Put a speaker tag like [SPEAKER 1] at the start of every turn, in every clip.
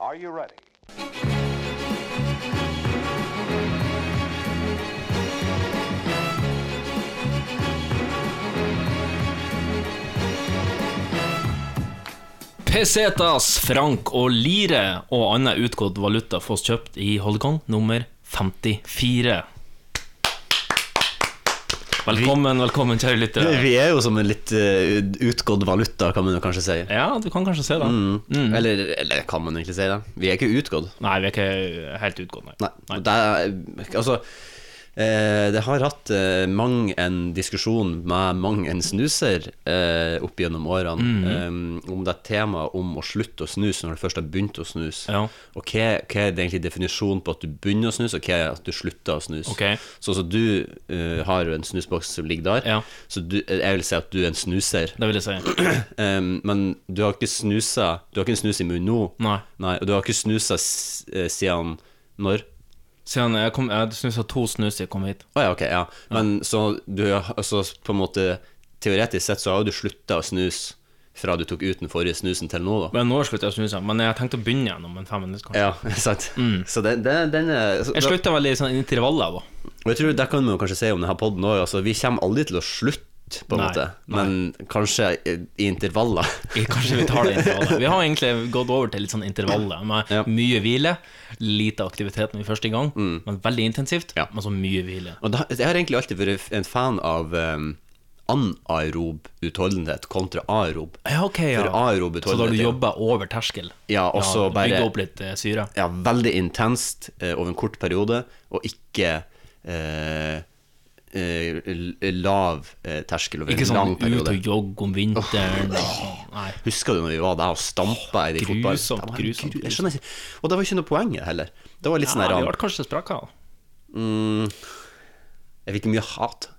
[SPEAKER 1] Are you ready?
[SPEAKER 2] Pesetas, frank og lire og annen utgått valuta fås kjøpt i Hongkong nummer 54. Velkommen, velkommen, kjære lyttere.
[SPEAKER 3] Vi er jo som en litt eh, utgått valuta, kan man jo kanskje si.
[SPEAKER 2] Ja, du kan kanskje se det.
[SPEAKER 3] Mm.
[SPEAKER 2] Mm.
[SPEAKER 3] Eller, eller kan man egentlig si det? Vi er ikke utgått.
[SPEAKER 2] Nei, vi er ikke helt utgått, nei.
[SPEAKER 3] Nei. Det, er- altså, eh, det har hatt eh, mang en diskusjon med mang en snuser eh, opp gjennom årene
[SPEAKER 2] Mm.
[SPEAKER 3] eh, om det temaet om å slutte å snuse når du først har begynt å snuse.
[SPEAKER 2] Ja.
[SPEAKER 3] Og hva, hva er det egentlig definisjonen på at du begynner å snuse, og hva er at du slutter å snuse?
[SPEAKER 2] Ok.
[SPEAKER 3] Sånn som du eh, har jo en snusboks som ligger der,
[SPEAKER 2] Ja.
[SPEAKER 3] så du, eh, jeg vil si at du er en snuser.
[SPEAKER 2] Det vil jeg si.
[SPEAKER 3] Um, men du har ikke snusa Du har ikke en snus i munnen nå.
[SPEAKER 2] Nei.
[SPEAKER 3] og du har ikke snusa s- eh, siden når?
[SPEAKER 2] Siden jeg, kom, jeg snusa to snus da jeg kom hit.
[SPEAKER 3] Å ja, ok, ja. Men så du har- altså, på en måte Teoretisk sett så har jo du slutta å snuse fra du tok ut den forrige snusen til nå, da.
[SPEAKER 2] Men nå slutta jeg å snuse, men jeg tenkte å begynne igjen om en fem minutter. kanskje.
[SPEAKER 3] Ja, sant. Så den, den, den er så,
[SPEAKER 2] Mm. Jeg slutta vel i sånn intervaller, da.
[SPEAKER 3] Og jeg tror det kan man jo kanskje si om denne poden òg. Altså, vi kommer aldri til å slutte, på en
[SPEAKER 2] Nei,
[SPEAKER 3] måte. Men kanskje i, i intervaller.
[SPEAKER 2] I- Kanskje vi tar det intervallet. Vi har egentlig gått over til litt sånn intervallet, med
[SPEAKER 3] Ja.
[SPEAKER 2] mye hvile, lite aktivitet med første gang, men veldig intensivt,
[SPEAKER 3] Mm. Ja.
[SPEAKER 2] men så mye hvile.
[SPEAKER 3] Og da, jeg har egentlig alltid vært en fan av um, anaerob utholdenhet kontra aerob.
[SPEAKER 2] Ja, ok, ja.
[SPEAKER 3] For aerob
[SPEAKER 2] Så da har
[SPEAKER 3] utholdenhet
[SPEAKER 2] du
[SPEAKER 3] er jo-
[SPEAKER 2] jobba over terskel?
[SPEAKER 3] Ja, og så bare-
[SPEAKER 2] Bygge opp litt eh, syre?
[SPEAKER 3] ja, veldig intenst eh, over en kort periode, og ikke eh, eh, l- lav eh, terskel over
[SPEAKER 2] Ikke
[SPEAKER 3] en
[SPEAKER 2] sånn
[SPEAKER 3] lang
[SPEAKER 2] ut
[SPEAKER 3] periode.
[SPEAKER 2] og jogge om vinteren sånn, Nei.
[SPEAKER 3] Husker du når vi var der og stampa i de fotball?
[SPEAKER 2] grusomt,
[SPEAKER 3] Det var
[SPEAKER 2] grusomt,
[SPEAKER 3] gru- Jeg skjønner ikke. Og det var ikke noe poeng heller. Det var litt sånn
[SPEAKER 2] Nei,
[SPEAKER 3] her
[SPEAKER 2] vi
[SPEAKER 3] um,
[SPEAKER 2] ble kanskje sprakka.
[SPEAKER 3] Jeg fikk mye hat.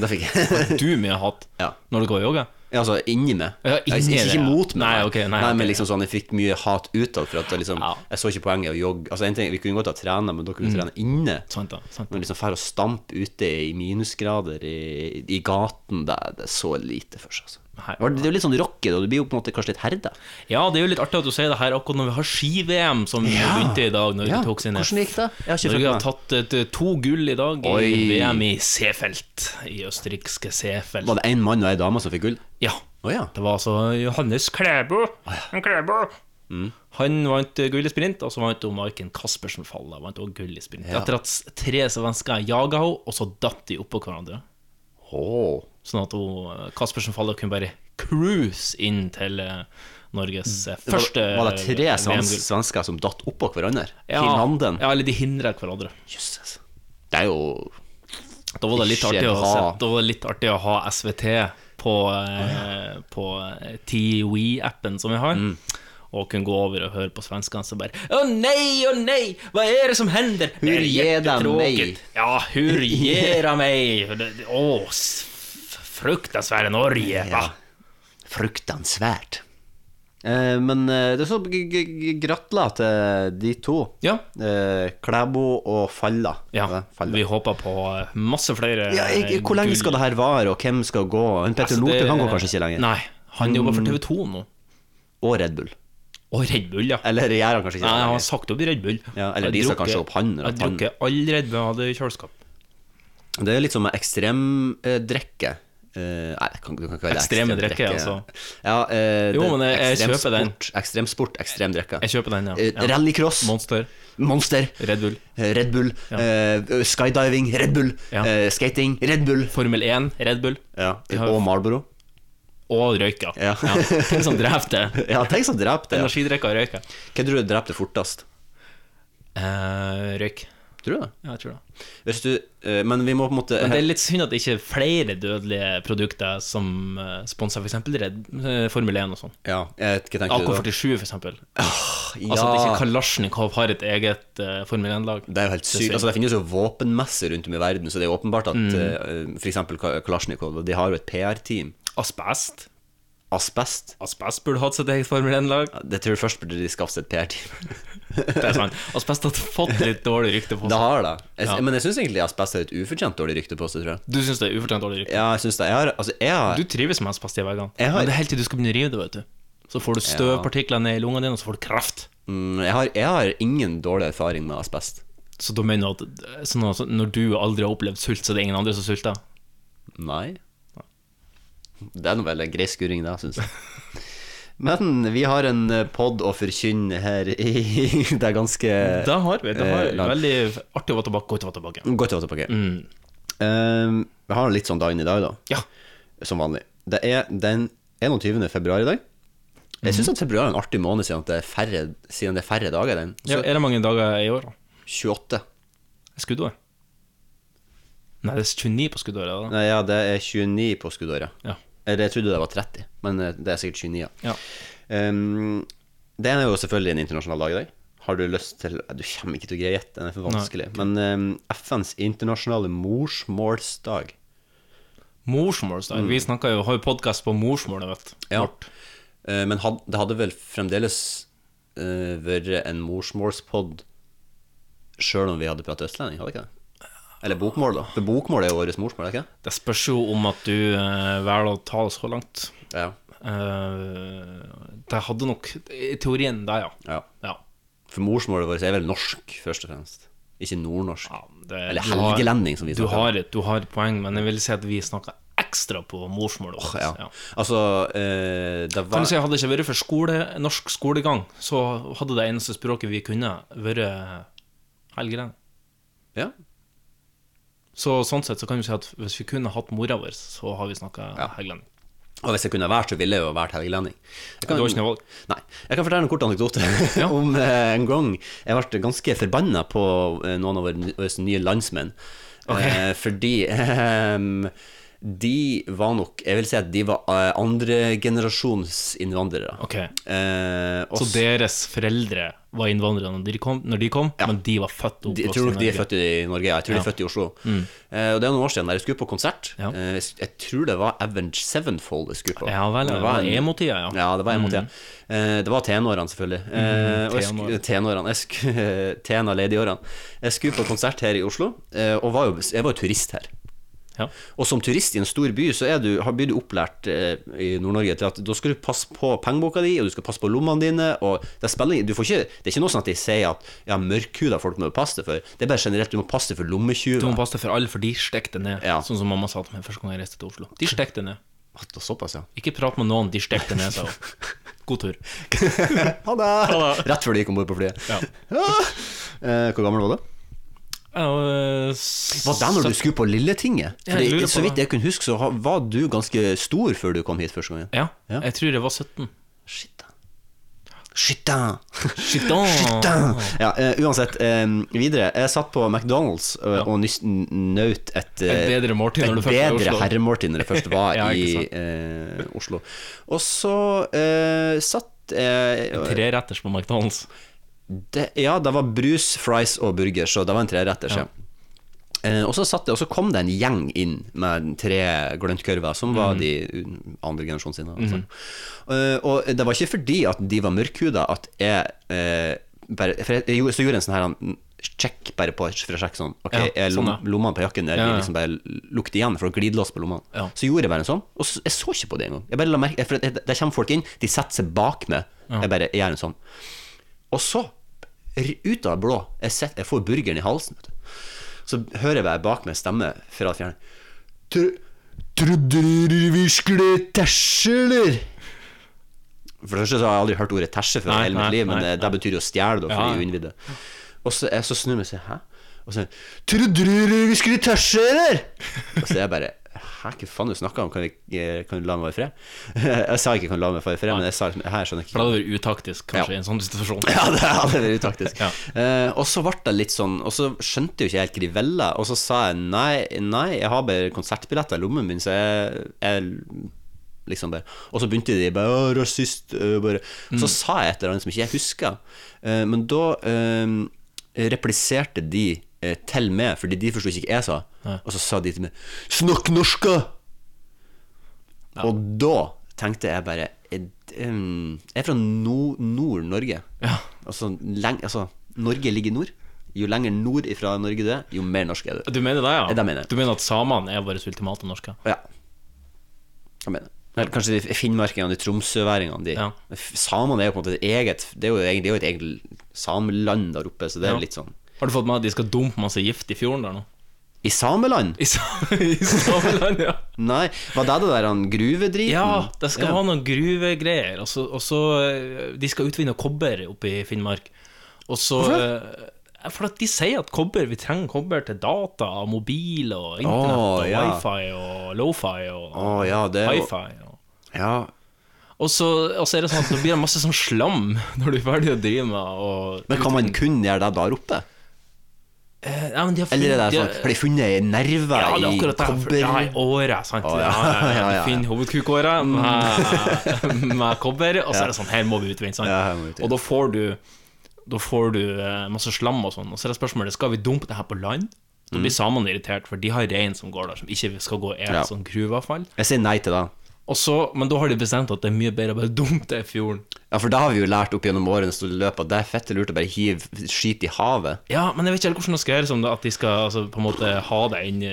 [SPEAKER 3] Det fikk jeg.
[SPEAKER 2] Du mye hatt
[SPEAKER 3] Ja.
[SPEAKER 2] når du går og jogger?
[SPEAKER 3] Ja, Altså inni meg.
[SPEAKER 2] Ja, inni
[SPEAKER 3] jeg, jeg,
[SPEAKER 2] det, ja.
[SPEAKER 3] ikke mot meg.
[SPEAKER 2] Nei, ok, nei, ok.
[SPEAKER 3] men liksom sånn, jeg fikk mye hat utad for at jeg liksom
[SPEAKER 2] Ja. Mm.
[SPEAKER 3] Jeg så ikke poenget i å jogge. Altså, en ting, vi kunne godt ha trene, men dere kunne trene inne.
[SPEAKER 2] Sant, da. Sant.
[SPEAKER 3] Men liksom drar og stampe ute i minusgrader i, i gaten, det, det er så lite for seg, altså.
[SPEAKER 2] Nei.
[SPEAKER 3] Det var- Det er jo litt sånn rocket, og du blir jo på en måte kanskje litt herda.
[SPEAKER 2] Ja, det er jo litt artig at du sier det her akkurat når vi har ski-VM, som begynte i dag. Norge
[SPEAKER 3] Ja,
[SPEAKER 2] tok sine
[SPEAKER 3] hvordan gikk det? Jeg har ikke
[SPEAKER 2] Norge
[SPEAKER 3] fulgt
[SPEAKER 2] har tatt eh, to gull i dag i
[SPEAKER 3] Oi.
[SPEAKER 2] VM i Seefeld. I østerrikske Seefeld.
[SPEAKER 3] Var det én mann og ei dame som fikk gull?
[SPEAKER 2] Ja.
[SPEAKER 3] Å ja.
[SPEAKER 2] Det var altså Johannes Klæbo. Han Klæbo.
[SPEAKER 3] Mm.
[SPEAKER 2] Han vant eh, gull i sprint, og så vant hun Maiken Caspersen Falla. Vant også gull i sprint.
[SPEAKER 3] Ja.
[SPEAKER 2] Etter at s- tre svensker jaga henne, og så datt de oppå hverandre.
[SPEAKER 3] Åh.
[SPEAKER 2] Sånn at hun, eh, Caspersen Falla kunne bare cruise inn til eh, Norges eh, første
[SPEAKER 3] Mm. var, var det tre
[SPEAKER 2] eh,
[SPEAKER 3] svens,
[SPEAKER 2] VM-gull.
[SPEAKER 3] svensker som datt oppå hverandre?
[SPEAKER 2] Ja,
[SPEAKER 3] Finlanden?
[SPEAKER 2] ja, eller de hindra hverandre.
[SPEAKER 3] Jøsses. Det er jo
[SPEAKER 2] Da var det litt
[SPEAKER 3] Ikke
[SPEAKER 2] artig å,
[SPEAKER 3] bra.
[SPEAKER 2] se, da var det litt artig å ha SVT på, eh, på TWE-appen som vi har.
[SPEAKER 3] Mm.
[SPEAKER 2] Og kunne gå over og høre på svenskene som bare Å nei, å nei, hva er det som hender? Det er
[SPEAKER 3] Hur gera mig?
[SPEAKER 2] jättetråkigt. Ja, hur gera meg? Det- Å, s- fruktansvære Norge.
[SPEAKER 3] Ja.
[SPEAKER 2] Ja.
[SPEAKER 3] fruktansvært. Eh, men eh, det er så g- g- g- gratulerer til de to.
[SPEAKER 2] Ja.
[SPEAKER 3] Eh, Klæbo og Falla. Eh,
[SPEAKER 2] ja.
[SPEAKER 3] Falla.
[SPEAKER 2] Vi håper på eh, masse flere
[SPEAKER 3] Ja, jeg, jeg- hvor lenge skal det her vare, og hvem skal gå? En Petter
[SPEAKER 2] Altså, det-
[SPEAKER 3] Northug han går kanskje ikke lenger. Mm.
[SPEAKER 2] Nei, han jobber for TV2 nå.
[SPEAKER 3] Og Red Bull.
[SPEAKER 2] Og Red Bull, ja.
[SPEAKER 3] Eller gjør han kanskje ikke
[SPEAKER 2] Nei,
[SPEAKER 3] det
[SPEAKER 2] jeg har
[SPEAKER 3] lenger.
[SPEAKER 2] sagt opp i Red Bull.
[SPEAKER 3] Ja, eller
[SPEAKER 2] Jeg
[SPEAKER 3] de skal
[SPEAKER 2] drukker-
[SPEAKER 3] kanskje opp han, eller
[SPEAKER 2] Jeg
[SPEAKER 3] at han-
[SPEAKER 2] drukker all Red Bull jeg hadde i kjøleskap.
[SPEAKER 3] Det er litt som med ekstremdrikke. Eh, nei, det kan, du kan ikke kalle det
[SPEAKER 2] Ekstreme
[SPEAKER 3] ekstremdrikke.
[SPEAKER 2] drikke, altså.
[SPEAKER 3] Ja, eh,
[SPEAKER 2] Jo,
[SPEAKER 3] det-
[SPEAKER 2] men jeg- jeg
[SPEAKER 3] ekstremsport-
[SPEAKER 2] kjøper den.
[SPEAKER 3] Ekstremsport, ekstremdrikke.
[SPEAKER 2] Jeg kjøper den, ja.
[SPEAKER 3] Eh,
[SPEAKER 2] ja.
[SPEAKER 3] Rallycross,
[SPEAKER 2] Monster,
[SPEAKER 3] Monster,
[SPEAKER 2] Red Bull,
[SPEAKER 3] eh, Red Bull,
[SPEAKER 2] Ja.
[SPEAKER 3] eh, skydiving, Red Bull,
[SPEAKER 2] Ja.
[SPEAKER 3] eh, skating, Red Bull.
[SPEAKER 2] Formel 1, Red Bull
[SPEAKER 3] Ja,
[SPEAKER 2] Ja.
[SPEAKER 3] og Marlboro.
[SPEAKER 2] og røyka.
[SPEAKER 3] Ja.
[SPEAKER 2] Ting som dreper det.
[SPEAKER 3] Ja, tenk som drepte det.
[SPEAKER 2] Energidrikker og røyka.
[SPEAKER 3] Hva tror du drepte fortest?
[SPEAKER 2] Eh, røyk.
[SPEAKER 3] Tror du det?
[SPEAKER 2] Ja, jeg tror det.
[SPEAKER 3] Hvis du, eh, men vi må på en måte
[SPEAKER 2] Men det er litt synd at det ikke er flere dødelige produkter som eh, sponser f.eks. Formel 1 og sånn.
[SPEAKER 3] Ja, jeg, hva tenker du da?
[SPEAKER 2] AK47, f.eks. Altså
[SPEAKER 3] Ja,
[SPEAKER 2] at ikke Kalasjnikov har et eget eh, Formel 1-lag.
[SPEAKER 3] det er jo helt sykt. Altså, det finnes jo våpenmesser rundt om i verden, så det er jo åpenbart at mm. f.eks. Kalasjnikov De har jo et PR-team.
[SPEAKER 2] Asbest.
[SPEAKER 3] Asbest.
[SPEAKER 2] Asbest burde hatt sitt eget Formel 1-lag.
[SPEAKER 3] Det tror jeg først burde de skaffet seg et PR-team.
[SPEAKER 2] Det er sant. Asbest har fått litt dårlig rykte på
[SPEAKER 3] Det
[SPEAKER 2] seg.
[SPEAKER 3] har det. Jeg,
[SPEAKER 2] Ja.
[SPEAKER 3] Men jeg syns egentlig asbest har et ufortjent dårlig rykte på seg, tror jeg.
[SPEAKER 2] Du syns det er ufortjent dårlig rykte.
[SPEAKER 3] Ja, jeg syns det. Jeg har, altså, jeg har
[SPEAKER 2] Du trives med asbest i veggene.
[SPEAKER 3] Jeg har-
[SPEAKER 2] Men det er helt til du skal begynne å rive det, vet du. Så får du støvpartikler ned i lungene dine, og så får du kreft.
[SPEAKER 3] Mm, jeg, har, jeg har ingen dårlig erfaring med asbest.
[SPEAKER 2] Så da mener du at så nå- så når du aldri har opplevd sult, så er det ingen andre som sulter?
[SPEAKER 3] Nei. Det er nå vel en grei skurring, det, syns jeg. Men vi har en pod å forkynne her i Det er ganske
[SPEAKER 2] Da har vi det. Har
[SPEAKER 3] eh, langt.
[SPEAKER 2] veldig artig å være tilbake. Godt å være tilbake.
[SPEAKER 3] Godt å ta tilbake.
[SPEAKER 2] Mm.
[SPEAKER 3] Um, jeg har litt sånn dagen i dag, da.
[SPEAKER 2] Ja.
[SPEAKER 3] Som vanlig. Det er den 21. februar i dag. Jeg
[SPEAKER 2] Mhm.
[SPEAKER 3] syns at februar er en artig måned, siden, at det er færre, siden det er færre dager i den.
[SPEAKER 2] ja.
[SPEAKER 3] Så
[SPEAKER 2] Er det mange dager i år, da?
[SPEAKER 3] 28.
[SPEAKER 2] Er Skuddår? Nei, det er 29 på skuddåret. da.
[SPEAKER 3] Nei, ja, det er 29 på skuddåret.
[SPEAKER 2] Ja.
[SPEAKER 3] Eller jeg trodde det var 30, men eh, det er sikkert 29. Ja.
[SPEAKER 2] Ja.
[SPEAKER 3] Um, det er jo selvfølgelig en internasjonal dag i dag. Har du lyst til eh, Du kommer ikke til å greie gjette, den er for vanskelig. Men um, FNs internasjonale morsmålsdag.
[SPEAKER 2] Morsmålsdag. Vi snakker jo, har jo podkast på morsmålet, vet du.
[SPEAKER 3] Mm. Ja. Eh, men had, det hadde vel fremdeles eh, vært en morsmålspod sjøl om vi hadde pratet østlending, hadde ikke det? Eller bokmål, da. For bokmål er jo vårt morsmål, er det ikke?
[SPEAKER 2] Det spørs jo om at du eh, velger å ta det så langt.
[SPEAKER 3] det? Ja.
[SPEAKER 2] Eh, det hadde nok I teorien, det, ja.
[SPEAKER 3] ja.
[SPEAKER 2] Ja.
[SPEAKER 3] For morsmålet vårt er vel norsk, først og fremst. Ikke nordnorsk.
[SPEAKER 2] ja det,
[SPEAKER 3] Eller
[SPEAKER 2] du har-
[SPEAKER 3] helgelending, som vi
[SPEAKER 2] Du
[SPEAKER 3] snakker om.
[SPEAKER 2] har, et, du har et poeng, men jeg vil si at vi snakker ekstra på morsmålet vårt.
[SPEAKER 3] Ja.
[SPEAKER 2] Ja.
[SPEAKER 3] Altså, eh, det
[SPEAKER 2] Kan
[SPEAKER 3] var
[SPEAKER 2] du si, Hadde det ikke vært for skole, norsk skolegang, så hadde det eneste språket vi kunne, vært helgelending.
[SPEAKER 3] Ja.
[SPEAKER 2] Så sånn sett så kan du si at hvis vi kunne hatt mora vår, så har vi snakka helgelending.
[SPEAKER 3] Og hvis jeg kunne vært, så ville jeg jo vært helgelending. Jeg
[SPEAKER 2] Du har ikke noe valg.
[SPEAKER 3] Nei. Jeg kan fortelle en kort anekdote om eh, en gang jeg ble ganske forbanna på eh, noen av våre våre nye landsmenn. Eh, fordi eh, de var nok Jeg vil si at de var eh, andregenerasjons innvandrere.
[SPEAKER 2] Ok,
[SPEAKER 3] Eh, og
[SPEAKER 2] Så deres foreldre var innvandrere når de kom, når de kom men de var født og
[SPEAKER 3] de, jeg
[SPEAKER 2] oppvokst
[SPEAKER 3] tror
[SPEAKER 2] i
[SPEAKER 3] nok de er
[SPEAKER 2] Norge. Mm.
[SPEAKER 3] født i Norge, ja. jeg tror de er født i Oslo. Eh, og det er noen år siden der jeg skulle på konsert.
[SPEAKER 2] Ja.
[SPEAKER 3] Eh, jeg s- jeg tror det var Avenged Sevenfold jeg skulle på.
[SPEAKER 2] Ja vel, det var Mm.
[SPEAKER 3] en-
[SPEAKER 2] emo-tida, ja.
[SPEAKER 3] Ja, det var emo tida. Eh, det var tenårene, selvfølgelig.
[SPEAKER 2] Mm,
[SPEAKER 3] Eh, og jeg sk- tenårene. Jeg sk- Tena lady-årene. Jeg skulle på konsert her i Oslo, eh, og var jo, jeg var jo turist her.
[SPEAKER 2] Ja.
[SPEAKER 3] Og som turist i en stor by, så er du, har- blir du opplært eh, i Nord-Norge til at da skal du passe på pengeboka di, og du skal passe på lommene dine, og det spiller ingen- du får ikke, Det er ikke noe sånn at de sier at ja, mørkhuda folk må passe deg for, det er bare generelt, du må passe deg for
[SPEAKER 2] Du må
[SPEAKER 3] lommetyver.
[SPEAKER 2] passe deg for alle, for de stekte ned.
[SPEAKER 3] Ja.
[SPEAKER 2] Sånn som mamma sa til meg første gang jeg reiste til Oslo. De stekte ned.
[SPEAKER 3] At det er Såpass, ja.
[SPEAKER 2] Ikke prat med noen, de stekte ned, sa hun. God tur.
[SPEAKER 3] Ha det! Rett før de gikk om bord på flyet.
[SPEAKER 2] Ja.
[SPEAKER 3] Eh, hvor gammel var du?
[SPEAKER 2] Uh,
[SPEAKER 3] Var det når du skulle på Lilletinget?
[SPEAKER 2] Ja, jeg
[SPEAKER 3] Fordi,
[SPEAKER 2] lurer på
[SPEAKER 3] så vidt jeg kunne huske, så ha- var du ganske stor før du kom hit første gangen.
[SPEAKER 2] Ja,
[SPEAKER 3] Ja.
[SPEAKER 2] jeg tror jeg var 17.
[SPEAKER 3] Shit, da. Shit, da.
[SPEAKER 2] Shit, da.
[SPEAKER 3] Da! Ja, eh, uansett, eh, videre. Jeg satt på McDonald's og, og nys- n- nøt et, eh,
[SPEAKER 2] Et bedre måltid når
[SPEAKER 3] et
[SPEAKER 2] du først var i
[SPEAKER 3] bedre
[SPEAKER 2] Oslo.
[SPEAKER 3] herremåltid når jeg først var
[SPEAKER 2] Ja, ikke
[SPEAKER 3] i
[SPEAKER 2] sant.
[SPEAKER 3] eh, Oslo. Og så eh, satt eh,
[SPEAKER 2] Treretters på McDonald's.
[SPEAKER 3] det, Ja, det var brus, fries og burger, så det var en treretters. Ja. Eh, og, så satt det, og så kom det en gjeng inn med tre gløntkurver, som var
[SPEAKER 2] Mhm.
[SPEAKER 3] de andre generasjonen sine. Altså. Eh, og det var ikke fordi at de var mørkhuda at jeg eh, bare, For jeg, jeg, gjorde- så gjorde jeg en sånn her han, sjekk bare på for å sjekke sånn Ok,
[SPEAKER 2] Ja,
[SPEAKER 3] er lom,
[SPEAKER 2] sånn, ja.
[SPEAKER 3] lommene på jakken der
[SPEAKER 2] Ja, ja.
[SPEAKER 3] liksom bare lukter igjen, for det er glidelås på lommene.
[SPEAKER 2] Ja.
[SPEAKER 3] Så gjorde jeg bare en sånn, og så, jeg så ikke på det engang. Jeg bare la merke- For det, der kommer folk inn, de setter seg bak meg. Jeg bare jeg gjør en sånn. Og så, r- ut av det blå, jeg, sett- jeg får burgeren i halsen, vet du. Så hører jeg bare bak meg stemme fra fjerne. Tro- Trodde dere vi skulle tæsje, eller? For det første så har jeg aldri hørt ordet tæsje før i
[SPEAKER 2] Nei,
[SPEAKER 3] hele mitt
[SPEAKER 2] nei,
[SPEAKER 3] liv, men
[SPEAKER 2] nei,
[SPEAKER 3] eh, det betyr jo å stjele, da, for
[SPEAKER 2] Ja,
[SPEAKER 3] de
[SPEAKER 2] ja.
[SPEAKER 3] er jo innvidde. Og så, jeg, så snur jeg meg og sier hæ? Og så Trodde dere vi skulle tæsje, eller? Og så er jeg bare Hæ, hva faen du snakker om? Kan, vi, eh, kan du la meg være i fred? Jeg sa ikke 'kan du la meg være i fred', men jeg sa liksom, her skjønner jeg ikke
[SPEAKER 2] For det hadde vært utaktisk, kanskje,
[SPEAKER 3] Ja.
[SPEAKER 2] i en sånn situasjon.
[SPEAKER 3] ja, det hadde vært utaktisk.
[SPEAKER 2] Ja.
[SPEAKER 3] Eh, og så ble det litt sånn, og så skjønte jo ikke jeg helt grivella, og så sa jeg nei, nei, jeg har bare konsertbilletter i lommen min, så jeg, jeg liksom bare Og så begynte de bare «Å, rasist, øh, bare.
[SPEAKER 2] Mm.
[SPEAKER 3] Så sa jeg et eller annet som ikke jeg husker, Eh, men da eh, repliserte de eh, til meg, fordi de forsto ikke hva jeg sa, og så sa de til meg 'Snakk norska!' Og da tenkte jeg bare Jeg, ehm, jeg er fra no, Nord-Norge.
[SPEAKER 2] Ja.
[SPEAKER 3] Altså, leng, altså, Norge ligger i nord. Jo lenger nord ifra Norge du er, jo mer norsk er du.
[SPEAKER 2] Du mener det, ja?
[SPEAKER 3] Det mener jeg.
[SPEAKER 2] Du mener at samene er våre ultimate norske?
[SPEAKER 3] Ja. Hva mener jeg? Eller kanskje de finnmarkingene, de tromsøværingene de.
[SPEAKER 2] Ja.
[SPEAKER 3] Samene er jo på en måte et eget Det er jo, egentlig- det er jo et eget sameland der oppe, så det er
[SPEAKER 2] Ja.
[SPEAKER 3] litt sånn
[SPEAKER 2] Har du fått med at de skal dumpe masse gift i fjorden der nå?
[SPEAKER 3] I sameland?
[SPEAKER 2] I, sa- i Sameland, ja.
[SPEAKER 3] Nei, var det det der han gruvedriten?
[SPEAKER 2] Ja, det skal ha noen gruvegreier. Og så, og så eh, De skal utvinne kobber oppe i Finnmark. Og så eh, For at de sier at kobber, vi trenger kobber til data, mobil og internett
[SPEAKER 3] Å,
[SPEAKER 2] og
[SPEAKER 3] ja.
[SPEAKER 2] wifi og lofi og
[SPEAKER 3] Å ja, det er jo
[SPEAKER 2] hifi. Og.
[SPEAKER 3] ja.
[SPEAKER 2] Og, så, og så er det sånn at det blir masse sånn slam når du er ferdig å drive med og
[SPEAKER 3] Men kan man kun gjøre det der oppe?
[SPEAKER 2] Eh, ja, men de har
[SPEAKER 3] Eller er
[SPEAKER 2] funnet-
[SPEAKER 3] det
[SPEAKER 2] de har-
[SPEAKER 3] sånn Har de funnet en nerve
[SPEAKER 2] ja, det er
[SPEAKER 3] i
[SPEAKER 2] akkurat det.
[SPEAKER 3] kobber?
[SPEAKER 2] For- Ja, i året, sant.
[SPEAKER 3] Å,
[SPEAKER 2] ja.
[SPEAKER 3] ja.
[SPEAKER 2] Ja, ja,
[SPEAKER 3] Ja, ja, ja.
[SPEAKER 2] Du finner hovedkukåret med, med kobber, og så er det sånn Her må vi utvinne, sant.
[SPEAKER 3] Ja, her må vi utvinne.
[SPEAKER 2] og da får du Da får du eh, masse slam og sånn. Og så er det spørsmålet Skal vi dumpe det her på land? Da blir samene irritert, for de har rein som går der, som ikke skal gå i et
[SPEAKER 3] Ja.
[SPEAKER 2] sånn gruveavfall.
[SPEAKER 3] Jeg sier nei til det.
[SPEAKER 2] Og så, men da har de bestemt at det er mye bedre å bare dumpe det i fjorden.
[SPEAKER 3] Ja, for da har vi jo lært opp gjennom årene store løp at det er fette lurt å bare hive skit i havet.
[SPEAKER 2] Ja, men jeg vet ikke helt hvordan det skal gjøres, om det at de skal altså, på en måte ha det inni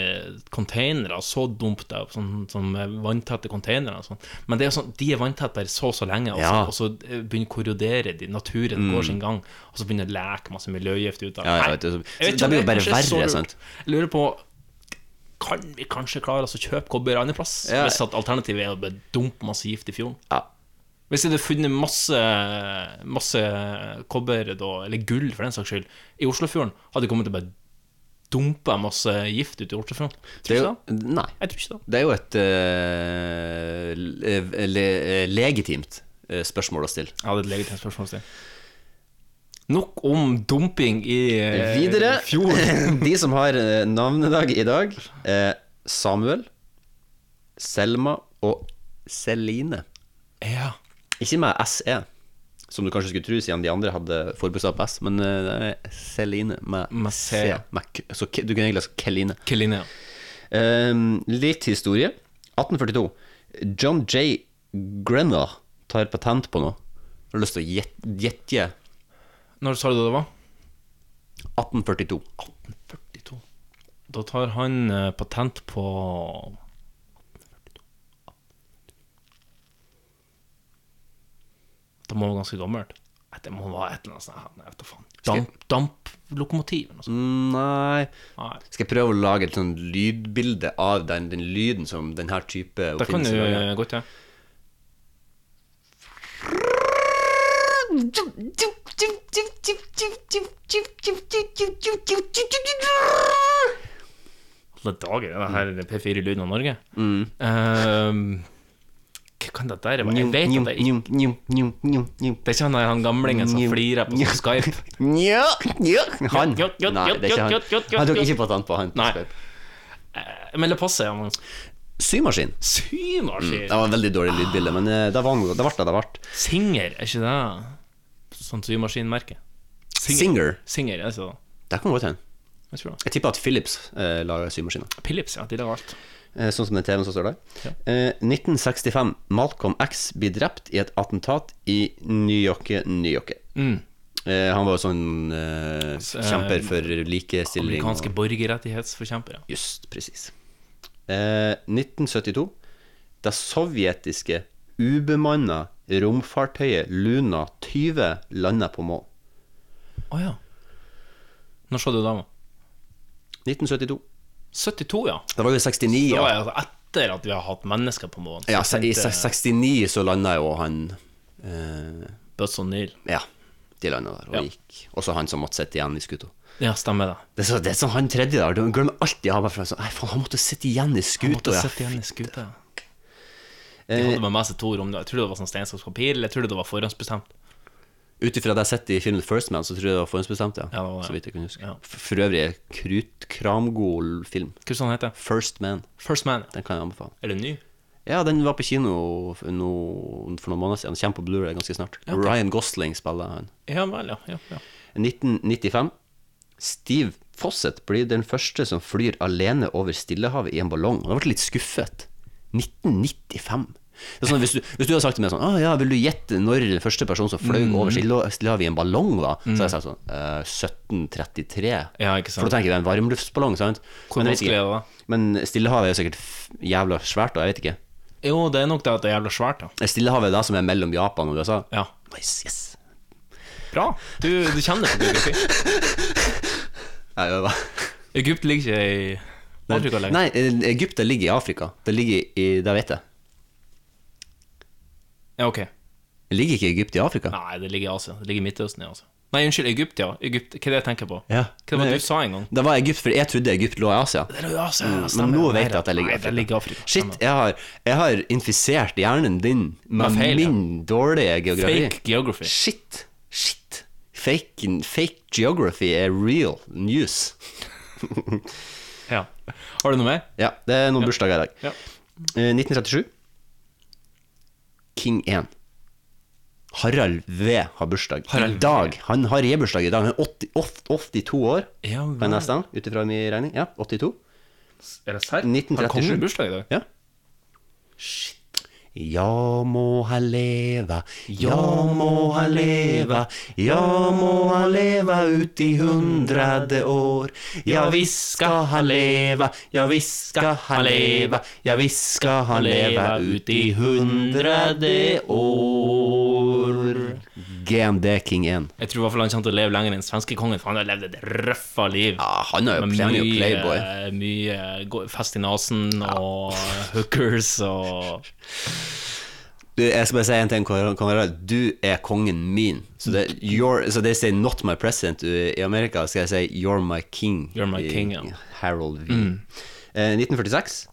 [SPEAKER 2] containere, så dumpe det, sånn, sånn vanntette containere og sånn. Men det er jo sånn, de er vanntette der så og så lenge, og så,
[SPEAKER 3] Ja. Mm.
[SPEAKER 2] og så eh, begynner korrodere de, naturen går sin gang, og så begynner det å leke masse miljøgift ut av
[SPEAKER 3] Ja, ja,
[SPEAKER 2] Nei,
[SPEAKER 3] vet du, så-
[SPEAKER 2] jeg vet
[SPEAKER 3] så det
[SPEAKER 2] om
[SPEAKER 3] blir jo bare
[SPEAKER 2] kanskje er så
[SPEAKER 3] verre,
[SPEAKER 2] lurt.
[SPEAKER 3] sant?
[SPEAKER 2] Jeg lurer på kan vi kanskje klare oss å kjøpe kobber andre plass?
[SPEAKER 3] Ja.
[SPEAKER 2] Hvis at alternativet er å bare dumpe masse gift i fjorden?
[SPEAKER 3] Ja.
[SPEAKER 2] Hvis jeg hadde funnet masse, masse kobber, da, eller gull for den saks skyld, i Oslofjorden, hadde jeg kommet til å bare dumpe masse gift ut i Oslofjorden. Tror
[SPEAKER 3] Det
[SPEAKER 2] ikke
[SPEAKER 3] er jo,
[SPEAKER 2] det.
[SPEAKER 3] nei.
[SPEAKER 2] Jeg tror ikke det.
[SPEAKER 3] Det er jo et eh, le, le, legitimt eh, spørsmål å stille.
[SPEAKER 2] Jeg hadde et legitimt spørsmål å stille. Nok om dumping i eh,
[SPEAKER 3] Videre,
[SPEAKER 2] fjorden.
[SPEAKER 3] de som har eh, navnedag i dag, er Samuel, Selma og Celine.
[SPEAKER 2] Ja.
[SPEAKER 3] Ikke med SE, som du kanskje skulle tro, siden de andre hadde forbokstav på S, men eh, det er Celine med,
[SPEAKER 2] Med
[SPEAKER 3] C.
[SPEAKER 2] C.
[SPEAKER 3] Med K. Så K- du kunne egentlig lese Keline.
[SPEAKER 2] Keline.
[SPEAKER 3] Ehm, litt historie. 1842. John J. Grenna tar patent på noe. Har du lyst til å gjette? gjette?
[SPEAKER 2] Når sa du det det var?
[SPEAKER 3] 1842.
[SPEAKER 2] 1842. Da tar han eh, patent på Det må være ganske gammelt. Nei, Det må være et eller annet sånt her, jeg vet da faen. Damp, damplokomotiv eller noe sånt.
[SPEAKER 3] Nei
[SPEAKER 2] Nei.
[SPEAKER 3] Skal jeg prøve å lage et sånn lydbilde av den, den lyden som denne type
[SPEAKER 2] Det kan
[SPEAKER 3] oppfinnelse
[SPEAKER 2] jo
[SPEAKER 3] lager?
[SPEAKER 2] godt gjøre. Alle dager, er det her er P4-lyden av Norge? Ehm, hva kan det der være? Jeg vet at det er ikke
[SPEAKER 3] Njum, njum, njum, njum, njum.
[SPEAKER 2] Det er ikke han der han gamlingen som
[SPEAKER 3] Njo.
[SPEAKER 2] flirer på
[SPEAKER 3] Njo.
[SPEAKER 2] Skype.
[SPEAKER 3] Nja, nja. Han?
[SPEAKER 2] Jot, jot, jot,
[SPEAKER 3] Nei, det er ikke
[SPEAKER 2] jot, jot, jot,
[SPEAKER 3] han. Han tok
[SPEAKER 2] jot.
[SPEAKER 3] ikke patent på han. på
[SPEAKER 2] Nei.
[SPEAKER 3] Skype.
[SPEAKER 2] Jeg melder pass, sier han.
[SPEAKER 3] Symaskin.
[SPEAKER 2] Symaskin!
[SPEAKER 3] Det var et veldig dårlig lydbilde, men eh, det var- det ble det det ble.
[SPEAKER 2] Singer, er ikke det sånn symaskinmerke?
[SPEAKER 3] Singer.
[SPEAKER 2] Singer, er ikke det?
[SPEAKER 3] Det kan godt hende.
[SPEAKER 2] Jeg tror det.
[SPEAKER 3] Jeg tipper at Philips eh, lager symaskiner.
[SPEAKER 2] Philips, ja. De lager alt.
[SPEAKER 3] Eh, sånn som den TV-en som står der.
[SPEAKER 2] Ja.
[SPEAKER 3] Eh, 1965. Malcolm X blir drept i et attentat i New York. New York. Eh, han var jo sånn eh, kjemper for likestilling.
[SPEAKER 2] Amerikanske borgerrettighetsforkjempere.
[SPEAKER 3] Og, just, presis. Eh, 1972. Det sovjetiske ubemanna romfartøyet Luna 20 landa på Mål.
[SPEAKER 2] Å ja. Når så du dama?
[SPEAKER 3] 1972.
[SPEAKER 2] 72, ja.
[SPEAKER 3] Det var jo 69.
[SPEAKER 2] Det var
[SPEAKER 3] Ja,
[SPEAKER 2] jeg, altså, etter at vi har hatt mennesker på månen.
[SPEAKER 3] ja se- i se- 69 så landa jo han eh,
[SPEAKER 2] Buzz O'Neill.
[SPEAKER 3] Ja, de landa der og
[SPEAKER 2] Ja.
[SPEAKER 3] gikk. Også han som måtte sitte igjen i skuta.
[SPEAKER 2] Ja, stemmer det.
[SPEAKER 3] Det er, så, det er sånn han tredje der, du glemmer alltid han bare for sånn, Nei, faen, han måtte sitte igjen
[SPEAKER 2] Han
[SPEAKER 3] i skuta.
[SPEAKER 2] måtte
[SPEAKER 3] Ja. Eh.
[SPEAKER 2] sitte igjen i skuta. De hadde med meg seg to rom. da. Jeg trodde det var sånn steinsakspapir, eller jeg trodde det var forhåndsbestemt.
[SPEAKER 3] Ut ifra det jeg har sett i filmen First Man, så tror jeg det var forhåndsbestemt, ja.
[SPEAKER 2] Ja, det var det.
[SPEAKER 3] Så vidt jeg kunne huske.
[SPEAKER 2] Ja.
[SPEAKER 3] For, for øvrig, krutkramgod film.
[SPEAKER 2] Hva er det sånn heter det?
[SPEAKER 3] First Man,
[SPEAKER 2] First Man.
[SPEAKER 3] den kan jeg anbefale.
[SPEAKER 2] Er det ny?
[SPEAKER 3] Ja, den var på kino for, no, for noen måneder siden. Den kommer på Blu-ray ganske snart. Ryan Gosling spiller han.
[SPEAKER 2] Ja vel, ja. ja, ja.
[SPEAKER 3] 1995. Steve Fawcett blir den første som flyr alene over Stillehavet i en ballong. Og Da ble jeg litt skuffet. 1995. Det er sånn, hvis, du, hvis du hadde sagt til meg sånn ah, ja, 'Vil du gjette når den første personen som fløy
[SPEAKER 2] Mm.
[SPEAKER 3] over Stille- Stillehavet i en ballong?' da Så hadde jeg sagt sånn eh, 1733.
[SPEAKER 2] Ja, ikke sant.
[SPEAKER 3] For da tenker jeg det er en varmluftsballong, sant?
[SPEAKER 2] Hvor
[SPEAKER 3] Men
[SPEAKER 2] vanskelig
[SPEAKER 3] jeg vet ikke.
[SPEAKER 2] er det da?
[SPEAKER 3] Men Stillehavet er jo sikkert f- jævla svært, da. Jeg vet ikke.
[SPEAKER 2] Jo, det er nok det at det er jævla svært, da.
[SPEAKER 3] Stillehavet er det som er mellom Japan og USA.
[SPEAKER 2] Ja.
[SPEAKER 3] Nice, yes
[SPEAKER 2] Bra. Du, du kjenner på geografi.
[SPEAKER 3] Jeg øver.
[SPEAKER 2] Egypt ligger ikke i Afrika lenger.
[SPEAKER 3] Nei, Egypt det ligger i Afrika. Det ligger i Det vet jeg.
[SPEAKER 2] Ja, ok.
[SPEAKER 3] Ligger ikke Egypt i Afrika?
[SPEAKER 2] Nei, det ligger i Asia. Det ligger i Midtøsten i Asia. Nei, unnskyld, Egypt, ja. Egypt, hva er det jeg tenker på?
[SPEAKER 3] Ja.
[SPEAKER 2] Hva var
[SPEAKER 3] Nei,
[SPEAKER 2] det du sa en gang?
[SPEAKER 3] Det var Egypt, for jeg trodde Egypt lå i Asia.
[SPEAKER 2] Det er jo Asia,
[SPEAKER 3] Mm, Men
[SPEAKER 2] stemmer.
[SPEAKER 3] nå
[SPEAKER 2] Nei,
[SPEAKER 3] vet jeg at jeg ligger i
[SPEAKER 2] Nei,
[SPEAKER 3] Afrika.
[SPEAKER 2] det ligger i Afrika.
[SPEAKER 3] Shit, jeg har, jeg har infisert hjernen din med
[SPEAKER 2] Med feil, ja.
[SPEAKER 3] min dårlige geografi.
[SPEAKER 2] Fake geography.
[SPEAKER 3] Shit. Shit. Fake, fake geography er real news.
[SPEAKER 2] Ja. Har du noe mer?
[SPEAKER 3] Ja, det er noen bursdager i dag.
[SPEAKER 2] Ja.
[SPEAKER 3] Eh, 1937. King 1. Harald V har bursdag i
[SPEAKER 2] Harald
[SPEAKER 3] dag. Han har rebursdag i dag. Han er 80, oft, 82 år.
[SPEAKER 2] Ja,
[SPEAKER 3] Hva er neste gang? Ut ifra min regning. Ja, 82.
[SPEAKER 2] Er det serr?
[SPEAKER 3] 1937.
[SPEAKER 2] Har kongen bursdag i dag?
[SPEAKER 3] Ja. Ja må han leva, ja må han leva, ja må han leva ut i hundrade år. Ja visst skal han leva, ja visst skal han leva, ja visst skal han leva ut i hundrade år. GMD King 1.
[SPEAKER 2] Jeg tror i hvert fall han kommer til å leve lenger enn svenskekongen, for han har levd et røffa liv.
[SPEAKER 3] Ja, han er jo
[SPEAKER 2] Med
[SPEAKER 3] han er jo playboy.
[SPEAKER 2] mye, mye gå- fest i nesen og hookers og
[SPEAKER 3] Du, jeg skal bare si en ting, Kong Kong Harald. Du er kongen min. Så det, you're, så they say 'not my president' uh, i Amerika. Skal jeg si 'you're my king'.
[SPEAKER 2] You're my
[SPEAKER 3] i
[SPEAKER 2] king, ja. Mm.
[SPEAKER 3] Harold V. Eh, 1946.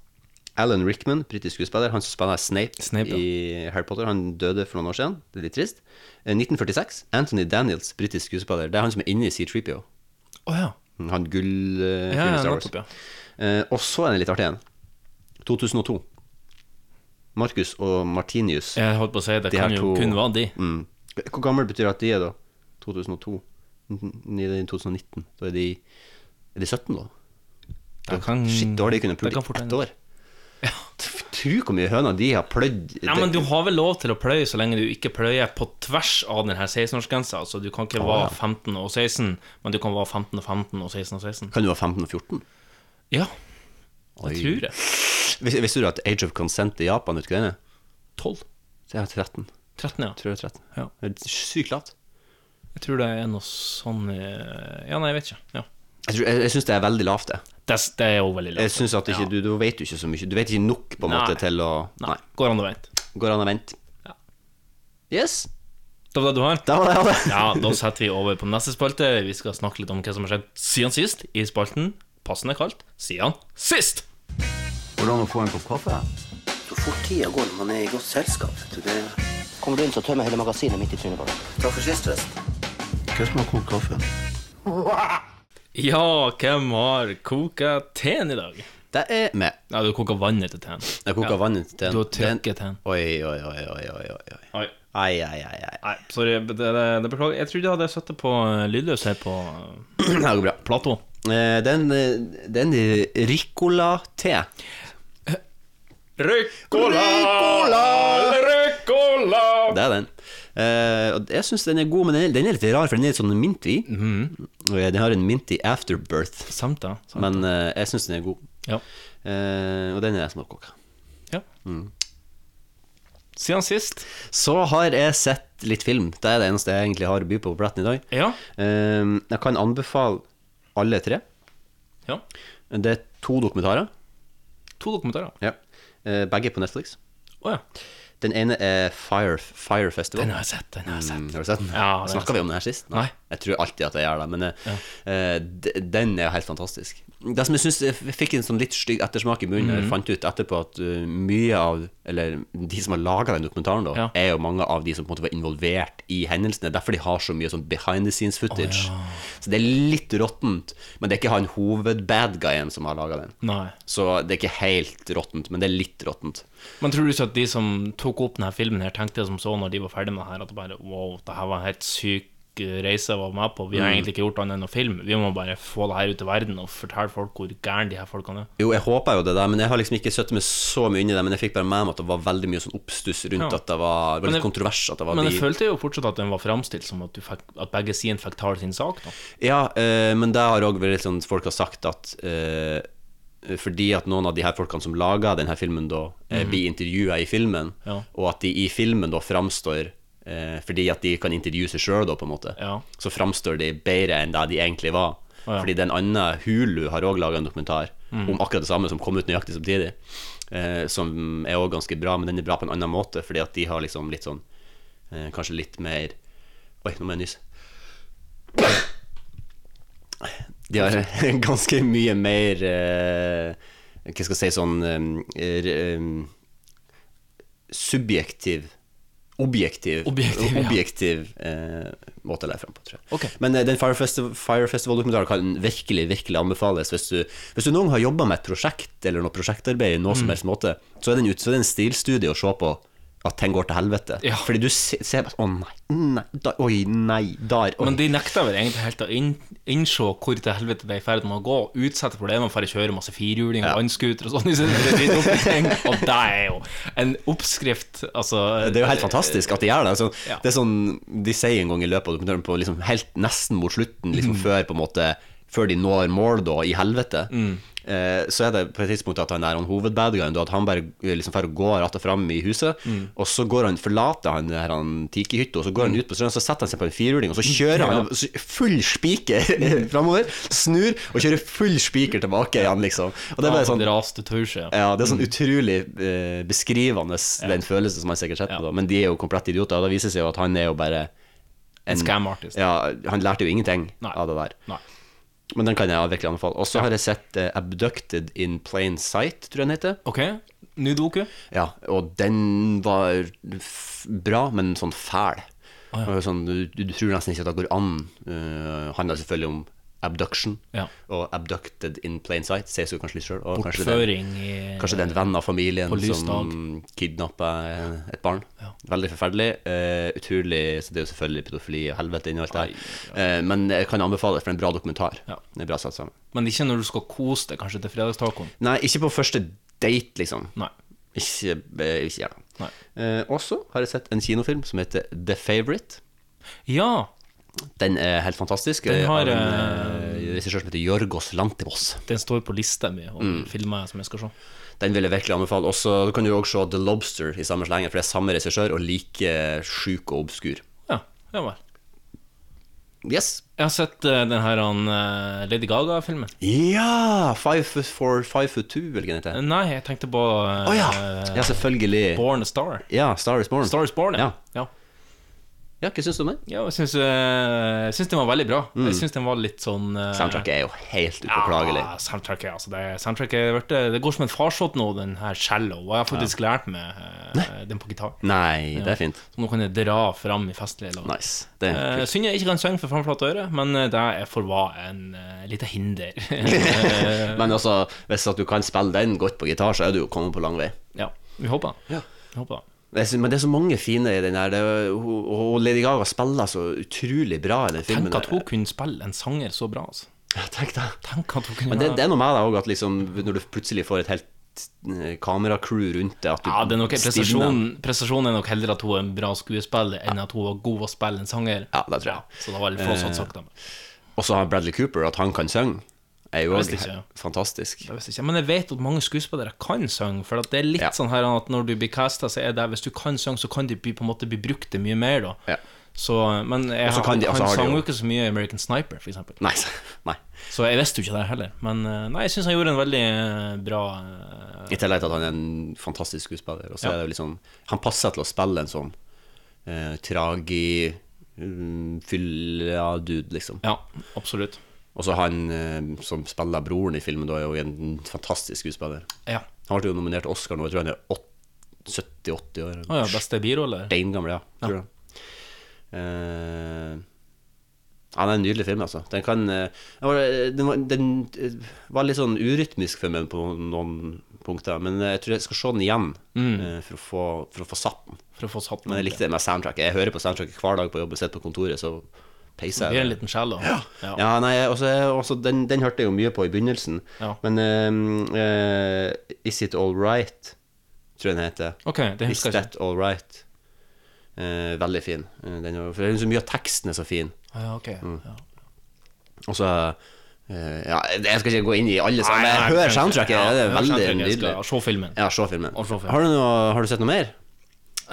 [SPEAKER 3] Alan Rickman, britisk skuespiller, han som spiller Snape,
[SPEAKER 2] Snape, ja.
[SPEAKER 3] i Harry Potter, han døde for noen år siden. Det er litt trist. Eh, 1946. Anthony Daniels, britisk skuespiller. Det er han som er inni C3PO.
[SPEAKER 2] Å ja.
[SPEAKER 3] Han gull... Uh,
[SPEAKER 2] Ja,
[SPEAKER 3] fyren i
[SPEAKER 2] ja,
[SPEAKER 3] Star Wars.
[SPEAKER 2] nettopp, ja.
[SPEAKER 3] Eh, og så er det litt artig en. 2002. Marcus og Martinius.
[SPEAKER 2] Jeg holdt på å si det
[SPEAKER 3] De her
[SPEAKER 2] kan jo
[SPEAKER 3] to-
[SPEAKER 2] kun være de.
[SPEAKER 3] Mm. Hvor gammel betyr at de er da? 2002? N- i 2019? Da er de Er de 17 da?
[SPEAKER 2] Det kan,
[SPEAKER 3] Shit, da har de kunnet
[SPEAKER 2] det
[SPEAKER 3] pule
[SPEAKER 2] kan
[SPEAKER 3] i
[SPEAKER 2] fort
[SPEAKER 3] ett
[SPEAKER 2] hende.
[SPEAKER 3] år. Tro hvor mye høner de har pløyd
[SPEAKER 2] Nei, men Du har vel lov til å pløye så lenge du ikke pløyer på tvers av denne 16-årsgrensa. Altså, du kan ikke være 15 og 16, men du kan være 15 og 15 og 16 og 16.
[SPEAKER 3] Kan du være 15 og 14?
[SPEAKER 2] Ja,
[SPEAKER 3] Oi.
[SPEAKER 2] jeg tror det.
[SPEAKER 3] Vis- Visste du at Age of Consent i Japan, vet du hva den er?
[SPEAKER 2] 12?
[SPEAKER 3] Det er 13.
[SPEAKER 2] 13, ja.
[SPEAKER 3] Tror jeg det er 13.
[SPEAKER 2] Ja.
[SPEAKER 3] Det er sykt lavt.
[SPEAKER 2] Jeg tror det er noe sånn eh, Ja, nei, jeg vet ikke. Ja.
[SPEAKER 3] Jeg, tror- jeg, jeg syns det er veldig lavt, det.
[SPEAKER 2] Det, er- det er jo veldig
[SPEAKER 3] Jeg
[SPEAKER 2] lavt.
[SPEAKER 3] synes at ikke, du, du vet jo ikke så mye. Du vet ikke nok på en måte
[SPEAKER 2] Nei.
[SPEAKER 3] til å Nei.
[SPEAKER 2] Nei, går an å vente.
[SPEAKER 3] Går an å vente.
[SPEAKER 2] Ja.
[SPEAKER 3] Yes.
[SPEAKER 2] Det var det du har?
[SPEAKER 3] Da var det alle.
[SPEAKER 2] Ja, da setter vi over på neste spalte. Vi skal snakke litt om hva som har skjedd siden sist i spalten passende kalt Siden sist.
[SPEAKER 1] Går det an å få en kopp kaffe?
[SPEAKER 4] Så fort tida går når man er i godt selskap. vet du, Det...
[SPEAKER 1] Kommer du inn, så tømmer jeg hele magasinet midt i trynet på deg.
[SPEAKER 4] Takk for sist, forresten.
[SPEAKER 1] Hvem som har kokt kaffe?
[SPEAKER 2] Ja, hvem har koka teen i dag?
[SPEAKER 3] Det er med.
[SPEAKER 2] Ja, du koker vannet til teen.
[SPEAKER 3] Jeg koker
[SPEAKER 2] Ja.
[SPEAKER 3] vannet til
[SPEAKER 2] Du har trykket teen.
[SPEAKER 3] Oi, oi, oi, oi, oi, oi. oi.
[SPEAKER 2] Oi.
[SPEAKER 3] Ai, ai, ai, ai.
[SPEAKER 2] Nei, sorry. Det, det, det beklager. Jeg trodde jeg hadde satt det på eh, lydløs her på eh,
[SPEAKER 3] Det går bra.
[SPEAKER 2] Plato.
[SPEAKER 3] Eh, Det er en, eh, det er en Ricola-te.
[SPEAKER 2] Ricola! Ricola!
[SPEAKER 3] Det er den. Eh, og jeg syns den er god, men den er, den er litt rar, for den er litt sånn minty. Og eh, Den har en minty afterbirth,
[SPEAKER 2] Samt det. Mhm. sant?
[SPEAKER 3] men eh, jeg syns den er god.
[SPEAKER 2] Ja.
[SPEAKER 3] Eh, og den er jeg som har koka.
[SPEAKER 2] ja. Siden sist.
[SPEAKER 3] Så har jeg sett litt film. Det er det eneste jeg egentlig har å by på på pletten i dag.
[SPEAKER 2] Ja.
[SPEAKER 3] Eh, jeg kan anbefale alle tre.
[SPEAKER 2] ja.
[SPEAKER 3] Det er to dokumentarer,
[SPEAKER 2] To dokumentarer.
[SPEAKER 3] Eh, begge på Netflix.
[SPEAKER 2] Å ja.
[SPEAKER 3] Den ene er Fire, Fire Festival.
[SPEAKER 2] Den har jeg sett. Den har jeg sett.
[SPEAKER 3] Mm, har du sett den?
[SPEAKER 2] Ja, den
[SPEAKER 3] Snakka vi om den her sist?
[SPEAKER 2] Nei.
[SPEAKER 3] Jeg tror alltid at jeg gjør det, men eh, eh, d- den er jo helt fantastisk. Det som jeg syns jeg fikk en sånn litt stygg ettersmak i munnen,
[SPEAKER 2] Mhm.
[SPEAKER 3] jeg fant ut etterpå at eh, mye av Eller de som har laga den dokumentaren, da,
[SPEAKER 2] Ja.
[SPEAKER 3] er jo mange av de som på en måte var involvert i hendelsene. Derfor de har så mye sånn behind the scenes footage. Så det er litt råttent, men det er ikke han hoved-badguyen som har laga den.
[SPEAKER 2] Nei.
[SPEAKER 3] Så det er ikke helt råttent, men det er litt råttent.
[SPEAKER 2] Men tror du ikke at de som tok opp denne filmen, her tenkte som så når de var ferdig med det her, at det bare wow, det her var en helt syk eh, reise jeg var med på. Vi
[SPEAKER 3] Mm.
[SPEAKER 2] har egentlig ikke gjort annet enn å filme. Vi må bare få det her ut i verden og fortelle folk hvor gærne de her folkene er.
[SPEAKER 3] Jo, jeg håper jo det der, men jeg har liksom ikke søtt meg så mye inn i det. Men jeg fikk bare med meg at det var veldig mye sånn oppstuss rundt
[SPEAKER 2] Ja.
[SPEAKER 3] at det var,
[SPEAKER 2] Men
[SPEAKER 3] det var litt
[SPEAKER 2] jeg-
[SPEAKER 3] kontrovers. At det var
[SPEAKER 2] Men jeg
[SPEAKER 3] de-
[SPEAKER 2] følte jo fortsatt at den var framstilt som at, du fikk, at begge sider fikk tale sin sak, da.
[SPEAKER 3] Ja, eh, men det har òg vært litt sånn folk har sagt at eh, fordi at noen av de her folkene som laga denne filmen, da eh, blir intervjua i filmen,
[SPEAKER 2] Mhm. Ja.
[SPEAKER 3] og at de i filmen da framstår eh, fordi at de kan intervjue seg sjøl, da, på en måte,
[SPEAKER 2] Ja.
[SPEAKER 3] så framstår de bedre enn det de egentlig
[SPEAKER 2] Å,
[SPEAKER 3] var.
[SPEAKER 2] ja. Mhm.
[SPEAKER 3] Fordi den andre, Hulu, har òg laga en dokumentar om akkurat det samme, som kom ut nøyaktig samtidig, eh, som er òg ganske bra, men den er bra på en annen måte, fordi at de har liksom litt sånn eh, Kanskje litt mer Oi, nå må jeg nyse. De har ganske mye mer eh, Hva skal jeg si sånn eh, r- eh, Subjektiv Objektiv
[SPEAKER 2] Objektiv, ja.
[SPEAKER 3] objektiv, eh, måte å lære fram på, tror jeg.
[SPEAKER 2] Ok.
[SPEAKER 3] Men eh, den Fire, Festi Fire Festival-dokumentaren kan virkelig virkelig anbefales. Hvis du, hvis du noen gang har jobba med et prosjekt eller noe prosjektarbeid, i noe
[SPEAKER 2] Mm.
[SPEAKER 3] som helst måte, så er den ut, så er det en stilstudie å se på at ting går til helvete.
[SPEAKER 2] Ja.
[SPEAKER 3] Fordi du se- ser bare Å, nei, nei, da, oi, nei, der oi.
[SPEAKER 2] Men de nekta vel egentlig helt å inn, innse hvor til helvete det er i ferd med å gå. Utsette problemene for å kjøre masse firhjuling og vannskuter og sånn. i stedet for å drite opp i ting. Og det er jo en oppskrift, altså
[SPEAKER 3] Eh, Det er jo helt fantastisk at de gjør det. Altså,
[SPEAKER 2] Ja.
[SPEAKER 3] Det er sånn De sier en gang i løpet av dokumentaren, på liksom helt nesten mot slutten, liksom før på en måte Før de når mål, da, i helvete, eh, så er det på et tidspunkt at han er han hovedbadguyen, da, at han bare eh, liksom får gå rett og fram i huset, og så går han forlater han, det her, han Tiki-hytta, og så går han ut på strøm, så setter han seg på en firhjuling, og så kjører han så full spiker framover, snur, og kjører full spiker tilbake igjen, liksom. Og det er bare
[SPEAKER 2] Ja,
[SPEAKER 3] sånn
[SPEAKER 2] det raste tauskje.
[SPEAKER 3] ja, det er
[SPEAKER 2] Mm.
[SPEAKER 3] sånn utrolig eh, beskrivende den følelsen som han sikkert setter på.
[SPEAKER 2] Ja.
[SPEAKER 3] da. Men de er jo komplett idioter, og da viser det seg jo at han er jo bare
[SPEAKER 2] En scam artist.
[SPEAKER 3] Ja, han lærte jo ingenting
[SPEAKER 2] Nei.
[SPEAKER 3] av det der.
[SPEAKER 2] Nei.
[SPEAKER 3] Men den kan jeg virkelig anbefale. Og så har jeg sett eh, 'Abducted in Plain Sight', tror jeg den heter.
[SPEAKER 2] Ok, ny doku.
[SPEAKER 3] Ja, og den var f bra, men sånn fæl.
[SPEAKER 2] Å, ja.
[SPEAKER 3] Og sånn, du, du tror nesten ikke at det går an. Uh, handler selvfølgelig om abduction.
[SPEAKER 2] Ja.
[SPEAKER 3] Og 'abducted in plain sight' sies jo kanskje litt sjøl.
[SPEAKER 2] Bortføring i
[SPEAKER 3] Kanskje det er en venn av familien
[SPEAKER 2] På lys
[SPEAKER 3] som kidnapper et barn. Veldig forferdelig. eh, utrolig Så det er jo selvfølgelig pedofili og helvete inni alt det her. Eh, men jeg kan anbefale det, for det er en bra dokumentar.
[SPEAKER 2] Ja.
[SPEAKER 3] Det er bra satt sammen.
[SPEAKER 2] Men ikke når du skal kose deg, kanskje, til fredagstacoen.
[SPEAKER 3] Nei, ikke på første date, liksom.
[SPEAKER 2] Nei.
[SPEAKER 3] Ikke, eh, ikke gjør det.
[SPEAKER 2] Nei.
[SPEAKER 3] Eh, også har jeg sett en kinofilm som heter The Favourite.
[SPEAKER 2] Ja,
[SPEAKER 3] Den er helt fantastisk.
[SPEAKER 2] Den
[SPEAKER 3] eh,
[SPEAKER 2] har,
[SPEAKER 3] av en eh, regissør som heter Jorgos Lantimos.
[SPEAKER 2] den står på lista mi over
[SPEAKER 3] Mm.
[SPEAKER 2] filmer som jeg skal se.
[SPEAKER 3] Den vil jeg virkelig anbefale. Også, du kan jo også se The Lobster i samme slenger, for det er samme regissør og like sjuk og obskur.
[SPEAKER 2] Ja, ja vel.
[SPEAKER 3] Yes.
[SPEAKER 2] Jeg har sett eh, den her han, eh, Lady Gaga-filmen.
[SPEAKER 3] Ja! Five foot four, five foot two, eller hva den heter.
[SPEAKER 2] Nei, jeg tenkte på eh,
[SPEAKER 3] Å ja! Ja, selvfølgelig.
[SPEAKER 2] Born a Star.
[SPEAKER 3] Ja, Star is Born.
[SPEAKER 2] Star is Born, ja.
[SPEAKER 3] Ja.
[SPEAKER 2] ja.
[SPEAKER 3] Ja, hva syns du om den?
[SPEAKER 2] Ja, jeg syns, eh, jeg syns den var veldig bra. Jeg syns den var litt sånn eh,
[SPEAKER 3] Mm. Soundtracket er jo helt upåklagelig.
[SPEAKER 2] Ja, soundtracket, altså det, soundtracket er vært, det går som en farsott nå, den her cello. Og jeg har faktisk lært meg eh, den på gitar.
[SPEAKER 3] Nei, det er fint.
[SPEAKER 2] Så nå kan jeg dra fram i festlige lag.
[SPEAKER 3] Nice. Det er
[SPEAKER 2] Eh,
[SPEAKER 3] kult.
[SPEAKER 2] Synd jeg ikke kan synge for framflate øre, men eh, det er for hva en eh, lite hinder. Eh,
[SPEAKER 3] Men altså, hvis at du kan spille den godt på gitar, så er du jo kommet på lang vei.
[SPEAKER 2] ja, vi håper det.
[SPEAKER 3] Ja.
[SPEAKER 2] Vi håper det.
[SPEAKER 3] Jeg synes- Men det er så mange fine i den her. Det er jo- Og og Lady Gaga spiller så utrolig bra i den filmen.
[SPEAKER 2] Tenk at hun kunne spille en sanger så bra, altså.
[SPEAKER 3] Ja, Tenk det.
[SPEAKER 2] Tenk at hun kunne
[SPEAKER 3] Men det, det er noe med deg òg, at liksom, når du plutselig får et helt eh, kameracrew rundt deg at du
[SPEAKER 2] Ja, det er nok
[SPEAKER 3] stivner.
[SPEAKER 2] prestasjonen, prestasjonen er nok heller at hun er en bra skuespiller, enn at hun var god å spille en sanger.
[SPEAKER 3] Ja, det tror jeg.
[SPEAKER 2] Så det var litt få sånn sagt. da.
[SPEAKER 3] Og så har Bradley Cooper, at han kan synge, er
[SPEAKER 2] Jeg
[SPEAKER 3] jo også
[SPEAKER 2] visste ikke, ja.
[SPEAKER 3] fantastisk.
[SPEAKER 2] Jeg vet ikke, men jeg vet at mange skuespillere kan synge, for at det er litt
[SPEAKER 3] Ja.
[SPEAKER 2] sånn her at når du blir casta, så er det hvis du kan synge, så kan de bli, på en måte bli brukt til mye mer, da.
[SPEAKER 3] Ja.
[SPEAKER 2] Så, men jeg
[SPEAKER 3] Og
[SPEAKER 2] har-
[SPEAKER 3] så kan de- og så
[SPEAKER 2] han
[SPEAKER 3] har de
[SPEAKER 2] sang
[SPEAKER 3] jo-
[SPEAKER 2] jo ikke så mye i American Sniper, for eksempel.
[SPEAKER 3] Nei, så- nei.
[SPEAKER 2] Så jeg visste jo ikke det heller. Men eh, nei, jeg syns han gjorde en veldig eh, bra eh,
[SPEAKER 3] I tillegg til at han er en fantastisk skuespiller. Og så er det jo liksom, han passer til å spille en sånn eh, tragi mm, fylla-dude, liksom.
[SPEAKER 2] Ja, absolutt.
[SPEAKER 3] Og så han eh, som spiller broren i filmen, da, er jo en fantastisk skuespiller.
[SPEAKER 2] Ja.
[SPEAKER 3] Han ble jo nominert til Oscar nå, jeg tror han er åt- 70-80 år.
[SPEAKER 2] Å ja, beste birolle?
[SPEAKER 3] Steingammel, ja. Tror jeg. Eh, ja, det er en nydelig film, altså. Den kan eh, den, var, den, var, den eh, var litt sånn urytmisk for meg på noen punkter, men jeg tror jeg skal se den igjen
[SPEAKER 2] Mm.
[SPEAKER 3] eh, for, å få, for å få satt den.
[SPEAKER 2] For å få satt
[SPEAKER 3] Men jeg likte det med soundtracket. Jeg hører på soundtracket hver dag på jobb og sitter på kontoret, så peiser
[SPEAKER 2] Blir
[SPEAKER 3] jeg.
[SPEAKER 2] en liten sjel, da. Ja.
[SPEAKER 3] Ja, nei, også, også, altså, den, den hørte jeg jo mye på i begynnelsen,
[SPEAKER 2] Ja.
[SPEAKER 3] men eh, eh, Is It All Right, tror jeg den heter.
[SPEAKER 2] Ok, det
[SPEAKER 3] Is
[SPEAKER 2] husker jeg ikke.
[SPEAKER 3] That All Right. Eh, veldig fin. Eh, Den, er- for det er så mye av teksten er så fin.
[SPEAKER 2] Ah, Ja, ok. Ja.
[SPEAKER 3] Og så Eh, ja, jeg skal ikke gå inn i alle sammen.
[SPEAKER 2] Nei, nei,
[SPEAKER 3] Hør
[SPEAKER 2] kanskje-
[SPEAKER 3] soundtracket,
[SPEAKER 2] ja,
[SPEAKER 3] det er
[SPEAKER 2] hør
[SPEAKER 3] veldig
[SPEAKER 2] soundtracket, jeg skal
[SPEAKER 3] nydelig.
[SPEAKER 2] Se filmen.
[SPEAKER 3] Ja, se filmen.
[SPEAKER 2] Og se filmen.
[SPEAKER 3] Har, du noe, har du sett noe mer?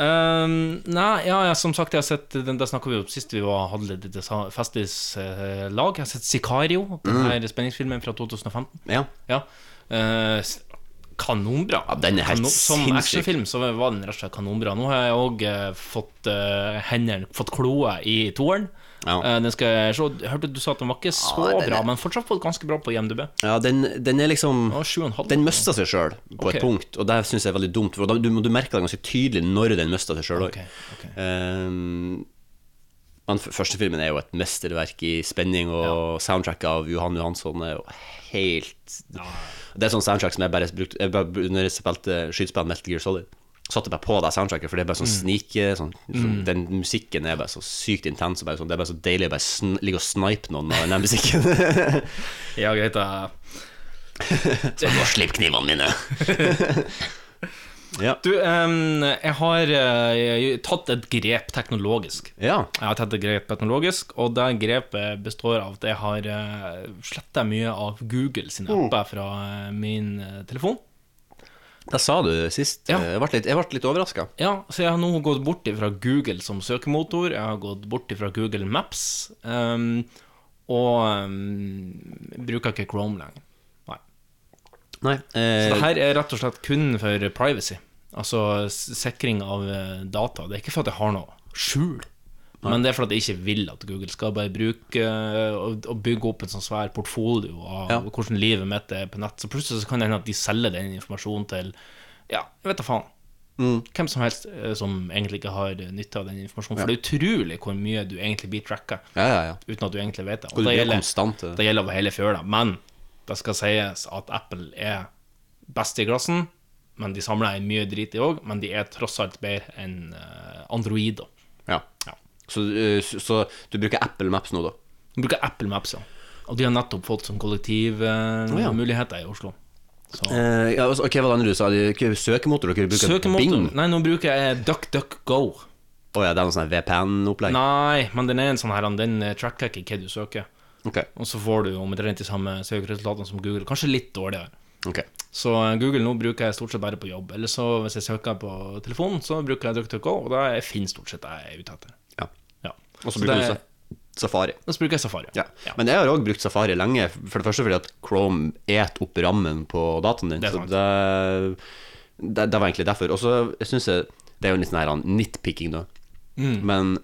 [SPEAKER 2] Ehm, nei, ja, ja, som sagt, jeg har sett den der snakka vi om sist vi var, hadde litt desa- festlig eh, lag. Jeg har sett 'Sicario', den
[SPEAKER 3] Mm.
[SPEAKER 2] her spenningsfilmen fra 2015.
[SPEAKER 3] Ja.
[SPEAKER 2] Ja. Eh, s- kanonbra.
[SPEAKER 3] Ja, den er helt
[SPEAKER 2] som
[SPEAKER 3] sinnssyk.
[SPEAKER 2] actionfilm så var den rett og slett kanonbra. Nå har jeg òg eh, fått eh, hendene Fått kloa i toeren.
[SPEAKER 3] Ja.
[SPEAKER 2] Eh, den skal jeg se. Hørte du sa at den var ikke så
[SPEAKER 3] Ja, den er-
[SPEAKER 2] bra, men fortsatt fått ganske bra på IMDb.
[SPEAKER 3] ja den, den er liksom
[SPEAKER 2] Ja, sju og en halv.
[SPEAKER 3] Den mista seg sjøl på
[SPEAKER 2] Ok.
[SPEAKER 3] et punkt, og det syns jeg er veldig dumt. For da, du, du merka det ganske tydelig når den mista seg sjøl òg.
[SPEAKER 2] Ok, ok.
[SPEAKER 3] men f- første filmen er jo et mesterverk i spenning, og soundtracket av Johan Johansson er jo helt Det er sånn soundtrack som jeg bare brukte jeg bare, br- Når jeg spilte skytespill Metal Gear Solid, satte jeg bare på det soundtracket, for det er bare sånn
[SPEAKER 2] Mm.
[SPEAKER 3] snike sånn, sånn- Den musikken er bare så sykt intens, og bare sånn, det er bare så deilig å bare sn ligge og snipe noen med den musikken.
[SPEAKER 2] Ja, greit, da.
[SPEAKER 3] så bare slipp knivene mine. ja.
[SPEAKER 2] Du, ehm, jeg har eh, tatt et grep teknologisk.
[SPEAKER 3] ja.
[SPEAKER 2] Jeg har tatt et grep teknologisk, og det grepet består av at jeg har uh, sletta mye av Google sine apper fra eh, min eh, telefon.
[SPEAKER 3] Det sa du sist.
[SPEAKER 2] Ja.
[SPEAKER 3] Jeg ble litt, jeg ble litt overraska.
[SPEAKER 2] Ja, så jeg har nå gått bort ifra Google som søkemotor, jeg har gått bort ifra Google Maps, ehm, og ehm, bruker ikke Chrome lenger. Nei.
[SPEAKER 3] Nei.
[SPEAKER 2] Så
[SPEAKER 3] Eh,
[SPEAKER 2] det her er rett og slett kun for privacy. Altså s- sikring av eh, data. Det er ikke for at jeg har noe skjul, men det er for at jeg ikke vil at Google skal bare bruke eh, og og bygge opp en sånn svær portfolio av
[SPEAKER 3] Ja.
[SPEAKER 2] hvordan livet mitt er på nett. Så plutselig så kan det hende at de selger den informasjonen til Ja, jeg vet da faen.
[SPEAKER 3] Mm.
[SPEAKER 2] Hvem som helst eh, som egentlig ikke har nytte av den informasjonen. For det er utrolig hvor mye du egentlig blir tracka
[SPEAKER 3] ja, ja, ja.
[SPEAKER 2] uten at du egentlig vet det.
[SPEAKER 3] Og du
[SPEAKER 2] det
[SPEAKER 3] blir
[SPEAKER 2] gjelder-
[SPEAKER 3] konstant, eh.
[SPEAKER 2] Det gjelder over hele fjøla. Men det skal sies at Apple er best i klassen. Men de samler inn mye drit i òg, men de er tross alt bedre enn eh, Android. da.
[SPEAKER 3] ja.
[SPEAKER 2] Ja.
[SPEAKER 3] Så, eh, så, så du bruker Apple Maps nå, da?
[SPEAKER 2] De bruker Apple Maps, ja. Og de har nettopp fått sånn som
[SPEAKER 3] ja.
[SPEAKER 2] kollektivmuligheter i Oslo. Så.
[SPEAKER 3] Eh, ja, altså, ok, Hva var det andre du sa? Du- ikke Søkemotor? Dere bruker
[SPEAKER 2] Søkemotor
[SPEAKER 3] Bing?
[SPEAKER 2] Nei, nå bruker jeg DuckDuckGo.
[SPEAKER 3] Å ja, det er noe sånn VPN-opplegg?
[SPEAKER 2] Nei, men den er en sånn her, den tracker ikke hva du søker.
[SPEAKER 3] Ok,
[SPEAKER 2] Og så får du omtrent de samme søkeresultatene som Google. Kanskje litt dårligere.
[SPEAKER 3] ok
[SPEAKER 2] Så eh, Google nå bruker jeg stort sett bare på jobb. Eller så hvis jeg søker på telefonen, så bruker jeg DuckDuckGo, og da jeg finner stort sett det jeg er ute etter.
[SPEAKER 3] Ja.
[SPEAKER 2] Ja.
[SPEAKER 3] Og så
[SPEAKER 2] Så
[SPEAKER 3] bruker
[SPEAKER 2] det-
[SPEAKER 3] du sa- Safari.
[SPEAKER 2] Og så bruker jeg Safari.
[SPEAKER 3] Ja.
[SPEAKER 2] Ja.
[SPEAKER 3] Men jeg har òg brukt Safari lenge, for det første fordi at Chrome et opp rammen på dataen din.
[SPEAKER 2] Det er
[SPEAKER 3] så
[SPEAKER 2] sant.
[SPEAKER 3] det, det, det var egentlig derfor. Og så syns jeg Det er jo litt sånn her han, nitpicking, da.
[SPEAKER 2] Mm.
[SPEAKER 3] Men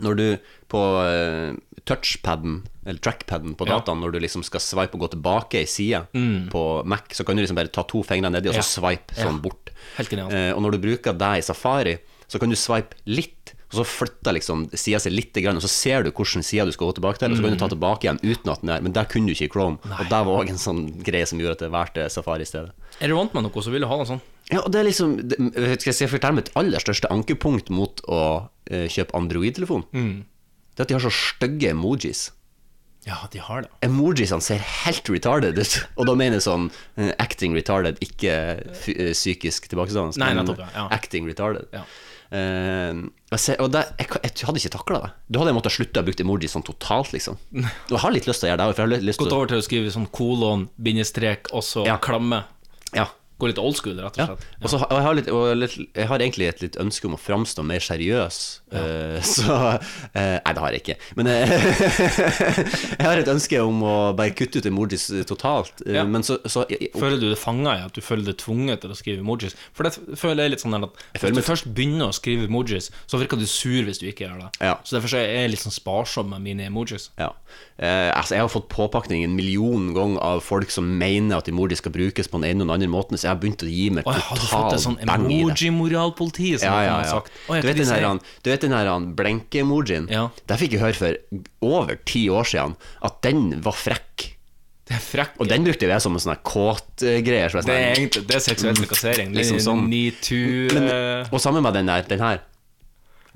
[SPEAKER 3] når du på eh, touchpaden, eller trackpaden på
[SPEAKER 2] Ja. Mm.
[SPEAKER 3] dataen, når du liksom skal swipe og gå tilbake i sida på Mac, så kan du liksom bare ta to fingre nedi og så
[SPEAKER 2] Ja.
[SPEAKER 3] swipe sånn bort.
[SPEAKER 2] Helt genialt.
[SPEAKER 3] Eh, og når du bruker det i Safari, så kan du swipe litt, og så flytter liksom sida seg litt, grann, og så ser du hvilken side du skal gå tilbake til, og så kan du ta tilbake igjen uten at den er Men det kunne du ikke i Chrome, og det var òg en sånn greie som gjorde at det valgte Safari i stedet.
[SPEAKER 2] Er du vant med noe, så vil du ha noe sånn.
[SPEAKER 3] Ja, og det er liksom det, Skal jeg si fortelle mitt aller største ankepunkt mot å eh, kjøpe Android-telefon? Det er at de har så stygge emojis.
[SPEAKER 2] Ja, de har det.
[SPEAKER 3] Emojisene ser helt retarded ut, og da mener jeg sånn eh, acting retarded, ikke fy- eh, psykisk tilbakestående.
[SPEAKER 2] Nei,
[SPEAKER 3] men
[SPEAKER 2] nettopp, ja, ja.
[SPEAKER 3] Acting retarded.
[SPEAKER 2] Ja.
[SPEAKER 3] Eh, jeg ser, og det, jeg, kan- jeg hadde ikke takla det. Da hadde jeg måttet slutte å bruke emojis sånn totalt, liksom. Og jeg har litt lyst til å gjøre det. For jeg har litt lyst
[SPEAKER 2] Gått
[SPEAKER 3] til å,
[SPEAKER 2] over til å skrive sånn kolon, bindestrek, og så
[SPEAKER 3] Ja.
[SPEAKER 2] klamme.
[SPEAKER 3] ja,
[SPEAKER 2] Gå litt old school, rett og
[SPEAKER 3] Ja.
[SPEAKER 2] slett.
[SPEAKER 3] Og så har- og jeg, har litt, og litt, jeg har egentlig et litt ønske om å framstå mer seriøs, eh, så eh, Nei, det har jeg ikke. Men eh, jeg har et ønske om å bare kutte ut emojis eh, totalt. eh,
[SPEAKER 2] Ja.
[SPEAKER 3] Men så, så jeg,
[SPEAKER 2] Føler du det fanga i at du føler deg tvunget til å skrive emojis? For det føler jeg litt sånn at
[SPEAKER 3] føler
[SPEAKER 2] Hvis du
[SPEAKER 3] meg-
[SPEAKER 2] først begynner å skrive emojis, så virker du sur hvis du ikke gjør det.
[SPEAKER 3] Ja.
[SPEAKER 2] Så derfor så er jeg litt sånn sparsom med mine emojis.
[SPEAKER 3] ja. Eh, altså, jeg har fått påpakning en million ganger av folk som mener at emojis skal brukes på den ene og den andre måten, så jeg har begynt å gi meg
[SPEAKER 2] Å, jeg hadde fått
[SPEAKER 3] total
[SPEAKER 2] et sånn
[SPEAKER 3] bang i det.
[SPEAKER 2] emoji-moralpoliti, som
[SPEAKER 3] Ja,
[SPEAKER 2] jeg
[SPEAKER 3] ja,
[SPEAKER 2] kunne ha
[SPEAKER 3] ja.
[SPEAKER 2] sagt. Å, jeg
[SPEAKER 3] Du vet
[SPEAKER 2] kan
[SPEAKER 3] den
[SPEAKER 2] ikke
[SPEAKER 3] her,
[SPEAKER 2] si-
[SPEAKER 3] han- du vet den her han blenke-emojien?
[SPEAKER 2] Ja.
[SPEAKER 3] Det fikk jeg høre for over ti år siden, at den var frekk.
[SPEAKER 2] Det er frekk.
[SPEAKER 3] Og den brukte jo jeg som en sånn her kåt eh, greier som jeg
[SPEAKER 2] det er
[SPEAKER 3] sånn-
[SPEAKER 2] egentlig det er seksuell trakassering.
[SPEAKER 3] Liksom sånn.
[SPEAKER 2] Metoo
[SPEAKER 3] Men-
[SPEAKER 2] eh,
[SPEAKER 3] Og sammen med den der, den her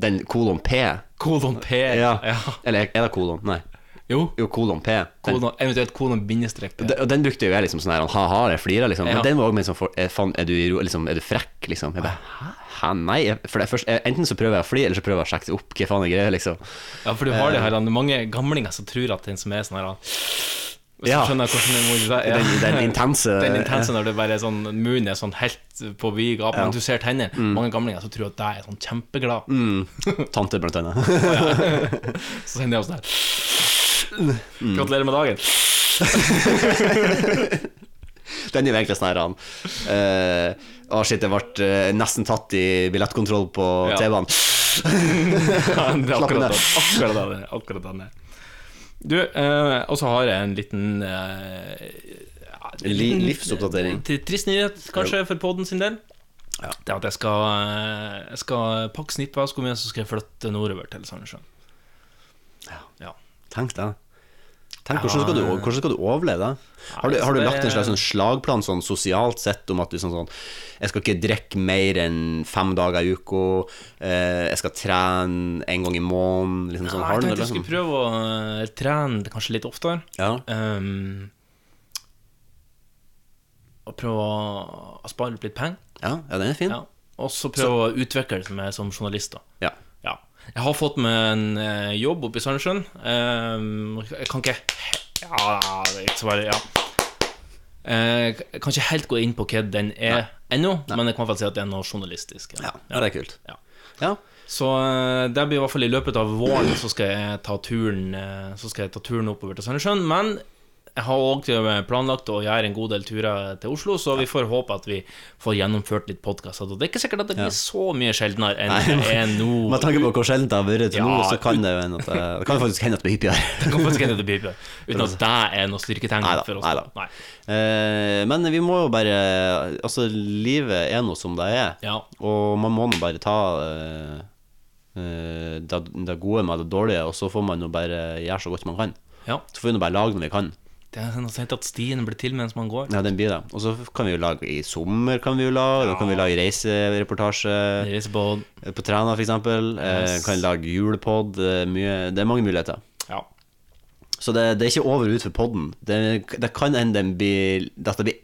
[SPEAKER 3] Den kolon P
[SPEAKER 2] Kolon P.
[SPEAKER 3] ja.
[SPEAKER 2] Ja.
[SPEAKER 3] Eller er det kolon? Nei
[SPEAKER 2] Jo.
[SPEAKER 3] Jo, kolon P. Den,
[SPEAKER 2] Kolon, eventuelt kolon bindestrek. P.
[SPEAKER 3] og de- og den brukte jo jeg liksom sånn her, ha-ha, jeg flirer, liksom.
[SPEAKER 2] Ja.
[SPEAKER 3] Men den var også mer sånn, for- er, faen, er, du, i ro- liksom, er du frekk, liksom? Jeg bare, hæ? hæ? Nei. Jeg, for det er først, jeg, enten så prøver jeg å flire, eller så prøver jeg å sjekke opp hva faen er greia, liksom.
[SPEAKER 2] Ja, for du har det
[SPEAKER 3] eh.
[SPEAKER 2] her, det er mange gamlinger som tror at den som er sånn her Hvis
[SPEAKER 3] Ja.
[SPEAKER 2] du skjønner hvordan det må være.
[SPEAKER 3] Den, eh, den intense
[SPEAKER 2] Den intense når det bare er sånn munnen er sånn helt på vid gap, men du ser tenner.
[SPEAKER 3] Mm.
[SPEAKER 2] Mange gamlinger som tror at jeg er sånn kjempeglad.
[SPEAKER 3] eh, Tante, blant annet. Mm.
[SPEAKER 2] Så sender jeg oss der. Gratulerer med dagen.
[SPEAKER 3] Den er jo egentlig sånn her, han. eh, Å, shit, jeg ble eh, nesten tatt i billettkontroll på
[SPEAKER 2] Ja.
[SPEAKER 3] TV-en.
[SPEAKER 2] Ja, det er
[SPEAKER 3] Slapp
[SPEAKER 2] akkurat
[SPEAKER 3] av.
[SPEAKER 2] det. Akkurat det. det er Akkurat det. Du, eh, og så har jeg en liten eh, ja, en
[SPEAKER 3] Li-
[SPEAKER 2] liten
[SPEAKER 3] livsoppdatering.
[SPEAKER 2] tri- Trist nyhet, kanskje, for podden sin del. Det er at jeg skal, eh, jeg skal pakke snippveska mi, og så skal jeg flytte nordover til Sandnessjøen. Ja.
[SPEAKER 3] Tenk det. Tenk, hvordan, skal du, hvordan skal du overleve det? Har du,
[SPEAKER 2] Nei,
[SPEAKER 3] har du
[SPEAKER 2] så
[SPEAKER 3] lagt en
[SPEAKER 2] det-
[SPEAKER 3] slags sånn slagplan sånn sosialt sett om at du sånn sånn Jeg skal ikke drikke mer enn fem dager i uka. Eh, jeg skal trene en gang i måneden. Liksom sånn.
[SPEAKER 2] Nei,
[SPEAKER 3] Har
[SPEAKER 2] jeg
[SPEAKER 3] du
[SPEAKER 2] tenkte
[SPEAKER 3] det?
[SPEAKER 2] jeg skulle
[SPEAKER 3] Liksom?
[SPEAKER 2] prøve å eh, trene det kanskje litt oftere.
[SPEAKER 3] Ja.
[SPEAKER 2] Um, og prøve å å spare opp litt penger.
[SPEAKER 3] Ja, ja, den er fin.
[SPEAKER 2] Ja. Og så prøve å utvikle det med som journalist. da
[SPEAKER 3] Ja.
[SPEAKER 2] Ja. Jeg har fått meg en eh, jobb oppe i Sandnessjøen. Ehm, jeg kan ikke Ja, det er ikke så bare Ja. Eh, jeg kan ikke helt gå inn på hva den er ennå, men jeg kan i hvert fall si at det er noe journalistisk.
[SPEAKER 3] Ja. ja, det er kult.
[SPEAKER 2] Ja.
[SPEAKER 3] Ja.
[SPEAKER 2] Så eh, det blir i hvert fall i løpet av våren så skal jeg ta turen, eh, så skal jeg ta turen oppover til Sandnessjøen. Men jeg har òg planlagt å gjøre en god del turer til Oslo, så vi får håpe at vi får gjennomført litt podkaster. Det er ikke sikkert at det blir så mye sjeldnere enn det er nå.
[SPEAKER 3] Med tanke på hvor sjelden det har vært til
[SPEAKER 2] Ja,
[SPEAKER 3] nå, så kan det jo hende at det, det kan jo faktisk hende at det blir hyppigere.
[SPEAKER 2] Kan faktisk hende det blir hyppigere, Uten at det er noe styrketegn
[SPEAKER 3] Neida,
[SPEAKER 2] for oss.
[SPEAKER 3] neida.
[SPEAKER 2] Nei.
[SPEAKER 3] Eh, men vi må jo bare Altså, livet er nå som det er,
[SPEAKER 2] Ja.
[SPEAKER 3] og man må nå bare ta eh, eh, det, det gode med det dårlige, og så får man jo bare gjøre så godt man kan.
[SPEAKER 2] Ja.
[SPEAKER 3] Så får vi nå bare lage når vi kan.
[SPEAKER 2] Det er noe sent at stien blir til mens man går.
[SPEAKER 3] Ja, den blir det. Og så kan vi jo lage i sommer, kan vi jo lage, da kan vi lage reisereportasje
[SPEAKER 2] Deres båt.
[SPEAKER 3] på Træna, f.eks. Eh,
[SPEAKER 2] Yes.
[SPEAKER 3] kan lage julepod. eh, Mye Det er mange muligheter.
[SPEAKER 2] Ja.
[SPEAKER 3] Så det, det er ikke over ut for podden. Det, det kan hende den blir At det blir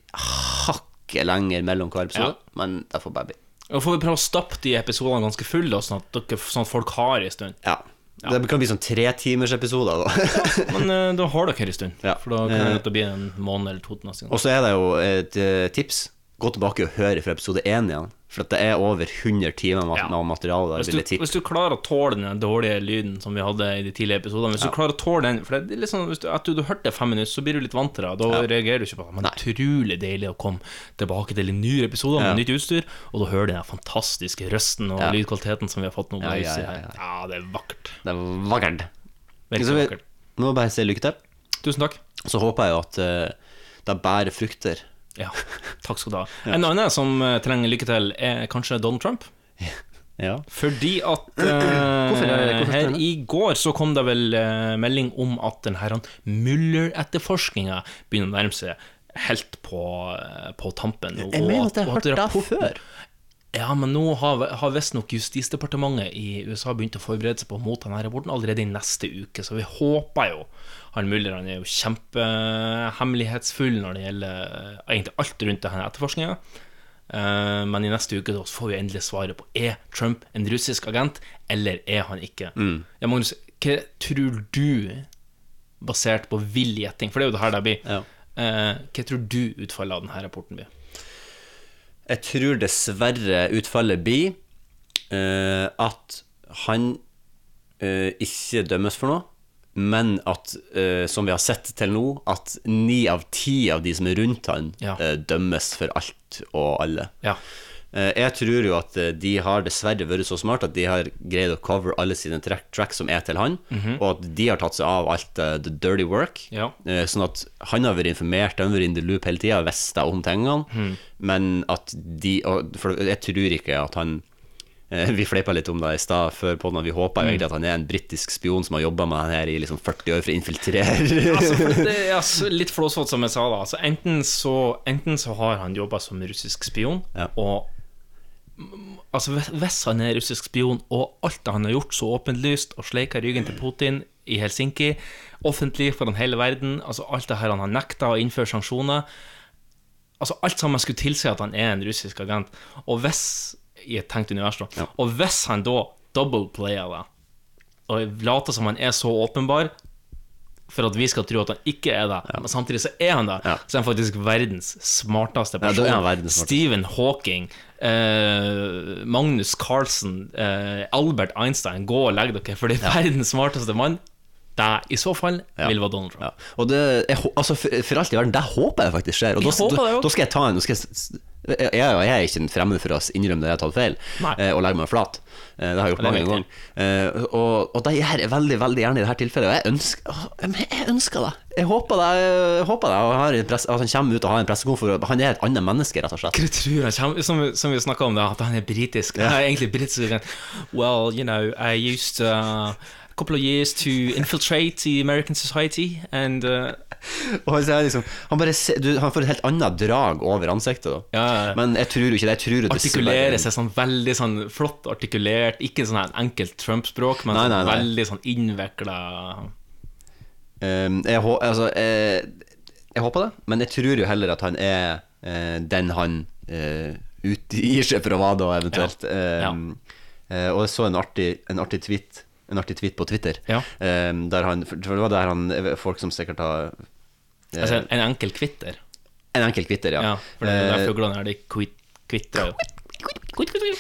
[SPEAKER 3] hakket lenger mellom hver episode, men det får bare bli.
[SPEAKER 2] Og får vi prøve å stappe de episodene ganske fulle, da, sånn at, dere, sånn at folk har en stund.
[SPEAKER 3] Ja. Det kan bli sånn tretimersepisoder, da.
[SPEAKER 2] Men eh, da har dere en stund,
[SPEAKER 3] Ja. Eh.
[SPEAKER 2] for da kan det hende at det blir en måned eller to til neste gang.
[SPEAKER 3] Og så er det jo et eh, tips. Gå tilbake og hør fra episode én igjen. For at det er over 100 timer mat
[SPEAKER 2] Ja.
[SPEAKER 3] med materiale.
[SPEAKER 2] Hvis
[SPEAKER 3] Der, vil jeg
[SPEAKER 2] du,
[SPEAKER 3] tippe.
[SPEAKER 2] hvis du klarer å tåle den dårlige lyden som vi hadde i de tidligere episodene Hvis du klarer å tåle den For det er litt sånn, hvis du, etter du hørte fem minutter, så blir du litt vant til det. og Da reagerer du ikke på det. Men det er utrolig deilig å komme tilbake til en ny episode med
[SPEAKER 3] Ja.
[SPEAKER 2] nytt utstyr, og da hører du den fantastiske røsten og
[SPEAKER 3] Ja.
[SPEAKER 2] lydkvaliteten som vi har fått nå.
[SPEAKER 3] Ja,
[SPEAKER 2] Ja,
[SPEAKER 3] ja,
[SPEAKER 2] ja,
[SPEAKER 3] ja, ja.
[SPEAKER 2] det er vakkert.
[SPEAKER 3] det er vakkert. Så
[SPEAKER 2] Virkelig
[SPEAKER 3] vi
[SPEAKER 2] vakkert.
[SPEAKER 3] må bare si lykke til.
[SPEAKER 2] Tusen takk.
[SPEAKER 3] Så håper jeg jo at eh, det bærer frukter.
[SPEAKER 2] Ja, takk skal du ha. En annen som eh, trenger lykke til, er kanskje Donald Trump.
[SPEAKER 3] Ja.
[SPEAKER 2] Fordi at eh,
[SPEAKER 3] hvorfor
[SPEAKER 2] her
[SPEAKER 3] det?
[SPEAKER 2] i går så kom det vel eh, melding om at den her Muller-etterforskninga begynner å nærme seg helt på, eh, på tampen. og-
[SPEAKER 3] Jeg mener
[SPEAKER 2] og
[SPEAKER 3] at jeg
[SPEAKER 2] og
[SPEAKER 3] har hørt det
[SPEAKER 2] rapporten-
[SPEAKER 3] før.
[SPEAKER 2] Ja, men nå har, har visstnok Justisdepartementet i USA begynt å forberede seg på å motta denne rapporten allerede i neste uke, så vi håper jo Han Muller han er jo kjempehemmelighetsfull når det gjelder eh, egentlig alt rundt denne etterforskninga. Eh, Men i neste uke da, så får vi endelig svaret på Er Trump en russisk agent, eller er han ikke. Ja, Magnus, hva tror du, basert på vill gjetting, for det er jo det her det blir,
[SPEAKER 3] Ja.
[SPEAKER 2] eh, hva tror du utfallet av denne rapporten blir?
[SPEAKER 3] Jeg tror dessverre utfallet blir eh, at han eh, ikke dømmes for noe, men at, eh, som vi har sett til nå, at ni av ti av de som er rundt han,
[SPEAKER 2] Ja.
[SPEAKER 3] eh, dømmes for alt og alle.
[SPEAKER 2] Ja.
[SPEAKER 3] Eh, jeg tror jo at eh, de har dessverre vært så smart at de har greid å cover alle sine track, track som er til han, og at de har tatt seg av alt eh, the dirty work.
[SPEAKER 2] Ja.
[SPEAKER 3] Eh, Sånn at han har vært informert, han har vært in the loop hele tida, visst det om tingene. Men at de og, For jeg tror ikke at han eh, Vi fleipa litt om det i stad før podden, og vi håpa jo egentlig at han er en britisk spion som har jobba med han her i liksom 40 år for å infiltrere.
[SPEAKER 2] altså, for det er altså litt flåsete, som jeg sa. da altså, enten, så, enten så har han jobba som russisk spion
[SPEAKER 3] Ja.
[SPEAKER 2] og Altså hvis- Hvis han er russisk spion, og alt det han har gjort så åpenlyst, og sleika ryggen til Putin i Helsinki, offentlig foran hele verden, altså alt det her han har nekta å innføre sanksjoner Altså Alt sammen skulle tilsi at han er en russisk agent. Og hvis I et tenkt univers, da. Og hvis han da doubleplayer det, og later som han er så åpenbar for at vi skal tro at han ikke er det, men samtidig så er han det,
[SPEAKER 3] Ja.
[SPEAKER 2] så er han faktisk verdens smarteste
[SPEAKER 3] Ja, da
[SPEAKER 2] person.
[SPEAKER 3] er han verdens smarteste.
[SPEAKER 2] Stephen Hawking, eh, Magnus Carlsen, eh, Albert Einstein, gå og legg dere, for det er verdens smarteste mann. Det i så fall vil være Donald Trump.
[SPEAKER 3] Ja. Og det, jeg, hå- altså, for, for alt i verden, det håper jeg faktisk skjer. Og
[SPEAKER 2] Jeg
[SPEAKER 3] da,
[SPEAKER 2] håper det
[SPEAKER 3] da,
[SPEAKER 2] også.
[SPEAKER 3] da skal jeg ta en nå skal jeg, s- jeg, jeg jeg er ikke en fremmed for å innrømme det jeg har tatt feil,
[SPEAKER 2] Nei.
[SPEAKER 3] eh, og legge meg flat. Eh, det har jeg gjort
[SPEAKER 2] Ja, det
[SPEAKER 3] mange
[SPEAKER 2] vet jeg.
[SPEAKER 3] ganger. Eh, og, og det gjør jeg veldig veldig gjerne i dette tilfellet. Og jeg ønsker, åh, men jeg ønsker det. Jeg håper det. Jeg håper det og har en press, at han kommer ut og har en pressekonferanse. Han er et annet menneske, rett og slett.
[SPEAKER 2] Hva tror han kommer Som, som vi snakka om, da, at han er britisk. Han er egentlig britisk agent. Well, you know, I used uh, a couple of years to infiltrate the American society, and uh,
[SPEAKER 3] Og han, sier liksom, han, bare, se- du, han får et helt annet drag over ansiktet. Da.
[SPEAKER 2] Ja, ja.
[SPEAKER 3] Men jeg tror jo ikke det. Jeg tror jo dessverre-
[SPEAKER 2] artikulere seg sånn veldig sånn flott artikulert. Ikke sånn her enkelt Trump-språk, men
[SPEAKER 3] Nei,
[SPEAKER 2] sånn
[SPEAKER 3] nei, nei.
[SPEAKER 2] veldig sånn innvikla
[SPEAKER 3] Ehm, jeg, hå- altså, eh, jeg håper det, men jeg tror jo heller at han er eh, den han eh, utgir seg for å være, da, eventuelt.
[SPEAKER 2] Ja.
[SPEAKER 3] Ehm, eh, og jeg så en artig, en artig tweet. En artig tweet på Twitter.
[SPEAKER 2] Ja.
[SPEAKER 3] ehm, der han, for det var der han Folk som sikkert har eh,
[SPEAKER 2] altså, En enkel kvitter.
[SPEAKER 3] En enkel kvitter, ja.
[SPEAKER 2] Ja, for det er
[SPEAKER 3] Eh,
[SPEAKER 2] der fuglene her, de kvit- kvitrer jo.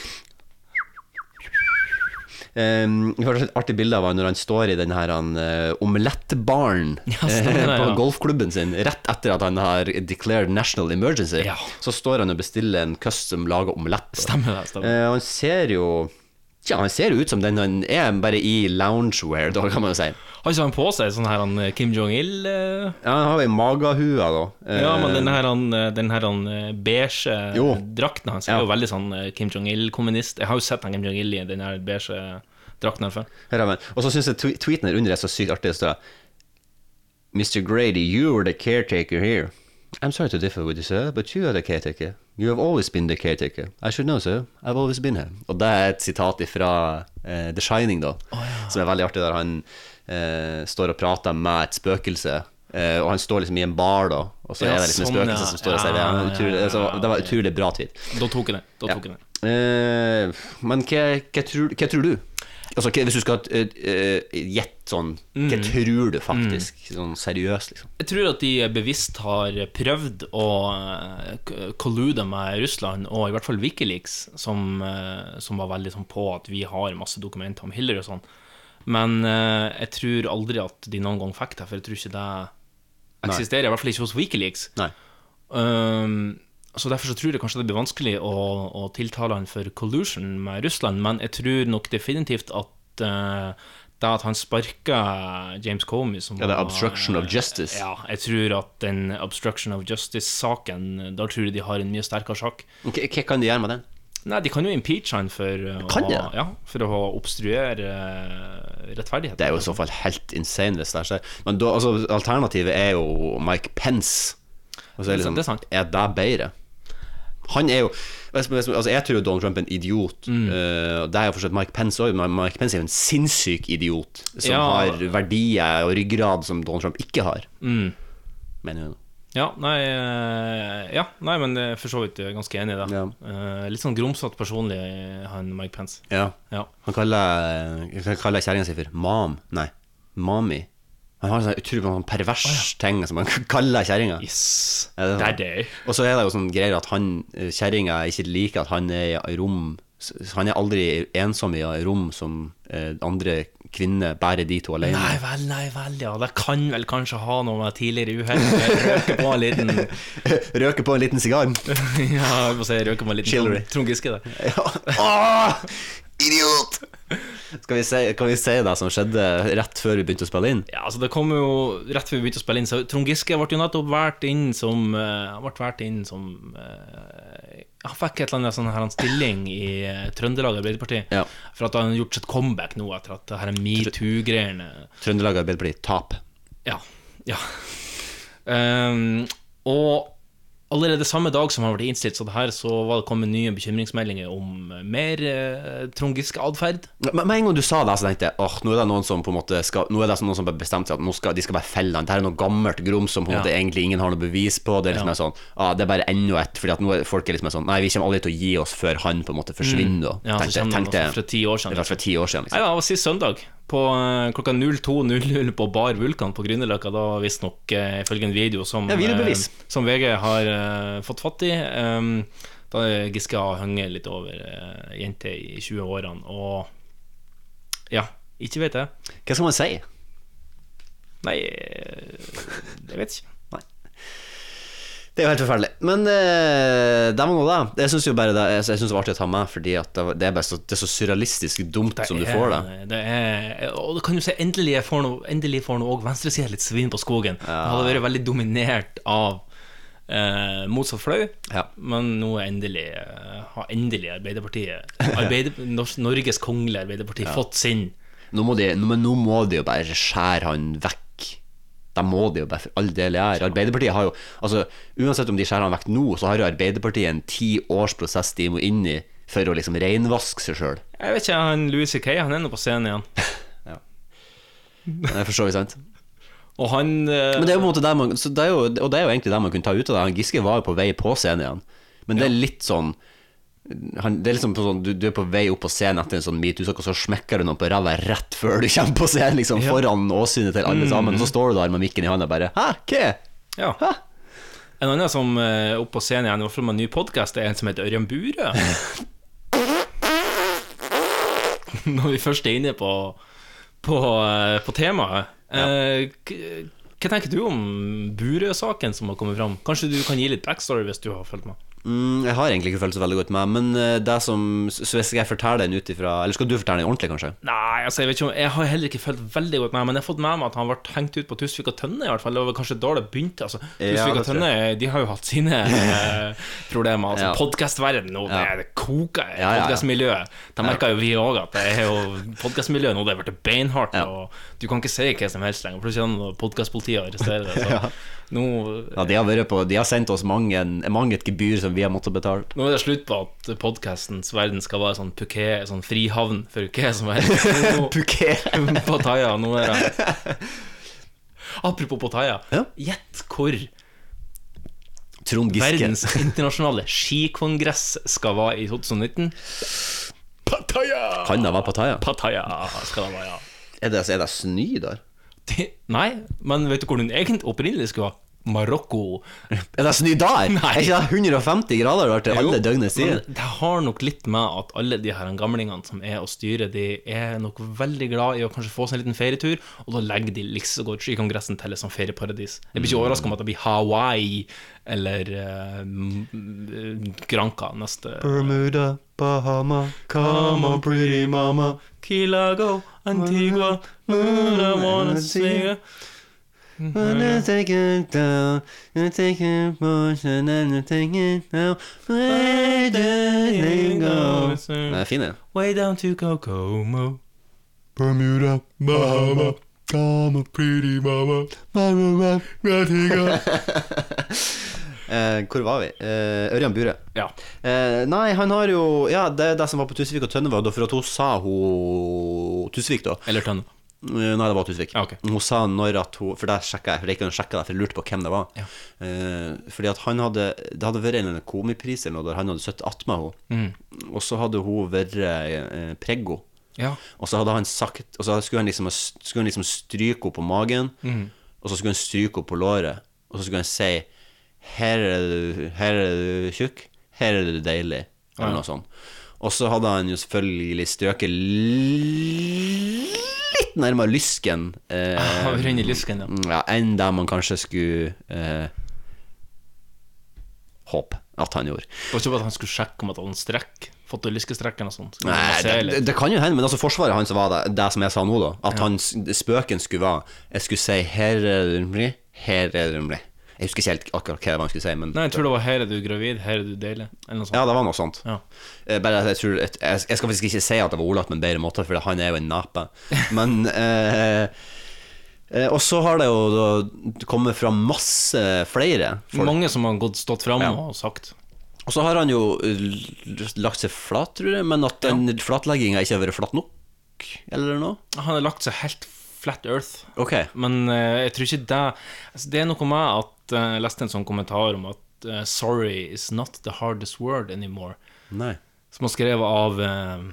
[SPEAKER 3] Um, vi har et artig bilde av han når han står i den her han, eh, omelettbaren
[SPEAKER 2] Ja, stemmer det,
[SPEAKER 3] eh, på
[SPEAKER 2] ja.
[SPEAKER 3] golfklubben sin, rett etter at han har declared national emergency.
[SPEAKER 2] Ja.
[SPEAKER 3] Så står han og bestiller en custom laga omelett. da.
[SPEAKER 2] Stemmer det. stemmer det.
[SPEAKER 3] Eh, og han ser jo Tja, han ser jo ut som den han er, bare i loungewear, da, kan man jo si.
[SPEAKER 2] Har ikke han på seg sånn her han eh, Kim Jong-il? eh,
[SPEAKER 3] Ja, han har jo ei magahue, da. Eh,
[SPEAKER 2] Ja, men den her, han, den her han, eh, beige
[SPEAKER 3] Jo.
[SPEAKER 2] drakten hans
[SPEAKER 3] Ja.
[SPEAKER 2] er jo veldig sånn eh, Kim Jong-il-kommunist. Jeg har jo sett han Kim Jong-il i den her beige drakten her før.
[SPEAKER 3] Her har vi den. Og så syns jeg twe- tweeten her under er så sykt artig. Det står Mr. Grady, you were the caretaker here. I'm sorry to differ with you, sir, but you are the caretaker. You have always been the caretaker. I should know, sir. I've always been here. Og det er et sitat fra The Shining, da, som er veldig artig, der han eh, står og prater med et spøkelse. eh, og han står liksom i en bar, da, og så
[SPEAKER 2] Ja,
[SPEAKER 3] er det liksom et
[SPEAKER 2] sånn,
[SPEAKER 3] spøkelse
[SPEAKER 2] ja.
[SPEAKER 3] som står og sier det.
[SPEAKER 2] Ja,
[SPEAKER 3] Han er
[SPEAKER 2] ja,
[SPEAKER 3] utrolig-
[SPEAKER 2] ja,
[SPEAKER 3] altså,
[SPEAKER 2] ja,
[SPEAKER 3] Det var
[SPEAKER 2] ok.
[SPEAKER 3] utrolig bra tweet.
[SPEAKER 2] Da tok jeg den. Da tok jeg den.
[SPEAKER 3] Eh, men hva, hva, tror, hva tror du? Altså, hva, hvis du skal eh, eh, gjette sånn Hva
[SPEAKER 2] Mm.
[SPEAKER 3] tror du faktisk? Sånn seriøst, liksom.
[SPEAKER 2] Jeg tror at de eh, bevisst har prøvd å eh, k- collude med Russland, og i hvert fall Wikileaks, som, eh, som var veldig sånn på at vi har masse dokumenter om Hillary og sånn. Men eh, jeg tror aldri at de noen gang fikk det, for jeg tror ikke det eksisterer. I hvert fall ikke hos Wikileaks.
[SPEAKER 3] Nei.
[SPEAKER 2] Um, så Derfor så tror jeg kanskje det blir vanskelig å, å tiltale han for collusion med Russland, men jeg tror nok definitivt at eh, det at han sparka James Comey som
[SPEAKER 3] Ja, det er
[SPEAKER 2] var-
[SPEAKER 3] obstruction of justice.
[SPEAKER 2] Ja, jeg tror at den obstruction of justice-saken Da tror jeg de har en mye sterkere sak.
[SPEAKER 3] Hva, hva kan de gjøre med den?
[SPEAKER 2] Nei, de kan jo impeache han for, eh,
[SPEAKER 3] Kan
[SPEAKER 2] å,
[SPEAKER 3] de?
[SPEAKER 2] ja, for å obstruere eh, rettferdighet.
[SPEAKER 3] Det er jo i så fall helt insane hvis det skjer. Men da, altså, alternativet er jo Mike Pence. Og så er,
[SPEAKER 2] Det er sant,
[SPEAKER 3] liksom,
[SPEAKER 2] det er sant.
[SPEAKER 3] er det bedre? Han er jo hvis- hvis- altså Jeg tror jo Donald Trump er en idiot.
[SPEAKER 2] Mm.
[SPEAKER 3] Eh, og det er jo fortsatt Mike Pence òg, men Mike Pence er jo en sinnssyk idiot som
[SPEAKER 2] Ja.
[SPEAKER 3] har verdier og ryggrad som Donald Trump ikke har.
[SPEAKER 2] Mm.
[SPEAKER 3] Mener jeg nå.
[SPEAKER 2] Ja, nei, eh, ja, nei men eh, for så vidt eh, ganske enig i det.
[SPEAKER 3] Ja.
[SPEAKER 2] Eh, litt sånn grumsete personlig, eh, han Mike Pence.
[SPEAKER 3] Ja.
[SPEAKER 2] Ja.
[SPEAKER 3] Han kaller, hva kaller kjerringa si for mam. Nei, mami. Han har en sånn utrolig sånn pervers ting som han kaller kjerringa.
[SPEAKER 2] Yes,
[SPEAKER 3] Ja, det er
[SPEAKER 2] der
[SPEAKER 3] sant.
[SPEAKER 2] det er.
[SPEAKER 3] Og så er det jo sånn greier at han eh, kjerringa ikke liker at han er i rom s- Han er aldri ensom i rom som eh, andre kvinner, bare de to alene.
[SPEAKER 2] Nei vel, nei vel, ja. Det kan vel kanskje ha noe med tidligere uhell Jeg Røker på en liten
[SPEAKER 3] Røker på en liten sigar.
[SPEAKER 2] Ja, jeg må si røker på en liten
[SPEAKER 3] Chillery.
[SPEAKER 2] Trond- Trond Giske, det.
[SPEAKER 3] Ja. Åh, idiot! Skal vi si, kan vi si det som skjedde rett før vi begynte å spille inn?
[SPEAKER 2] Ja, altså det kom jo rett før vi begynte å spille inn, så Trond Giske ble jo nettopp valgt inn som eh, Han ble valgt inn som eh, Han fikk et eller annet sånn her en stilling i eh, Trøndelag Arbeiderparti
[SPEAKER 3] Ja.
[SPEAKER 2] for at han har gjort sitt comeback nå etter at det her metoo-greiene
[SPEAKER 3] Trøndelag Arbeiderparti, tap.
[SPEAKER 2] Ja. ja. Ehm, og Allerede samme dag som han ble innstilt, så det her, så var det kommet nye bekymringsmeldinger om mer eh, Trond Giske atferd.
[SPEAKER 3] Men med en gang du sa det, så tenkte jeg åh, nå er det noen som på en måte skal Nå er det noen som bare bestemte seg at nå skal, de skal bare felle han. Det her er noe gammelt grums som på en
[SPEAKER 2] Ja.
[SPEAKER 3] måte egentlig ingen har noe bevis på. Det er liksom
[SPEAKER 2] Ja.
[SPEAKER 3] er sånn, ah, det er bare enda et Fordi at nå er folk er liksom sånn Nei, vi kommer aldri til å gi oss før han på en måte forsvinner. da.
[SPEAKER 2] Mm. Ja, så
[SPEAKER 3] tenkte,
[SPEAKER 2] kjenner han
[SPEAKER 3] tenkte,
[SPEAKER 2] også fra ti år siden.
[SPEAKER 3] Eller fra ti år siden,
[SPEAKER 2] Nei,
[SPEAKER 3] liksom.
[SPEAKER 2] det var sist søndag. På eh, klokka 02.00 på Bar Vulkan på Grünerløkka, da visstnok eh, ifølge en video som,
[SPEAKER 3] Ja, videobevis.
[SPEAKER 2] eh, som VG har eh, fått fatt i. eh, da Giske har hengt litt over eh, jenter i 20-årene, og ja, ikke vet jeg.
[SPEAKER 3] Hva skal man si?
[SPEAKER 2] Nei, eh, jeg vet ikke.
[SPEAKER 3] Det er jo helt forferdelig. Men eh, det var nå det. Jeg syns jo bare det Jeg, jeg synes det var artig å ta med, fordi at det, var- det er bare så, det er så surrealistisk dumt som du
[SPEAKER 2] Det er-
[SPEAKER 3] får det.
[SPEAKER 2] Det er, og da kan du si endelig jeg får noe, endelig får noe òg venstresida litt svin på skogen. Det hadde vært veldig dominert av eh, motsatt fløy,
[SPEAKER 3] Ja.
[SPEAKER 2] men nå er endelig eh, har endelig Arbeiderpartiet Arbeid, Nor Norges kongelige Arbeiderparti fått sin.
[SPEAKER 3] Nå må de, nå- men nå må de jo bare skjære han vekk. Da må de jo bare for all del gjøre. Arbeiderpartiet har jo Altså, uansett om de skjærer han vekk nå, så har jo Arbeiderpartiet en ti års prosess de må inn i for å liksom renvaske seg sjøl.
[SPEAKER 2] Jeg vet ikke, han Louis C.K. han er nå på scenen igjen.
[SPEAKER 3] Det er for så vidt Eh, sant.
[SPEAKER 2] Og han eh,
[SPEAKER 3] Men det er jo på en måte der man så det er jo, Og det er jo egentlig der man kunne ta ut av det. Han Giske var jo på vei på scenen igjen. Men det er litt sånn han, det er liksom på sånn, du, du er på vei opp på scenen etter en sånn metoo-sak, og så smekker du noen på ræva rett før du kommer på scenen, liksom, foran åsynet til alle sammen. Og så står du der med mikken i hånda og bare Hæ, hva?
[SPEAKER 2] ja.
[SPEAKER 3] Hæ?
[SPEAKER 2] En annen som er oppe på scenen igjen, i hvert fall med en ny podkast, er en som heter Ørjan Bure. Når vi først er inne på, på, eh, på temaet. eh, k- Hva tenker du om Bure-saken som har kommet fram? Kanskje du kan gi litt backstory hvis du har fulgt med?
[SPEAKER 3] Mm, jeg har egentlig ikke følt så veldig godt med, men eh, det som Så så hvis jeg forteller den ut ifra Eller skal du fortelle den ordentlig, kanskje?
[SPEAKER 2] Nei, altså jeg vet ikke om Jeg har heller ikke følt veldig godt med Men jeg har fått med meg at han ble hengt ut på Tusvik og Tønne i hvert fall Det var kanskje da det begynte altså. Tusvik og
[SPEAKER 3] det tror jeg.
[SPEAKER 2] Tønne, de har jo hatt sine eh, problemer Altså
[SPEAKER 3] Ja.
[SPEAKER 2] podcastverden nå det,
[SPEAKER 3] Ja.
[SPEAKER 2] det koker i
[SPEAKER 3] Ja, ja, ja.
[SPEAKER 2] podcastmiljøet Da merker jo vi også at det er jo Podcastmiljøet nå det har vært beinhardt Og du kan ikke si hva som helst lenger Plutselig er det podcastpolitiet og arresterer deg Så nå
[SPEAKER 3] Ja, de har, vært på, de har sendt oss mange, en- mange et gebyr som vi har måttet betale.
[SPEAKER 2] Nå er det slutt på at podcastens verden skal være sånn puké, sånn frihavn for hva som helst. puké? Pattaya, nå er det Apropos Pattaya,
[SPEAKER 3] Ja.
[SPEAKER 2] gjett hvor
[SPEAKER 3] Trond Giske.
[SPEAKER 2] verdens internasjonale skikongress skal være i 2019? Pattaya!
[SPEAKER 3] Kan det være Pattaya?
[SPEAKER 2] Pattaya skal det være, ja.
[SPEAKER 3] Er det, er det snø der?
[SPEAKER 2] Det, nei, men vet du hvor den egentlig opprinnelig skulle være? Marokko.
[SPEAKER 3] Er det snø der?
[SPEAKER 2] Nei.
[SPEAKER 3] Er ikke det 150 grader det har vært til alle
[SPEAKER 2] Jo,
[SPEAKER 3] døgnets
[SPEAKER 2] men
[SPEAKER 3] tid?
[SPEAKER 2] Det har nok litt med at alle de her gamlingene som er og styrer, de er nok veldig glad i å kanskje få seg en liten ferietur, og da legger de Liksegård i kongressen til et sånt ferieparadis. Jeg
[SPEAKER 3] Mm.
[SPEAKER 2] blir ikke overraska om at det blir Hawaii eller eh, m- m- Granca neste
[SPEAKER 3] Bermuda, Bahama, come on pretty mama.
[SPEAKER 2] Kilago, Antigua, I
[SPEAKER 3] Mm.
[SPEAKER 2] wanna see you.
[SPEAKER 3] Wanna take it down, you take it much, and then you take it down. Where do you go? Den er Eh, fin, den.
[SPEAKER 2] Way down to Kokomo.
[SPEAKER 5] Bermuda, Bahama,
[SPEAKER 3] Mm-hmm.
[SPEAKER 5] I'm a pretty mama, mama, mama,
[SPEAKER 3] Eh, hvor var vi? Eh, Ørjan Bure.
[SPEAKER 2] Ja.
[SPEAKER 3] Eh, nei, han har jo Ja, det er det som var på Tusvik og Tønne, var da for at hun sa hun Tusvik, da.
[SPEAKER 2] Eller Tønne.
[SPEAKER 3] Eh, Nei, det var Tusvik.
[SPEAKER 2] Ja, ok.
[SPEAKER 3] Hun sa når at hun For der sjekka jeg, for det gikk an å sjekke det, for jeg lurte på hvem det var. Eh, fordi at han hadde Det hadde vært en eller annen komipris eller noe der han hadde sittet attmed
[SPEAKER 2] Mm.
[SPEAKER 3] henne, og så hadde hun vært eh, preggo.
[SPEAKER 2] Ja.
[SPEAKER 3] Og så hadde han sagt Og så skulle han liksom, skulle han liksom stryke henne på magen Og så skulle han stryke henne på låret Og så skulle han si Her er du, her er du tjukk Her er du deilig Eller noe sånt Og så hadde han jo selvfølgelig strøket Litt nærmere lysken eh,
[SPEAKER 2] Har vi rønnet lysken, ja.
[SPEAKER 3] ja, enn det man kanskje skulle eh, Håpe at han gjorde
[SPEAKER 2] Det var ikke bare at han skulle sjekke om at han strekk Fått lyskestrekk eller noe sånt Skulle
[SPEAKER 3] Nei,
[SPEAKER 2] han se
[SPEAKER 3] det,
[SPEAKER 2] litt.
[SPEAKER 3] det, det kan jo hende, men altså forsvaret hans var det, det som jeg sa nå, da. At hans, spøken skulle være Jeg skulle si 'her er det rumlig', 'her er det rumlig'. Jeg husker ikke helt akkurat hva det var han skulle si, men
[SPEAKER 2] Nei, jeg tror det var 'her er du gravid, her er du deilig', eller noe sånt.
[SPEAKER 3] ja, det var noe sånt.
[SPEAKER 2] Ja.
[SPEAKER 3] Eh, Bare at jeg, tror, at- jeg, jeg skal faktisk ikke si at det var Ola på en bedre måte, for han er jo en nape. Men eh, Eh, og så har det jo da kommet fra masse flere folk.
[SPEAKER 2] Mange som har gått stått fram og sagt
[SPEAKER 3] Og så har han jo eh, lagt seg flat, tror jeg, men at den flatlegginga ikke har vært flatt nok, eller noe.
[SPEAKER 2] Han har lagt seg helt flat earth.
[SPEAKER 3] Ok.
[SPEAKER 2] Men eh, jeg tror ikke det altså, Det er noe med at eh, jeg leste en sånn kommentar om at eh, 'sorry is not the hardest word anymore',
[SPEAKER 3] Nei.
[SPEAKER 2] som var skrevet av eh,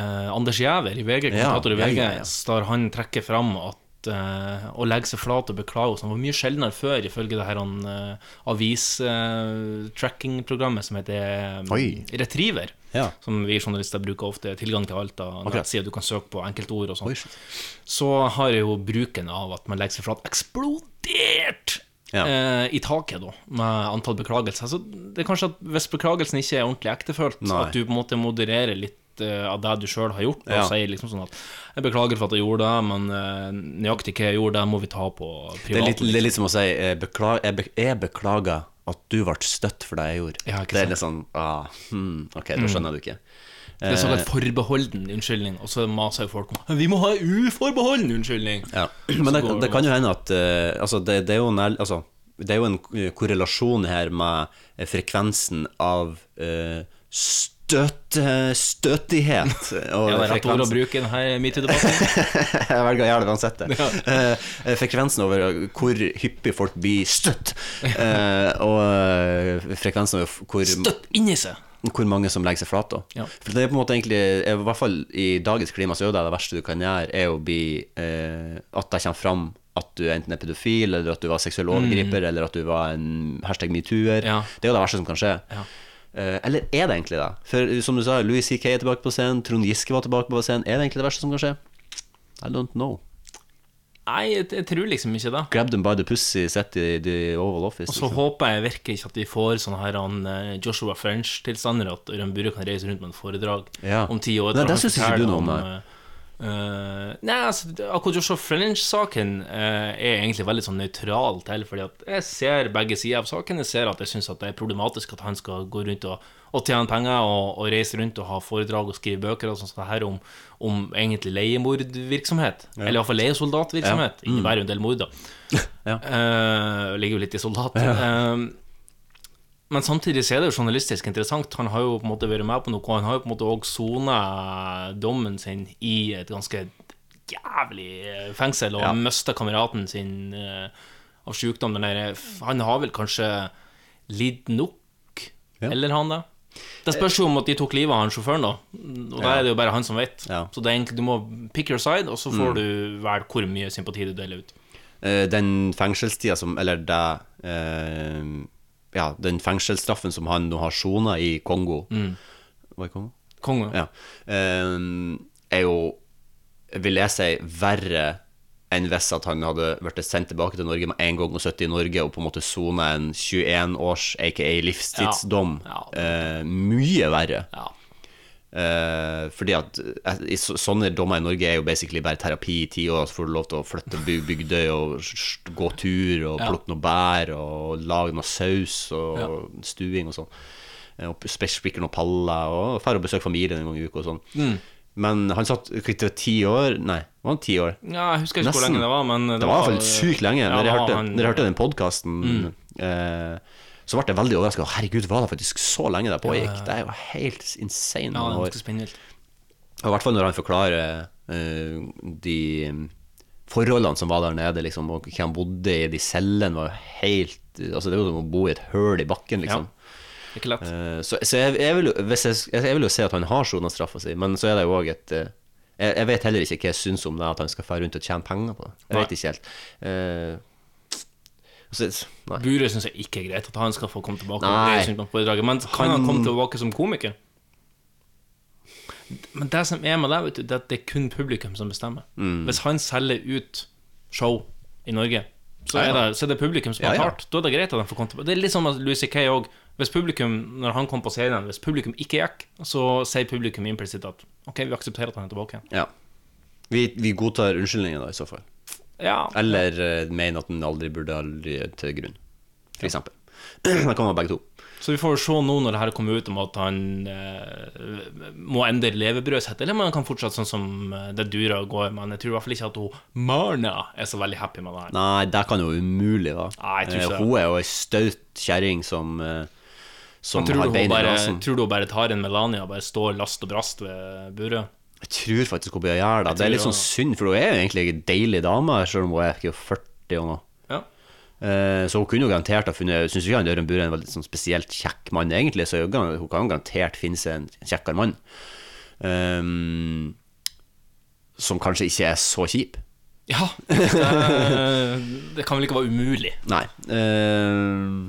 [SPEAKER 2] eh, Anders Giæver i VG, kommentator i
[SPEAKER 3] ja,
[SPEAKER 2] VG,
[SPEAKER 3] ja, ja.
[SPEAKER 2] der han trekker fram at eh, å legge seg flat og beklage og sånn var mye sjeldnere før, ifølge det her uh, avis-tracking-programmet eh, som heter eh,
[SPEAKER 3] Oi.
[SPEAKER 2] Retriever.
[SPEAKER 3] Ja.
[SPEAKER 2] Som vi journalister bruker ofte tilgang til alt av nettsider du kan søke på enkeltord og
[SPEAKER 3] Oi,
[SPEAKER 2] sånn
[SPEAKER 3] shit.
[SPEAKER 2] så har jo bruken av at man legger seg flat eksplodert
[SPEAKER 3] Ja.
[SPEAKER 2] eh, i taket, da, med antall beklagelser. Så det er kanskje at hvis beklagelsen ikke er ordentlig ektefølt,
[SPEAKER 3] Nei.
[SPEAKER 2] at du på en måte modererer litt eh, av det du sjøl har gjort, og
[SPEAKER 3] Ja.
[SPEAKER 2] sier liksom sånn at 'Jeg beklager for at jeg gjorde det, men eh, nøyaktig hva jeg gjorde, det må vi ta på privat'.
[SPEAKER 3] Det er, litt, det er litt som å si eh, beklag, jeg, be, 'Jeg beklager at du ble støtt for det jeg gjorde'.
[SPEAKER 2] Ja, ikke
[SPEAKER 3] det
[SPEAKER 2] sant. Mm.
[SPEAKER 3] er litt sånn ah, hmm, Ok, da skjønner du ikke.
[SPEAKER 2] Det er såkalt forbeholden unnskyldning, og så maser jo folk om 'Vi må ha uforbeholden unnskyldning'.
[SPEAKER 3] Ja. Men det,
[SPEAKER 2] går det
[SPEAKER 3] det kan jo hende at eh, altså, det, det, er jo nær, altså, det er jo en k- korrelasjon her med eh, frekvensen av eh, støtte, støtighet. Og
[SPEAKER 2] Ja, det er rett ord å
[SPEAKER 3] frekvensen-
[SPEAKER 2] bruke i denne metoo-debatten.
[SPEAKER 3] Jeg velger å gjøre det uansett. det. Eh, frekvensen over hvor hyppig folk blir støtt, eh, og eh, frekvensen over hvor
[SPEAKER 2] Støtt inni seg!
[SPEAKER 3] hvor mange som legger seg flat da.
[SPEAKER 2] Ja.
[SPEAKER 3] For det er på en måte egentlig, i hvert fall i dagens klima, så er jo det det verste du kan gjøre, er å bli eh, At det kommer fram at du enten er pedofil, eller at du var seksuell overgriper, eller at du var en hashtag metoo-er.
[SPEAKER 2] Mm. Ja.
[SPEAKER 3] Det er jo det verste som kan skje. Eh, eller er det egentlig det? For eh, som du sa, Louis C.K. er tilbake på scenen, Trond Giske var tilbake på scenen. Er det egentlig det verste som kan skje? I don't know.
[SPEAKER 2] Nei, jeg, jeg tror liksom ikke det.
[SPEAKER 3] Grab them by the pussy, sett i the Oval Office.
[SPEAKER 2] Og
[SPEAKER 3] liksom.
[SPEAKER 2] så håper jeg virkelig ikke at vi får sånne her han, eh, Joshua French-tilstander, at Ørjan Burre kan reise rundt med en foredrag
[SPEAKER 3] Ja.
[SPEAKER 2] om ti år.
[SPEAKER 3] Nei,
[SPEAKER 2] der
[SPEAKER 3] det
[SPEAKER 2] han
[SPEAKER 3] synes ikke du
[SPEAKER 2] forteller
[SPEAKER 3] noe om,
[SPEAKER 2] om,
[SPEAKER 3] nei.
[SPEAKER 2] eh, eh, nei, altså, det- akkurat Joshua French-saken eh, er egentlig veldig sånn nøytral til, fordi at jeg ser begge sider av saken. Jeg ser at jeg syns det er problematisk at han skal gå rundt og, og tjene penger og, og reise rundt og ha foredrag og skrive bøker og sånt som det her om, om egentlig leiemordvirksomhet. Eller iallfall leiesoldatvirksomhet. Ja. Innebærer jo en del mord, da.
[SPEAKER 3] Mm. Ja.
[SPEAKER 2] Eh, ligger jo litt i soldat. Eh, men samtidig så er det jo journalistisk interessant. Han har jo på en måte vært med på noe, og han har jo på en måte òg sona dommen sin i et ganske jævlig eh, fengsel, og
[SPEAKER 3] Ja.
[SPEAKER 2] ja. mista kameraten sin eh, av sjukdom. Den der, f- han har vel kanskje lidd nok,
[SPEAKER 3] Ja.
[SPEAKER 2] eller han det? Det spørs jo om at de tok livet av han sjåføren, da. Og da er det jo bare han som vet.
[SPEAKER 3] Ja. Mm.
[SPEAKER 2] Så det er egentlig, du må pick your side, og så får du velge hvor mye sympati du deler ut.
[SPEAKER 3] Eh, den fengselstida som Eller det eh, Ja, den fengselsstraffen som han nå har sona i Kongo Var det Kongo?
[SPEAKER 2] Konge.
[SPEAKER 3] Ja. Eh, er jo, vil jeg si, verre enn hvis at han hadde blitt sendt tilbake til Norge med en gang og sittet i Norge og på en måte sona en 21 års, aka livstidsdom.
[SPEAKER 2] Ja. Ja.
[SPEAKER 3] Eh, mye verre.
[SPEAKER 2] Ja.
[SPEAKER 3] Eh, fordi at eh, i så, Sånne dommer i Norge er jo basically bare terapi i ti år. Så får du lov til å flytte by- Bygdøy og s- s- gå tur og
[SPEAKER 2] Ja.
[SPEAKER 3] plukke noe bær og lage noe saus og stuing og sånn. Eh, Og spe- spikke noen paller og dra og besøke familien en gang i uka og sånn.
[SPEAKER 2] Mm.
[SPEAKER 3] Men han satt ikke til ti år Nei, var han ti år?
[SPEAKER 2] Ja, jeg husker ikke hvor
[SPEAKER 3] Nesten.
[SPEAKER 2] lenge det var, men
[SPEAKER 3] Det var i hvert fall sykt lenge.
[SPEAKER 2] Ja,
[SPEAKER 3] når, jeg
[SPEAKER 2] det var
[SPEAKER 3] hørte,
[SPEAKER 2] han- Mm.
[SPEAKER 3] når jeg hørte den podkasten, eh, så ble jeg veldig overraska. Herregud, var det faktisk så lenge det pågikk? Det er jo helt insane.
[SPEAKER 2] Ja, det
[SPEAKER 3] noen
[SPEAKER 2] er
[SPEAKER 3] år.
[SPEAKER 2] ganske spinnvilt.
[SPEAKER 3] Og I hvert fall når han forklarer eh, de forholdene som var der nede, liksom, og hvem han bodde i, de cellene var jo helt Altså, det er jo som å bo i et høl i bakken, liksom.
[SPEAKER 2] Det er Ikke lett.
[SPEAKER 3] Eh, så så jeg, jeg, vil jo, hvis jeg, altså, jeg, jeg vil jo si at han har sona straffa si, men så er det jo òg et eh, jeg, jeg vet heller ikke hva jeg syns om det at han skal fære rundt og tjene penger på det. Jeg
[SPEAKER 2] Nei.
[SPEAKER 3] vet ikke helt. Eh, så, nei.
[SPEAKER 2] Bure syns jeg ikke er greit at han skal få komme tilbake.
[SPEAKER 3] Eh. Nei.
[SPEAKER 2] Det synes jeg på foredraget, Men kan han,
[SPEAKER 3] Han-
[SPEAKER 2] komme tilbake som komiker? Men det som er med det, vet du, det er at det er kun publikum som bestemmer.
[SPEAKER 3] Mm.
[SPEAKER 2] Hvis han selger ut show i Norge, så er det, så er det publikum som har
[SPEAKER 3] Ja, ja.
[SPEAKER 2] betalt. Da er det greit at han får komme tilbake. Det er litt som at Louis C.K. òg. Hvis publikum når han kom på scenen, hvis publikum ikke gikk, så sier publikum implisitt at OK, vi aksepterer at han er tilbake igjen.
[SPEAKER 3] Ja. Vi, vi godtar unnskyldningen da, i så fall.
[SPEAKER 2] Ja,
[SPEAKER 3] Eller eh, mener at den aldri burde ha ligget til grunn, f.eks. eksempel Da kan man begge to.
[SPEAKER 2] Så vi får jo se nå når det her kommer ut, om at han eh, må endre levebrødet sitt, eller om han kan fortsette sånn som eh, det dura og går. Men jeg tror i hvert fall ikke at hun Marna er så veldig happy med det her.
[SPEAKER 3] Nei, det kan jo umulig være.
[SPEAKER 2] Nei, jeg tror ikke
[SPEAKER 3] Eh,
[SPEAKER 2] det.
[SPEAKER 3] Hun er jo ei staut kjerring som, eh, som
[SPEAKER 2] Men tror,
[SPEAKER 3] har
[SPEAKER 2] du hun
[SPEAKER 3] bein i
[SPEAKER 2] bare,
[SPEAKER 3] nesen.
[SPEAKER 2] tror du hun bare tar en Melania og bare står last og brast ved buret?
[SPEAKER 3] Jeg tror faktisk hun blir å gjøre det. Det er
[SPEAKER 2] tror
[SPEAKER 3] litt sånn synd, for hun er jo egentlig en deilig dame, selv om hun er ikke 40 og noe.
[SPEAKER 2] Ja.
[SPEAKER 3] Eh, Så hun kunne jo garantert ha funnet Syns ikke han Jørund Bure er en veldig sånn spesielt kjekk mann, egentlig, så hun kan hun kan jo garantert finne seg en kjekkere mann. Ehm, som kanskje ikke er så kjip.
[SPEAKER 2] Ja, det, det kan vel ikke være umulig.
[SPEAKER 3] Nei. ehm,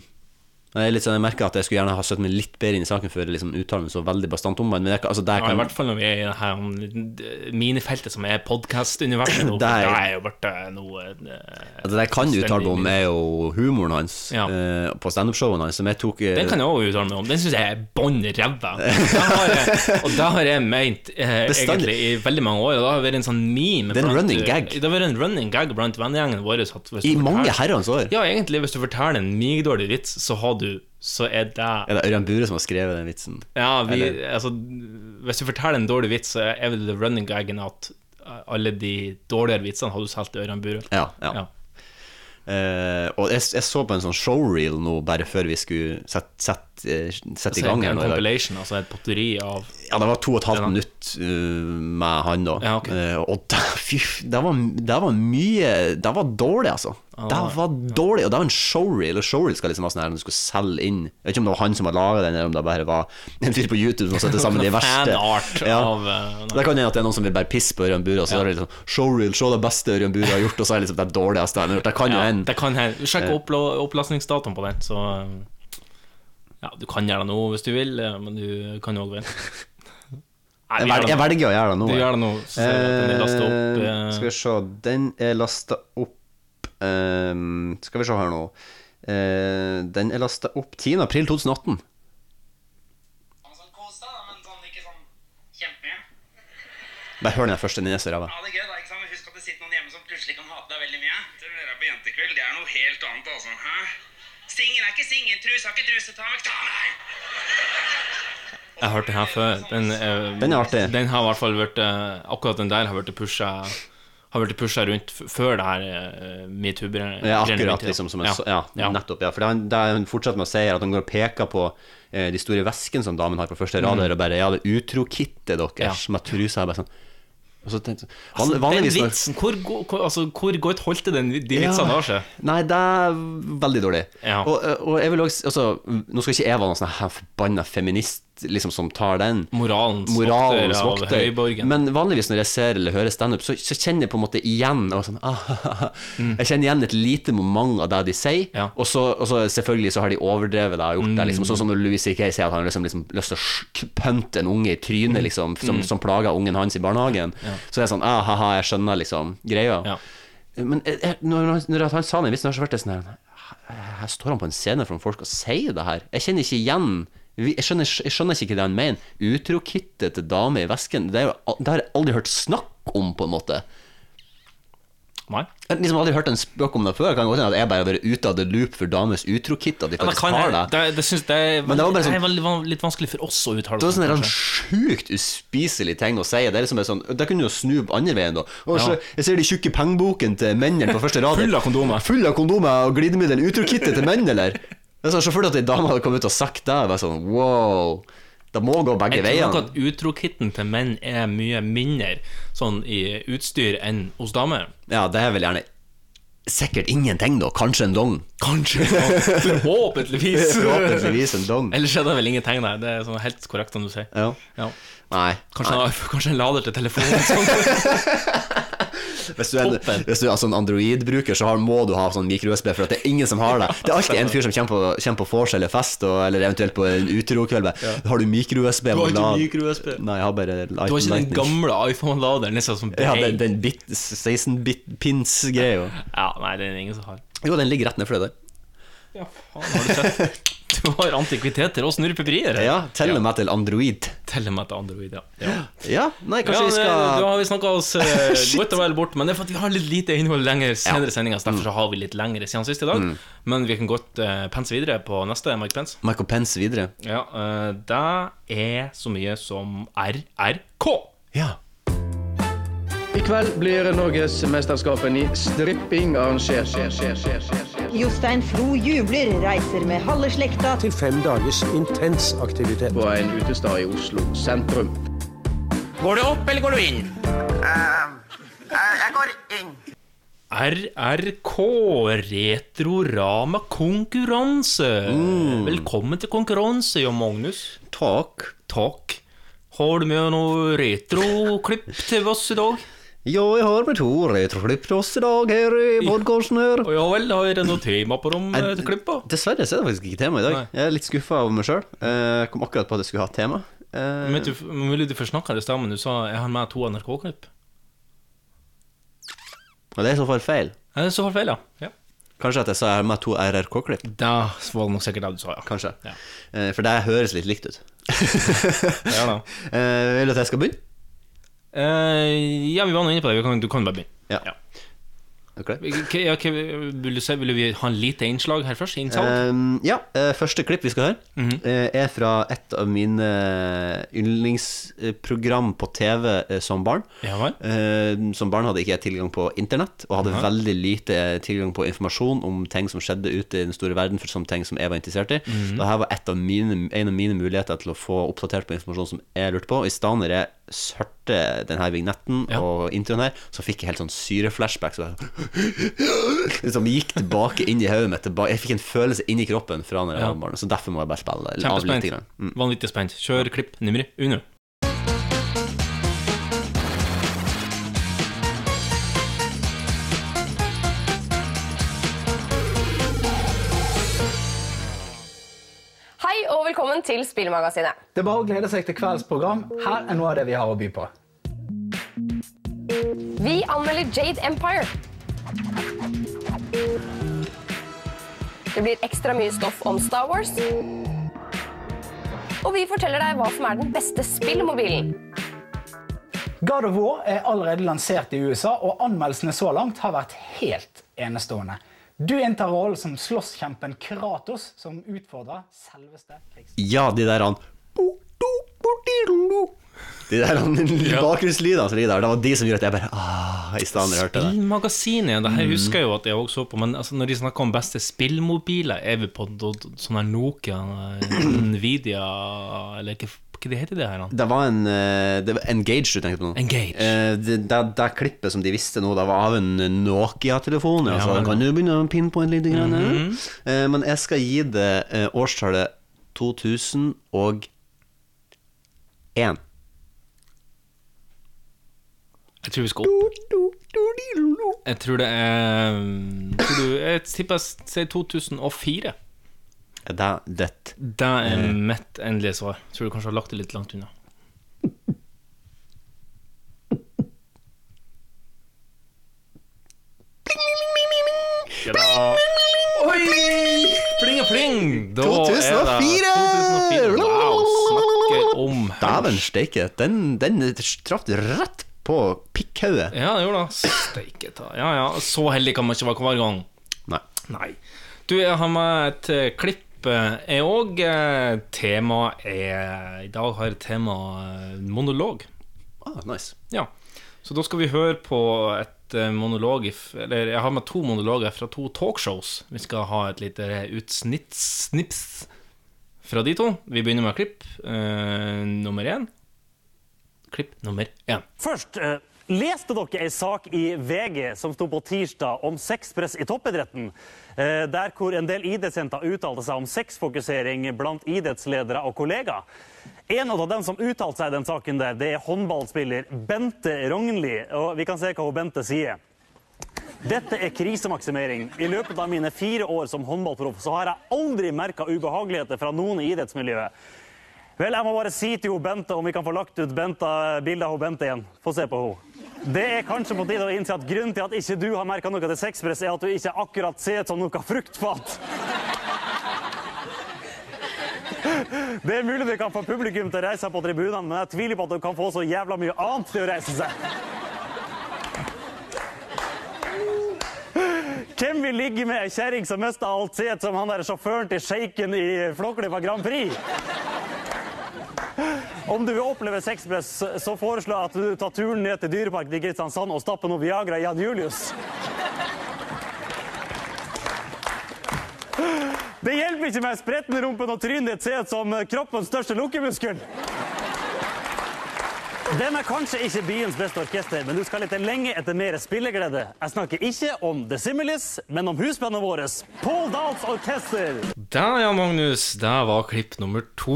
[SPEAKER 3] jeg, er litt sånn, jeg merker at jeg skulle gjerne ha søkt meg litt bedre inn i saken før jeg liksom uttaler meg så veldig bastant om den. Men jeg, kan- altså, der
[SPEAKER 2] Ja, I hvert
[SPEAKER 3] kan,
[SPEAKER 2] fall når vi er i det her um, minefeltet som er podkast-universet. nå, for
[SPEAKER 3] Der.
[SPEAKER 2] Det er jo blitt eh, noe eh,
[SPEAKER 3] altså, det jeg kan uttale meg om, er jo humoren hans
[SPEAKER 2] Ja.
[SPEAKER 3] eh, på standup-showene hans. Som jeg tok eh,
[SPEAKER 2] Den kan jeg også uttale meg om. Den syns jeg er bånn ræva. Da har jeg- Og det har jeg ment eh,
[SPEAKER 3] Bestandig.
[SPEAKER 2] egentlig i veldig mange år. Og det har vært en sånn meme.
[SPEAKER 3] Det er en
[SPEAKER 2] blant-
[SPEAKER 3] running gag.
[SPEAKER 2] Det har vært en running gag blant vennegjengen vår. at hvis
[SPEAKER 3] I
[SPEAKER 2] du
[SPEAKER 3] mange
[SPEAKER 2] forteller-
[SPEAKER 3] herrens år.
[SPEAKER 2] Ja, egentlig, hvis du forteller en migdårlig vits, så har du Så er det
[SPEAKER 3] Er det Ørjan Bure som har skrevet den vitsen?
[SPEAKER 2] Ja, vi, altså Hvis du forteller en dårlig vits, så er vel the running gagen at eh, alle de dårligere vitsene har du solgt i Ørjan Burøe.
[SPEAKER 3] Ja, ja. Eh, og jeg, jeg så på en sånn showreel nå, bare før vi skulle sette, sette, eh, sette i
[SPEAKER 2] Så
[SPEAKER 3] gang
[SPEAKER 2] en,
[SPEAKER 3] her
[SPEAKER 2] en
[SPEAKER 3] nå i dag.
[SPEAKER 2] compilation, altså et poteri av
[SPEAKER 3] Ja, det var to og et halvt
[SPEAKER 2] Ja.
[SPEAKER 3] minutt eh, med han da.
[SPEAKER 2] Ja, ok.
[SPEAKER 3] Eh, og da, fy, f- det var, det var mye Det var dårlig, altså.
[SPEAKER 2] Ah,
[SPEAKER 3] det var dårlig, og det var en showreel, og showreel skal liksom være sånn her når du skal selge inn Jeg vet ikke om det var han som hadde laga den, eller om det bare var en fyr på YouTube som satte sammen de verste.
[SPEAKER 2] fanart
[SPEAKER 3] Ja.
[SPEAKER 2] av eh,
[SPEAKER 3] Det kan hende at det er noen som vil bare pisse på Ørjan Bure, og så er det liksom showreel, se det beste Ørjan Bure har gjort, og så er det liksom det dårligste han har gjort. Det kan jo
[SPEAKER 2] ja,
[SPEAKER 3] hende.
[SPEAKER 2] Det kan hende. Sjekk
[SPEAKER 3] Eh.
[SPEAKER 2] oppla- opplastningsdatoen på den, så eh, Ja, du kan gjøre det nå hvis du vil, eh, men du kan òg vente. Nei,
[SPEAKER 3] Jeg,
[SPEAKER 2] vi gjør
[SPEAKER 3] vel,
[SPEAKER 2] det
[SPEAKER 3] jeg
[SPEAKER 2] nå.
[SPEAKER 3] velger å gjøre det nå.
[SPEAKER 2] Du
[SPEAKER 3] jeg.
[SPEAKER 2] gjør det nå, så ser jeg at den er lastet opp.
[SPEAKER 3] Eh,
[SPEAKER 2] eh.
[SPEAKER 3] Skal vi se, den er lasta opp eh, Skal vi se her nå. Eh, den er lasta opp 10. april 2018.
[SPEAKER 6] Altså, kos deg, da, men sånn, ikke sånn kjempemye.
[SPEAKER 3] Bare hør den her første, den er så ræva.
[SPEAKER 6] Ha det gøy, da. ikke sant? Men Husk at det sitter noen hjemme som plutselig kan hate deg veldig mye. Det å være på jentekveld, det er noe helt annet, altså. Hæ? Singel er ikke singeltrus, har ikke truse, ta meg Ta meg!
[SPEAKER 2] Jeg har hørt den her før. Den, eh,
[SPEAKER 3] Den er artig.
[SPEAKER 2] Den har i hvert fall vært eh, Akkurat den der har vært pusha Har vært pusha rundt f- før det her eh, metoo-greiene.
[SPEAKER 3] Ja,
[SPEAKER 2] begynte,
[SPEAKER 3] akkurat,
[SPEAKER 2] da.
[SPEAKER 3] liksom. Som en, så- ja,
[SPEAKER 2] ja.
[SPEAKER 3] nettopp. Ja. For det han, det han fortsetter med å si, er at han går og peker på eh, de store veskene som damen har på første rad, her, og bare Ja, det utro-kittet deres
[SPEAKER 2] Ja.
[SPEAKER 3] med trusa og bare sånn og så tenkte,
[SPEAKER 2] Altså,
[SPEAKER 3] van, vanligvis
[SPEAKER 2] den
[SPEAKER 3] når-
[SPEAKER 2] vitsen, hvor, go- hvor, altså, hvor godt holdt det den, de vitsene har seg?
[SPEAKER 3] Nei, det er veldig dårlig.
[SPEAKER 2] Ja.
[SPEAKER 3] Og, og jeg vil også, altså, Nå skal ikke jeg være noen sånn her forbanna feminist liksom, som tar den.
[SPEAKER 2] Moralens,
[SPEAKER 3] Moralens
[SPEAKER 2] vokter av
[SPEAKER 3] vokter.
[SPEAKER 2] Høyborgen.
[SPEAKER 3] Men vanligvis når jeg ser eller hører standup, så, så kjenner jeg på en måte igjen og sånn, ah, Jeg kjenner igjen et lite moment av det de sier,
[SPEAKER 2] Mm. Ja. Mm.
[SPEAKER 3] og, så, og så selvfølgelig så har de overdrevet det og gjort det. Liksom, sånn som når Louis C.K. sier at han liksom, liksom lyst til å sk- pønte en unge i
[SPEAKER 2] Mm.
[SPEAKER 3] trynet, liksom, som, som plager ungen hans i barnehagen. Så er det sånn ah, haha, jeg skjønner liksom greia.
[SPEAKER 2] Ja.
[SPEAKER 3] Eh, Men jeg, jeg- når, han- når han sa den vitsen, har jeg så vært det sånn her her- Her står han på en scene foran folk og sier det her. Jeg kjenner ikke igjen Vi- Jeg skjønner, jeg skjønner ikke hva han mener. Utrokittet til dame i vesken, det, er jo, al- det har jeg aldri hørt snakk om, på en måte.
[SPEAKER 2] Nei.
[SPEAKER 3] Jeg har liksom aldri hørt en spøk om det før. Det Kan godt hende at jeg bare har vært ute av the loop for dames utrokitt, at de
[SPEAKER 2] Ja, det
[SPEAKER 3] faktisk
[SPEAKER 2] kan jeg.
[SPEAKER 3] har det.
[SPEAKER 2] Det, det syns det er
[SPEAKER 3] Men det var bare
[SPEAKER 2] veldig-
[SPEAKER 3] sånn-
[SPEAKER 2] er veldig, van- litt vanskelig for oss å uttale oss
[SPEAKER 3] Det var
[SPEAKER 2] om,
[SPEAKER 3] sånn der en
[SPEAKER 2] kanskje.
[SPEAKER 3] sjukt uspiselig ting å si. Det er liksom bare sånn Da kunne du jo snu på andre veien, da. Og så,
[SPEAKER 2] Ja.
[SPEAKER 3] Jeg ser de tjukke pengeboken til mennene på første rad.
[SPEAKER 2] Full av kondomer.
[SPEAKER 3] Full av kondomer og glidemiddel. Utrokittet til menn, eller? Jeg så selvfølgelig at ei dame hadde kommet ut og sagt det. Jeg var sånn wow. Det må gå begge
[SPEAKER 2] Jeg tror nok
[SPEAKER 3] veiene.
[SPEAKER 2] at utrokitten til menn er mye mindre sånn i utstyr enn hos damer.
[SPEAKER 3] Ja, det er vel gjerne Sikkert ingenting, da. Kanskje en dong. Kanskje.
[SPEAKER 2] Forhåpentligvis.
[SPEAKER 3] Forhåpentligvis en dong.
[SPEAKER 2] Ellers er det vel ingen tegn der. Det er sånn helt korrekt som du sier.
[SPEAKER 3] Ja.
[SPEAKER 2] Ja.
[SPEAKER 3] Nei.
[SPEAKER 2] Kanskje, en, kanskje en lader til telefonen. Sånn.
[SPEAKER 3] Hvis du, er,
[SPEAKER 2] Toppen.
[SPEAKER 3] hvis du er sånn Android-bruker, så har, må du ha sånn mikro-USB, for at det er ingen som har det. Det er alltid en fyr som kommer på, kommer på vors eller fest, og, eller eventuelt på en uterokveld. med, Har du mikro-USB? Du
[SPEAKER 2] har ikke mikro-USB.
[SPEAKER 3] Nei, jeg har bare Lightning.
[SPEAKER 2] Du har ikke den gamle iPhone-laderen? Liksom, som
[SPEAKER 3] Ja,
[SPEAKER 2] Hey.
[SPEAKER 3] den, den bit, 16-bit-pins-greia.
[SPEAKER 2] ja, Nei, den er ingen som har.
[SPEAKER 3] Jo, den ligger rett nedfor det der.
[SPEAKER 2] Ja, faen, har du sett? Du har antikviteter og snurpeperier.
[SPEAKER 3] Ja, tell meg til Android.
[SPEAKER 2] Teller meg til android, ja. ja.
[SPEAKER 3] Ja, nei,
[SPEAKER 2] Ja,
[SPEAKER 3] kanskje vi
[SPEAKER 2] det- Da
[SPEAKER 3] skal
[SPEAKER 2] har vi snakka oss eh, godt og vel bort, men det er for at vi har litt lite innhold lenger senere i sendinga. så Derfor
[SPEAKER 3] Mm.
[SPEAKER 2] så har vi litt lengre siden sist i dag. Men vi kan godt eh, pense videre på neste Mike Pence.
[SPEAKER 3] Michael Pence videre.
[SPEAKER 2] Ja, eh, Det er så mye som RRK.
[SPEAKER 3] Ja.
[SPEAKER 7] I kveld blir Norgesmesterskapen i stripping arrangert.
[SPEAKER 8] Jostein Flo jubler, reiser med halve slekta til
[SPEAKER 7] på en utestad i Oslo sentrum.
[SPEAKER 2] RRK, retrorama-konkurranse.
[SPEAKER 3] Mm.
[SPEAKER 2] Velkommen til konkurranse, Jan Magnus.
[SPEAKER 3] Takk.
[SPEAKER 2] Takk. Har du med noe retroklipp til oss i dag?
[SPEAKER 3] Ja, jeg har med to retroklipp til oss i dag her i podkasten her.
[SPEAKER 2] Å ja vel, har dere noe tema på de eh, klippa?
[SPEAKER 3] Dessverre så er det faktisk ikke tema i dag.
[SPEAKER 2] Nei.
[SPEAKER 3] Jeg er litt skuffa over meg sjøl. Jeg kom akkurat på at jeg skulle ha et tema. Eh,
[SPEAKER 2] Men Vet du, mulig du forsnakka det i stemmen. Du sa 'jeg har med to NRK-klipp'.
[SPEAKER 3] Og det er i så fall feil.
[SPEAKER 2] Er det Eh, så feil, ja? ja.
[SPEAKER 3] Kanskje at jeg sa jeg har med to RRK-klipp.
[SPEAKER 2] Da var det nok sikkert det du sa, ja.
[SPEAKER 3] Kanskje.
[SPEAKER 2] Ja.
[SPEAKER 3] Eh, For det høres litt likt ut.
[SPEAKER 2] Ja, da.
[SPEAKER 3] Eh, Vil du at jeg skal begynne?
[SPEAKER 2] Eh, ja, vi var nå inne på det. Vi kan, du kan bare begynne.
[SPEAKER 3] Ja.
[SPEAKER 2] Ja.
[SPEAKER 3] Er du klar?
[SPEAKER 2] K- ja, k- vil, du se, vil vi ha en lite innslag her først? Innsalg?
[SPEAKER 3] Um, ja, eh, første klipp vi skal høre,
[SPEAKER 2] Mhm.
[SPEAKER 3] eh, er fra et av mine yndlingsprogram på TV eh, som barn.
[SPEAKER 2] Ja vel.
[SPEAKER 3] Eh, som barn hadde ikke jeg tilgang på internett, og hadde veldig lite tilgang på informasjon om ting som skjedde ute i den store verden, for som ting som jeg var interessert i.
[SPEAKER 2] Mhm.
[SPEAKER 3] Og her var et av mine, en av mine muligheter til å få oppdatert på informasjon som jeg lurte på. Og i stedet når jeg hørte denne vignetten
[SPEAKER 2] Ja.
[SPEAKER 3] og introen her, så fikk jeg helt sånn syreflashback. Så jeg liksom gikk tilbake inn i hodet mitt. tilba- Jeg fikk en følelse inni kroppen fra når jeg
[SPEAKER 2] Ja.
[SPEAKER 3] var barn. Så derfor må jeg bare spille det av litt.
[SPEAKER 2] Kjempespent.
[SPEAKER 3] Grann. Mm.
[SPEAKER 2] Vanvittig spent. Kjør klipp nummer uno.
[SPEAKER 9] Hei og velkommen til Spillmagasinet.
[SPEAKER 10] Det er bare å glede seg til kveldens program. Her er noe av det vi har å by på.
[SPEAKER 9] Vi anmelder Jade Empire. Det blir ekstra mye stoff om Star Wars. Og vi forteller deg hva som er den beste spillmobilen.
[SPEAKER 10] God of War er allerede lansert i USA, og anmeldelsene så langt har vært helt enestående. Du inntar rollen som slåsskjempen Kratos, som utfordrer selveste krigs...
[SPEAKER 3] Ja, de der han De der han bakgrunnslydene som ligger der, det var de som gjorde at jeg bare ah, I stedet når jeg hørte det.
[SPEAKER 2] Spillmagasinet, ja. Det her husker jeg jo at jeg også så på, men altså, når de snakker om beste spillmobiler, er vi på do- do- sånn her Nokia, eh, Nvidia Eller hva, hva heter det her? da?
[SPEAKER 3] Det var en eh, det var Engage du tenkte på nå.
[SPEAKER 2] Engage.
[SPEAKER 3] Eh, det, det, det klippet som de visste nå, det var av en Nokia-telefon. Ja, så
[SPEAKER 2] vel.
[SPEAKER 3] kan du begynne å pinne på en liten grann.
[SPEAKER 2] Mhm.
[SPEAKER 3] eh? Eh, men jeg skal gi det eh, årstallet 2001.
[SPEAKER 2] Jeg tror vi skal opp. Jeg tror det er tror du, Jeg tipper jeg sier 2004.
[SPEAKER 3] Er Det det
[SPEAKER 2] Det er mitt endelige svar. Tror du kanskje jeg har lagt det litt langt unna. Ja da. Oi! Pling og pling! Da Er
[SPEAKER 3] 2004!
[SPEAKER 2] det 2004. Wow, snakker om
[SPEAKER 3] Dæven steike, den, den traff rett på pikkhauget.
[SPEAKER 2] Ja, det gjorde det. Steike ta. Ja, ja. Så heldig kan man ikke være hver gang.
[SPEAKER 3] Nei.
[SPEAKER 2] Nei. Du, jeg har med et eh, klipp, eh, jeg òg. Temaet er I dag har temaet eh, monolog.
[SPEAKER 3] Ah, nice.
[SPEAKER 2] Ja. Så da skal vi høre på et eh, monolog if- Eller jeg har med to monologer fra to talkshows. Vi skal ha et lite utsnitt-snips fra de to. Vi begynner med klipp eh, nummer én. Klipp nummer én.
[SPEAKER 11] Først, eh, leste dere en sak i VG som sto på tirsdag om sexpress i toppidretten? Eh, der hvor en del idrettsjenter uttalte seg om sexfokusering blant idrettsledere og kollegaer. En av dem som uttalte seg i den saken der, det er håndballspiller Bente Rognli. Og vi kan se hva hun Bente sier. Dette er krisemaksimering. I løpet av mine fire år som håndballproff så har jeg aldri merka ubehageligheter fra noen i idrettsmiljøet. Vel, jeg må bare si til hun Bente om vi kan få lagt ut Benta, bildet av hun Bente igjen. Få se på henne. Det er kanskje på tide å innse at grunnen til at ikke du har merka noe til sexpress, er at du ikke akkurat ser ut som noe fruktfat. Det er mulig du kan få publikum til å reise seg på tribunene, men jeg tviler på at du kan få så jævla mye annet til å reise seg. Hvem vil ligge med ei kjerring som mista alt sitt, som han der sjåføren til sjeiken i Flåklypa Grand Prix? Om du vil oppleve sexpress, så foreslår jeg at du tar turen ned til Dyreparken i Kristiansand og stapper noe Viagra i Jan Julius. Det hjelper ikke med spretten i rumpen og trynet ditt ser ut som kroppens største lukkemuskel. Den er kanskje ikke byens beste orkester, men du skal lete lenge etter mer spilleglede. Jeg snakker ikke om The Similis, men om husbandet vårt, Paul Dahls Orkester.
[SPEAKER 2] Der, ja, Magnus. Der var klipp nummer to.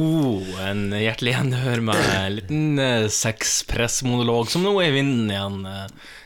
[SPEAKER 2] En hjertelig gjenhør med en liten eh, sexpressmonolog som nå er i vinden igjen eh,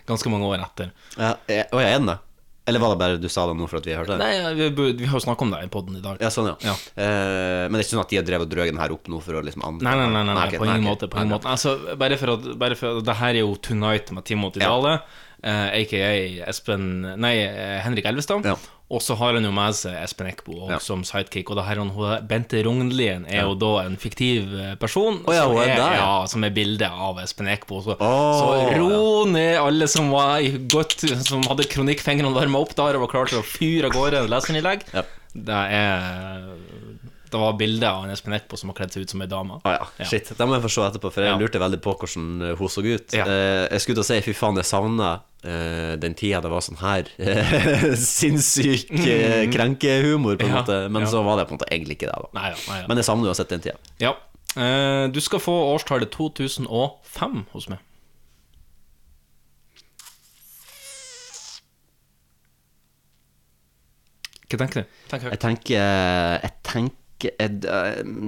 [SPEAKER 2] ganske mange år etter.
[SPEAKER 3] Ja, eh, jeg, og jeg er den, da. Eller var det bare du sa det nå for at vi hørte det?
[SPEAKER 2] Nei, ja, vi, bu- vi har jo snakka om det i poden i dag.
[SPEAKER 3] Ja, sånn, ja. Eh, men det er ikke sånn at de har drevet og drøget den her opp nå for å liksom andre
[SPEAKER 2] Nei, nei, nei, nei, nei,
[SPEAKER 3] ok,
[SPEAKER 2] på ingen
[SPEAKER 3] ok.
[SPEAKER 2] måte. På ingen
[SPEAKER 3] Nei,
[SPEAKER 2] måte. Altså, bare for at, bare for at Det her er jo Tonight med Timothy Dale, eh, aka Espen Nei, eh, Henrik Elvestad. Og så har han jo med seg Espen Eckbo og, som sidekick. Og det her, han, hun- Bente Rognlien er jo da en fiktiv eh, person
[SPEAKER 3] Å ja,
[SPEAKER 2] som,
[SPEAKER 3] hun er
[SPEAKER 2] er,
[SPEAKER 3] der, ja.
[SPEAKER 2] ja, som er bildet av Espen Eckbo. Så, så ro ned alle som var i godt Som hadde kronikkfingrene varma opp der og var klar til å fyre av gårde en leserinnlegg. Det er det var bilde av en Espen Eckbo som har kledd seg ut som ei dame.
[SPEAKER 3] Ah, ja. Shit, det må jeg få se etterpå, for jeg lurte veldig på hvordan eh, hun så ut. Eh, jeg skulle til å si fy faen, jeg savna eh, den tida det var sånn her sinnssyk eh,
[SPEAKER 2] Mm.
[SPEAKER 3] krenkehumor, på en
[SPEAKER 2] Ja,
[SPEAKER 3] måte. Men
[SPEAKER 2] ja.
[SPEAKER 3] så var det på en måte egentlig ikke det, da.
[SPEAKER 2] Nei, ja, nei, ja.
[SPEAKER 3] Men jeg savner uansett den tida.
[SPEAKER 2] Ja. Eh, du skal få årstallet 2005 hos meg. Hva tenker du? Tenk høyt.
[SPEAKER 3] Jeg tenker Jeg tenker jeg, eh,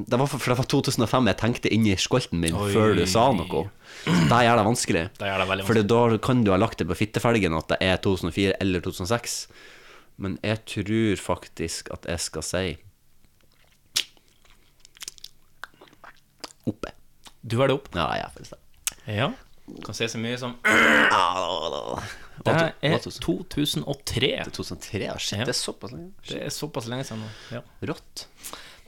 [SPEAKER 3] det var for, for det var 2005 jeg tenkte inni skolten min
[SPEAKER 2] Oi.
[SPEAKER 3] før du sa noe. Så Det gjør det vanskelig.
[SPEAKER 2] Det gjør det veldig
[SPEAKER 3] For da kan du ha lagt det på fittefelgen at det er 2004 eller 2006. Men jeg tror faktisk at jeg skal si Oppe.
[SPEAKER 2] Du er det opp?
[SPEAKER 3] Ja, jeg er faktisk det.
[SPEAKER 2] Ja. Kan se så mye som Det
[SPEAKER 3] Hva to-
[SPEAKER 2] er
[SPEAKER 3] hva
[SPEAKER 2] 2003.
[SPEAKER 3] 2003, ja, shit,
[SPEAKER 2] Ja.
[SPEAKER 3] det er såpass lenge.
[SPEAKER 2] Det er såpass lenge siden nå. Ja.
[SPEAKER 3] Rått.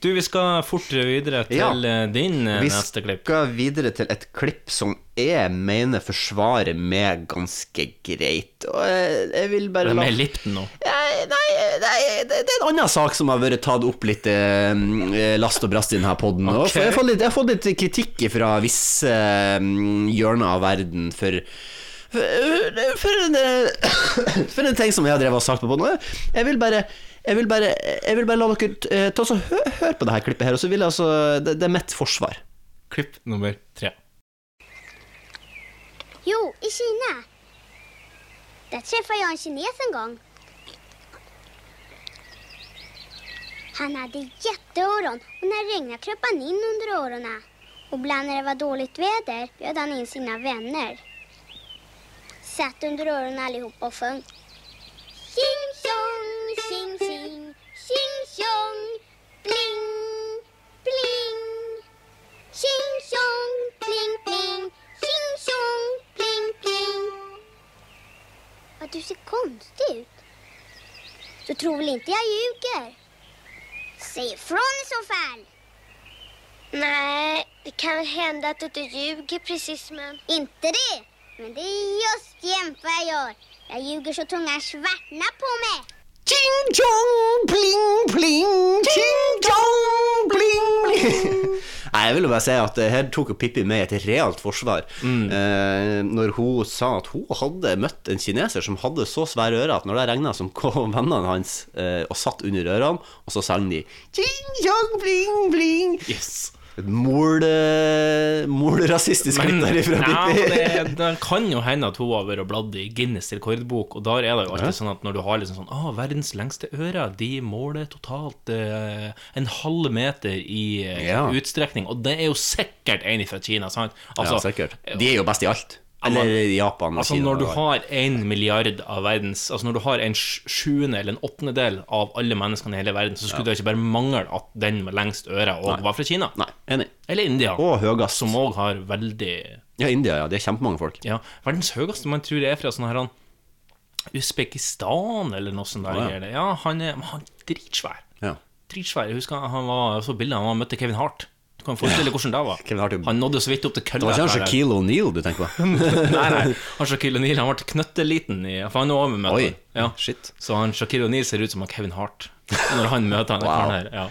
[SPEAKER 2] Du, vi skal fortere videre til
[SPEAKER 3] Ja.
[SPEAKER 2] eh, din eh,
[SPEAKER 3] Vi
[SPEAKER 2] neste klipp.
[SPEAKER 3] skal videre til et klipp som jeg mener forsvarer meg ganske greit. Og jeg, jeg vil bare
[SPEAKER 2] Den
[SPEAKER 3] la-
[SPEAKER 2] med Ellipten nå.
[SPEAKER 3] Nei, nei, nei det, det er en annen sak som har vært tatt opp litt eh, last og brast i denne poden.
[SPEAKER 2] Ok.
[SPEAKER 3] Jeg, har fått litt- jeg har fått litt kritikk fra visse eh, hjørner av verden for for, for, en, eh, for en ting som jeg har drevet og sagt på poden. Jeg vil bare jeg vil, bare, jeg vil bare la dere eh, ta og høre hør på det her klippet her, og så vil jeg altså Det, det er mitt forsvar.
[SPEAKER 2] Klipp nummer tre.
[SPEAKER 12] Jo, i Kina. Där träffade jag en kines en gång. Han hade jätteöron och när det regnade kröp han in under öronen. Och ibland när det var dåligt väder bjöd han in sina vänner. Satt under öronen allihopa och sjöng. Tjing tjong, tjing tjing, tjing tjong, bling, bling. Tjing tjong, pling pling, tjing tjong, pling pling. Vad du ser konstig ut. Du tror väl inte jag ljuger? Säg ifrån i så fall. Nej, det kan väl hända att du inte ljuger precis men... Inte det! Men det är just jämt vad jag gör. Jag ljuger så tungan svartnar på mig.
[SPEAKER 3] Tjing tjong, pling pling, tjing tjong, pling pling. Nei, jeg vil jo bare si at eh, her tok jo Pippi med et realt forsvar.
[SPEAKER 2] Mm.
[SPEAKER 3] Eh, når hun sa at hun hadde møtt en kineser som hadde så svære ører at når det regna, så kom vennene hans eh, og satt under ørene, og så sang de
[SPEAKER 5] Ching chong bling bling.
[SPEAKER 2] Yes.
[SPEAKER 3] mol... eh, molrasistisk
[SPEAKER 2] Men-
[SPEAKER 3] ut der ifra
[SPEAKER 2] Nei,
[SPEAKER 3] Pippi.
[SPEAKER 2] men det, det kan jo hende at hun har vært og bladd i Guinness rekordbok, og der er det jo alltid sånn at når du har liksom sånn ah, 'Verdens lengste ører', de måler totalt eh, en halv meter i eh,
[SPEAKER 3] Ja.
[SPEAKER 2] utstrekning, og det er jo sikkert en fra Kina, sant?
[SPEAKER 3] ja, sikkert. De er jo best i
[SPEAKER 2] altså,
[SPEAKER 3] alt.
[SPEAKER 2] eh, Ja, men-
[SPEAKER 3] Eller i Japan. og
[SPEAKER 2] Altså
[SPEAKER 3] Kina
[SPEAKER 2] Når du
[SPEAKER 3] og-
[SPEAKER 2] har en milliard av verdens Altså når du har en sj- sjuende eller en åttendedel av alle menneskene i hele verden, så skulle det ikke bare mangle at den med lengst øre òg var fra Kina. Eller India. Som òg har veldig
[SPEAKER 3] Ja, India, ja. Det er kjempemange folk.
[SPEAKER 2] Ja, Verdens høyeste man tror er fra sånn her han Usbekistan eller noe sånt. der
[SPEAKER 3] Å, ja.
[SPEAKER 2] greier det. ja. han er men han er dritsvær.
[SPEAKER 3] Ja.
[SPEAKER 2] dritsvær. Jeg husker han var så bildet han var- møtte Kevin Hart. Du kan forestille deg hvordan det var. Han nådde så vidt opp til
[SPEAKER 3] Det
[SPEAKER 2] kølla.
[SPEAKER 3] var ikke han
[SPEAKER 2] etter det.
[SPEAKER 3] Shaquille O'Neal du tenker på?
[SPEAKER 2] nei, nei. Han Shaquille O'Neal han ble knøtteliten i For han er over møtet.
[SPEAKER 3] Oi,
[SPEAKER 2] ja. Så han Shaquille O'Neal ser ut som han Kevin Hart når han møter han
[SPEAKER 3] Wow.
[SPEAKER 2] karen her. Ja.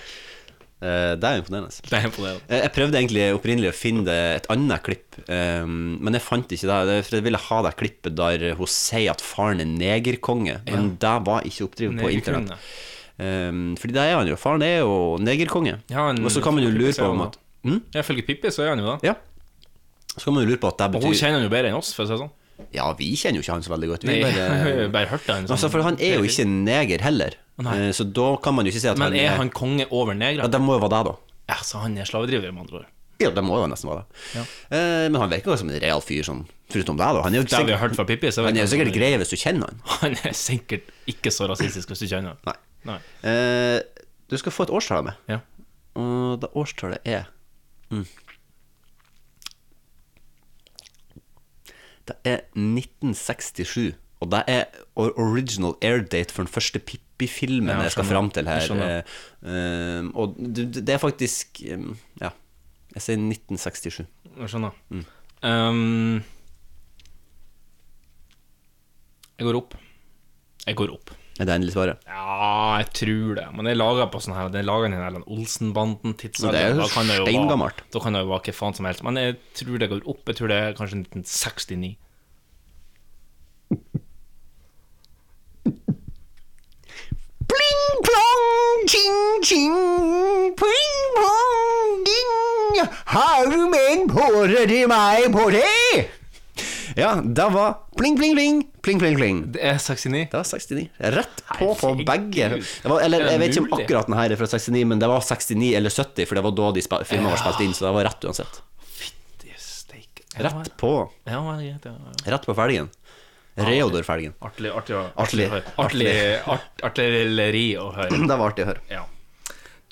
[SPEAKER 3] Eh, Det er imponerende.
[SPEAKER 2] Det er imponerende.
[SPEAKER 3] Eh, Jeg prøvde egentlig opprinnelig å finne det- et annet klipp, eh, men jeg fant ikke det. det. For jeg ville ha det klippet der hun sier at faren er negerkonge, men det var ikke oppdrivet på
[SPEAKER 2] Negerkonge.
[SPEAKER 3] internett. Um, fordi det er han jo. Faren er jo negerkonge.
[SPEAKER 2] Ja, han-
[SPEAKER 3] Og så kan man jo lure
[SPEAKER 2] ser
[SPEAKER 3] på om
[SPEAKER 2] han
[SPEAKER 3] at hm?
[SPEAKER 2] Ja, Ifølge Pippi så er han jo det.
[SPEAKER 3] Ja. Så kan man jo lure på at det
[SPEAKER 2] Og
[SPEAKER 3] betyr
[SPEAKER 2] hun kjenner han jo bedre enn oss, for å si det sånn.
[SPEAKER 3] Ja, vi kjenner jo ikke han så veldig godt. Vi
[SPEAKER 2] Nei,
[SPEAKER 3] bare-
[SPEAKER 2] bare hørte han sånn.
[SPEAKER 3] altså, For han er jo ikke neger heller, Eh, så da kan man jo ikke si at
[SPEAKER 2] Men er han
[SPEAKER 3] han
[SPEAKER 2] konge over negre?
[SPEAKER 3] Ja, det må jo være det, da.
[SPEAKER 2] Ja, så han er slavedriver, med andre ord.
[SPEAKER 3] Ja, det må jo nesten være det.
[SPEAKER 2] Ja.
[SPEAKER 3] Eh, men han virker jo som en real fyr, sånn. Foruten deg, da. Han er jo
[SPEAKER 2] Det har vi hørt fra Pippi. så vet
[SPEAKER 3] han er
[SPEAKER 2] jeg
[SPEAKER 3] jo sikkert
[SPEAKER 2] ikke.
[SPEAKER 3] grei hvis du kjenner han.
[SPEAKER 2] Han er sikkert ikke så rasistisk hvis du kjenner han. Nei.
[SPEAKER 3] Eh, du skal få et årstall av meg.
[SPEAKER 2] Ja.
[SPEAKER 3] Og det årstallet er mm. Det er 1967. Og det er or- original airdate for den første Pippi-filmen
[SPEAKER 2] Ja, jeg
[SPEAKER 3] jeg skal
[SPEAKER 2] skjønner.
[SPEAKER 3] fram til
[SPEAKER 2] Jeg
[SPEAKER 3] her.
[SPEAKER 2] skjønner.
[SPEAKER 3] Eh, um, og det, det er faktisk um, Ja, jeg sier 1967.
[SPEAKER 2] Jeg skjønner.
[SPEAKER 3] Mm.
[SPEAKER 2] Ehm, jeg går opp. Jeg går opp.
[SPEAKER 3] Er det endelig svaret?
[SPEAKER 2] Ja, jeg tror det. Men det er laga på sånn her Det er laget i en eller annen Olsenbanden-tidsalder.
[SPEAKER 3] Det er jo
[SPEAKER 2] Da kan det jo være-
[SPEAKER 3] steingammelt.
[SPEAKER 2] Da kan det jo være hva faen som helst. Men jeg tror det går opp. Jeg tror det er kanskje 1969.
[SPEAKER 5] Pling plong, ching ching, pling plong, ding. Har du med en pose til meg på det?
[SPEAKER 3] Ja, det var pling, pling, pling. Pling, pling, pling.
[SPEAKER 2] Det er 69.
[SPEAKER 3] Det var 69. Rett på på begge. Det var, eller,
[SPEAKER 2] Er det
[SPEAKER 3] jeg vet ikke om
[SPEAKER 2] mulig?
[SPEAKER 3] akkurat den her er fra 69, men det var 69 eller 70, for det var da de spa- filmene var spilt inn, så det var rett uansett. Rett på.
[SPEAKER 2] Ja, men det er greit, ja.
[SPEAKER 3] Rett på felgen. Reodor-felgen.
[SPEAKER 2] Artig, artig, å-
[SPEAKER 3] Artig.
[SPEAKER 2] å høre. artig, art- artilleri å høre.
[SPEAKER 3] Det var artig å høre.
[SPEAKER 2] Ja.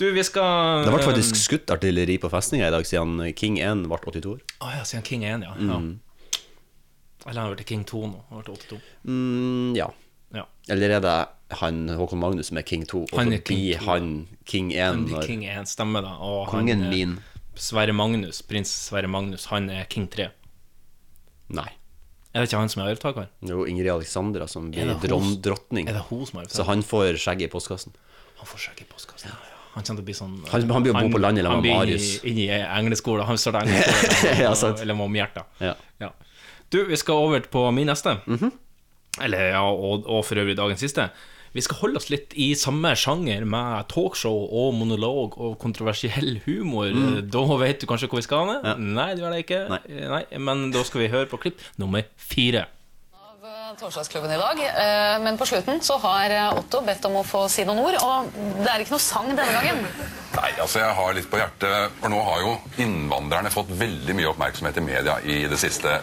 [SPEAKER 2] Du, vi skal
[SPEAKER 3] Det ble
[SPEAKER 2] ehm,
[SPEAKER 3] faktisk skutt artilleri på festninga i dag, siden King 1 ble 82 år.
[SPEAKER 2] Å ja, siden King 1, ja.
[SPEAKER 3] Mm.
[SPEAKER 2] ja. Eller han har vært King 2 nå. Han har vært 82.
[SPEAKER 3] Mm, ja.
[SPEAKER 2] Ja.
[SPEAKER 3] Eller er det han Håkon Magnus som er King 2, og
[SPEAKER 2] Han er
[SPEAKER 3] forbi
[SPEAKER 2] King 2.
[SPEAKER 3] han King 1
[SPEAKER 2] Han er
[SPEAKER 3] når
[SPEAKER 2] King 1 stemmer, da. Og
[SPEAKER 3] Kongen
[SPEAKER 2] han, eh,
[SPEAKER 3] min.
[SPEAKER 2] Sverre Magnus, prins Sverre Magnus, han er King 3.
[SPEAKER 3] Nei.
[SPEAKER 2] Er det ikke han som er arvtaker?
[SPEAKER 3] Det er jo Ingrid Alexandra som
[SPEAKER 2] Er
[SPEAKER 3] blir
[SPEAKER 2] det
[SPEAKER 3] dron,
[SPEAKER 2] hos-
[SPEAKER 3] drottning.
[SPEAKER 2] er det hun som har arvet
[SPEAKER 3] Så han får skjegget i postkassen.
[SPEAKER 2] Han får skjegg i postkassen. Han kommer til å bli sånn
[SPEAKER 3] Han- han blir jo bo på landet sammen
[SPEAKER 2] han
[SPEAKER 3] med
[SPEAKER 2] blir
[SPEAKER 3] Marius.
[SPEAKER 2] Inn i engleskolen. Han starter engleskole.
[SPEAKER 3] Ja, sant.
[SPEAKER 2] Eller med omhjerta.
[SPEAKER 3] Ja. Mhm.
[SPEAKER 2] Ja. Du, vi skal over på min neste. Eller ja, og, og for øvrig dagens siste. Vi skal holde oss litt i samme sjanger med talkshow og monolog og kontroversiell humor.
[SPEAKER 3] Mm.
[SPEAKER 2] Da vet du kanskje hvor vi skal hen?
[SPEAKER 3] Ja.
[SPEAKER 2] Nei, det gjør det ikke. Nei. Men da skal vi høre på klipp nummer fire.
[SPEAKER 13] av Torsdagsklubben i dag. eh, Men på slutten så har eh, Otto bedt om å få si noen ord, og det er ikke noe sang denne gangen.
[SPEAKER 14] Nei, altså jeg har litt på hjertet, for nå har jo innvandrerne fått veldig mye oppmerksomhet i media i det siste.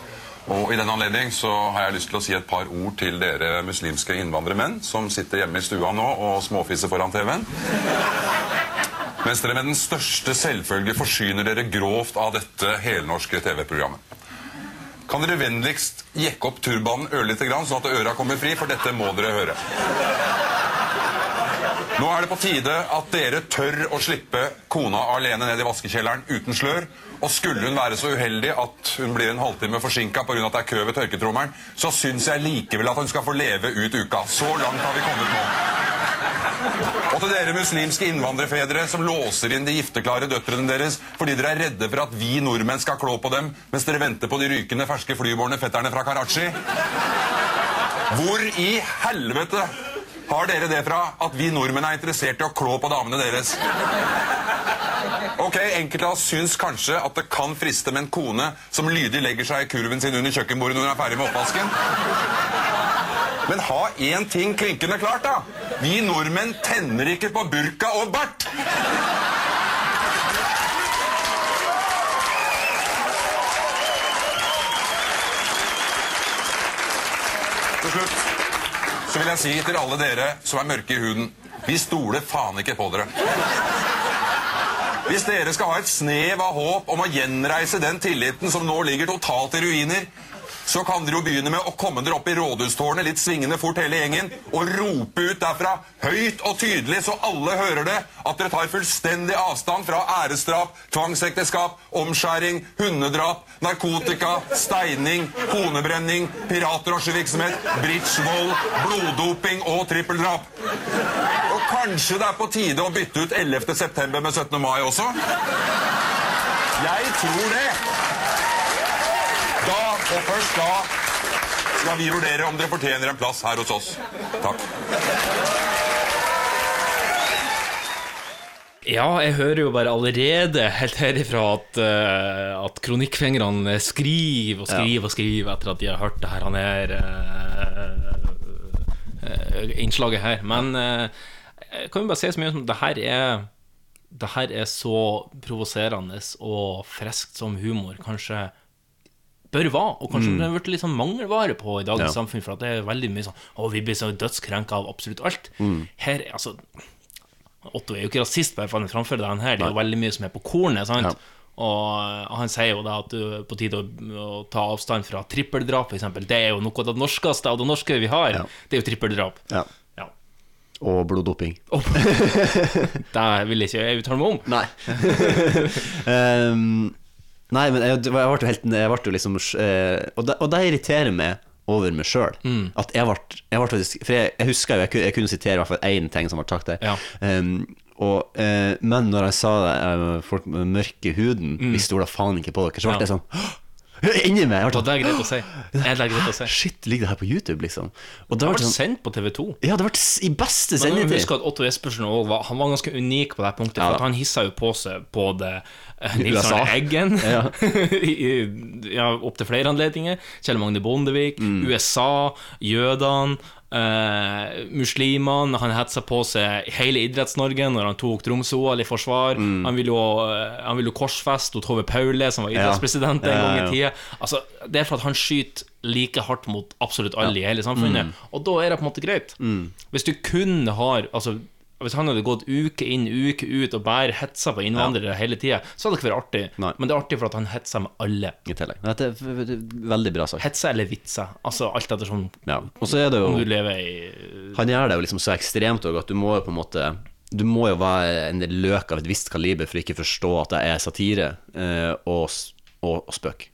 [SPEAKER 14] Og i den anledning så har jeg lyst til å si et par ord til dere muslimske innvandrermenn som sitter hjemme i stua nå og småfisser foran TV-en. Mens dere med den største selvfølge forsyner dere grovt av dette helnorske TV-programmet. Kan dere vennligst jekke opp turbanen ørlite grann, sånn at øra kommer fri, for dette må dere høre. Nå er det på tide at dere tør å slippe kona alene ned i vaskekjelleren uten slør. Og skulle hun være så uheldig at hun blir en halvtime forsinka pga. at det er kø ved tørketrommelen, så syns jeg likevel at hun skal få leve ut uka. Så langt har vi kommet nå. Og til dere muslimske innvandrerfedre som låser inn de gifteklare døtrene deres fordi dere er redde for at vi nordmenn skal klå på dem mens dere venter på de rykende ferske flybårne fetterne fra Karachi. Hvor i helvete har dere det fra at vi nordmenn er interessert i å klå på damene deres? Ok, Enkelte av oss syns kanskje at det kan friste med en kone som lydig legger seg i kurven sin under kjøkkenbordet når hun er ferdig med oppvasken. Men ha én ting klinkende klart, da. Vi nordmenn tenner ikke på burka og bart. Til slutt så vil jeg si til alle dere som er mørke i huden Vi stoler faen ikke på dere. Hvis dere skal ha et snev av håp om å gjenreise den tilliten som nå ligger totalt i ruiner, så kan dere jo begynne med å komme dere opp i rådhustårnet litt svingende fort hele gjengen, og rope ut derfra høyt og tydelig så alle hører det, at dere tar fullstendig avstand fra æresdrap, tvangsekteskap, omskjæring, hundedrap, narkotika, steining, konebrenning, piratdrosjevirksomhet, bridgevold, bloddoping og trippeldrap. Og kanskje det er på tide å bytte ut 11. september med 17. mai også? Jeg tror det. Da, og først da, skal vi vurdere om dere fortjener en plass her hos oss. Takk.
[SPEAKER 2] Ja, jeg hører jo bare allerede helt herifra at, eh, at kronikkfingrene skriver og skriver og skriver etter at de har hørt det her, han her eh, eh, innslaget her. Men eh, jeg kan jo bare si så mye som det her er det her er så provoserende og friskt som humor kanskje bør være, og kanskje
[SPEAKER 3] Mm.
[SPEAKER 2] det har vært litt sånn mangelvare på i dagens
[SPEAKER 3] Ja.
[SPEAKER 2] samfunn, for at det er veldig mye sånn Å, vi blir så dødskrenka av absolutt alt.
[SPEAKER 3] Mm.
[SPEAKER 2] Her, altså Otto er jo ikke rasist bare for han framfører den her, det er jo veldig mye som er på kornet. sant? Og eh, han sier jo da at du er på tide å, å ta avstand fra trippeldrap, f.eks. Det er jo noe av det norskeste av det norske vi har. Det er jo trippeldrap.
[SPEAKER 3] Ja. Og bloddoping.
[SPEAKER 2] det vil jeg ikke uttale meg om.
[SPEAKER 3] um, nei, men jeg, jeg ble jo helt Jeg ble jo liksom eh, Og det, og det irriterer meg over meg sjøl.
[SPEAKER 2] Mm.
[SPEAKER 3] At jeg ble, jeg ble faktisk For jeg, jeg husker jo, jeg, kunne- jeg kunne sitere i hvert fall én ting som ble sagt der. Um, og, eh, men når jeg sa det, eh, folk med mørke huden
[SPEAKER 2] Mm.
[SPEAKER 3] Vi stoler faen ikke på dere, så ble
[SPEAKER 2] Ja.
[SPEAKER 3] jeg sånn Inni meg! Jeg ble
[SPEAKER 2] Og det er greit
[SPEAKER 3] sånn,
[SPEAKER 2] å si. Det er greit å si.
[SPEAKER 3] Shit, ligger det her på YouTube, liksom? Og
[SPEAKER 2] Det
[SPEAKER 3] da
[SPEAKER 2] har
[SPEAKER 3] ble
[SPEAKER 2] vært
[SPEAKER 3] jeg sånn,
[SPEAKER 2] sendt på TV2.
[SPEAKER 3] ja, det ble s- i beste
[SPEAKER 2] Men man må
[SPEAKER 3] sendetid.
[SPEAKER 2] huske at Otto Jespersen også var, han var ganske unik på det punktet,
[SPEAKER 3] Ja,
[SPEAKER 2] for
[SPEAKER 3] da.
[SPEAKER 2] at han hissa jo på seg både eh, Nils
[SPEAKER 3] USA.
[SPEAKER 2] Arne Eggen ja.
[SPEAKER 3] Ja.
[SPEAKER 2] ja, opptil flere anledninger, Kjell Magne Bondevik,
[SPEAKER 3] Mm.
[SPEAKER 2] USA, jødene, eh, muslimene. Han hetsa på seg hele Idretts-Norge når han tok Tromsø-OL i forsvar. Han ville jo, eh, han ville jo korsfeste Tove Paule, som var
[SPEAKER 3] Mm. Ja.
[SPEAKER 2] idrettspresident en
[SPEAKER 3] Ja,
[SPEAKER 2] gang i
[SPEAKER 3] ja.
[SPEAKER 2] tida. Altså, det er for at han skyter like hardt mot absolutt alle i hele samfunnet.
[SPEAKER 3] Mm.
[SPEAKER 2] Og da er det på en måte greit.
[SPEAKER 3] Mm.
[SPEAKER 2] Hvis du kun har Altså hvis han hadde gått uke inn uke ut og bare hetsa på innvandrere hele tida, så hadde det ikke vært artig. Men det er artig for at han hetser med alle.
[SPEAKER 3] I tillegg. Dette er v- v- veldig bra sagt.
[SPEAKER 2] Hetser eller vitser. Altså alt ettersom
[SPEAKER 3] Ja. Og så er det jo
[SPEAKER 2] om du lever i
[SPEAKER 3] Han gjør det jo liksom så ekstremt òg, at du må jo på en måte Du må jo være en løk av et visst kaliber for ikke forstå at det er satire eh, og, s- og, og spøk.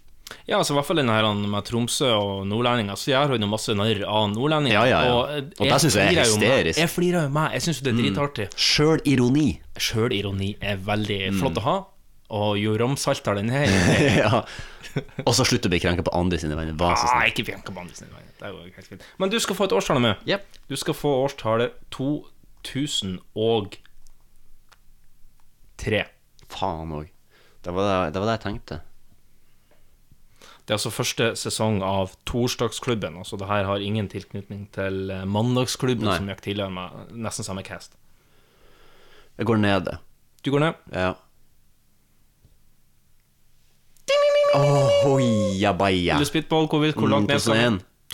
[SPEAKER 2] Ja, altså i hvert fall den her han med Tromsø og nordlendinger, så gjør han jo masse narr av nordlendinger.
[SPEAKER 3] Ja, ja, ja.
[SPEAKER 2] Og, eh,
[SPEAKER 3] Og det synes jeg er
[SPEAKER 2] flirer jo med-
[SPEAKER 3] hysterisk. Mm.
[SPEAKER 2] Jeg flirer jo med. Jeg syns jo det er dritartig.
[SPEAKER 3] Sjølironi.
[SPEAKER 2] Sjølironi er veldig
[SPEAKER 3] Mm.
[SPEAKER 2] flott å ha, og jo ramsaltere den her
[SPEAKER 3] ja. Og så slutte å bli krenka på andre sine vegne. Vær så
[SPEAKER 2] Ah,
[SPEAKER 3] snill.
[SPEAKER 2] ikke Bianca Bandis sin vei. Det er jo helt fint. Men du skal få et årstall med. Du skal få årstallet 2003.
[SPEAKER 3] Faen òg. Det, var det- det var det jeg tenkte.
[SPEAKER 2] Det er altså første sesong av Torsdagsklubben. Altså det her har ingen tilknytning til eh, Mandagsklubben,
[SPEAKER 3] Nei.
[SPEAKER 2] som gikk tidligere med nesten samme cast.
[SPEAKER 3] Jeg går ned det.
[SPEAKER 2] Du går ned?
[SPEAKER 3] Ja. Oh, hoia baia.
[SPEAKER 2] Vil du spitball? Hvor,
[SPEAKER 3] Mm,
[SPEAKER 2] hvor langt ned skal vi?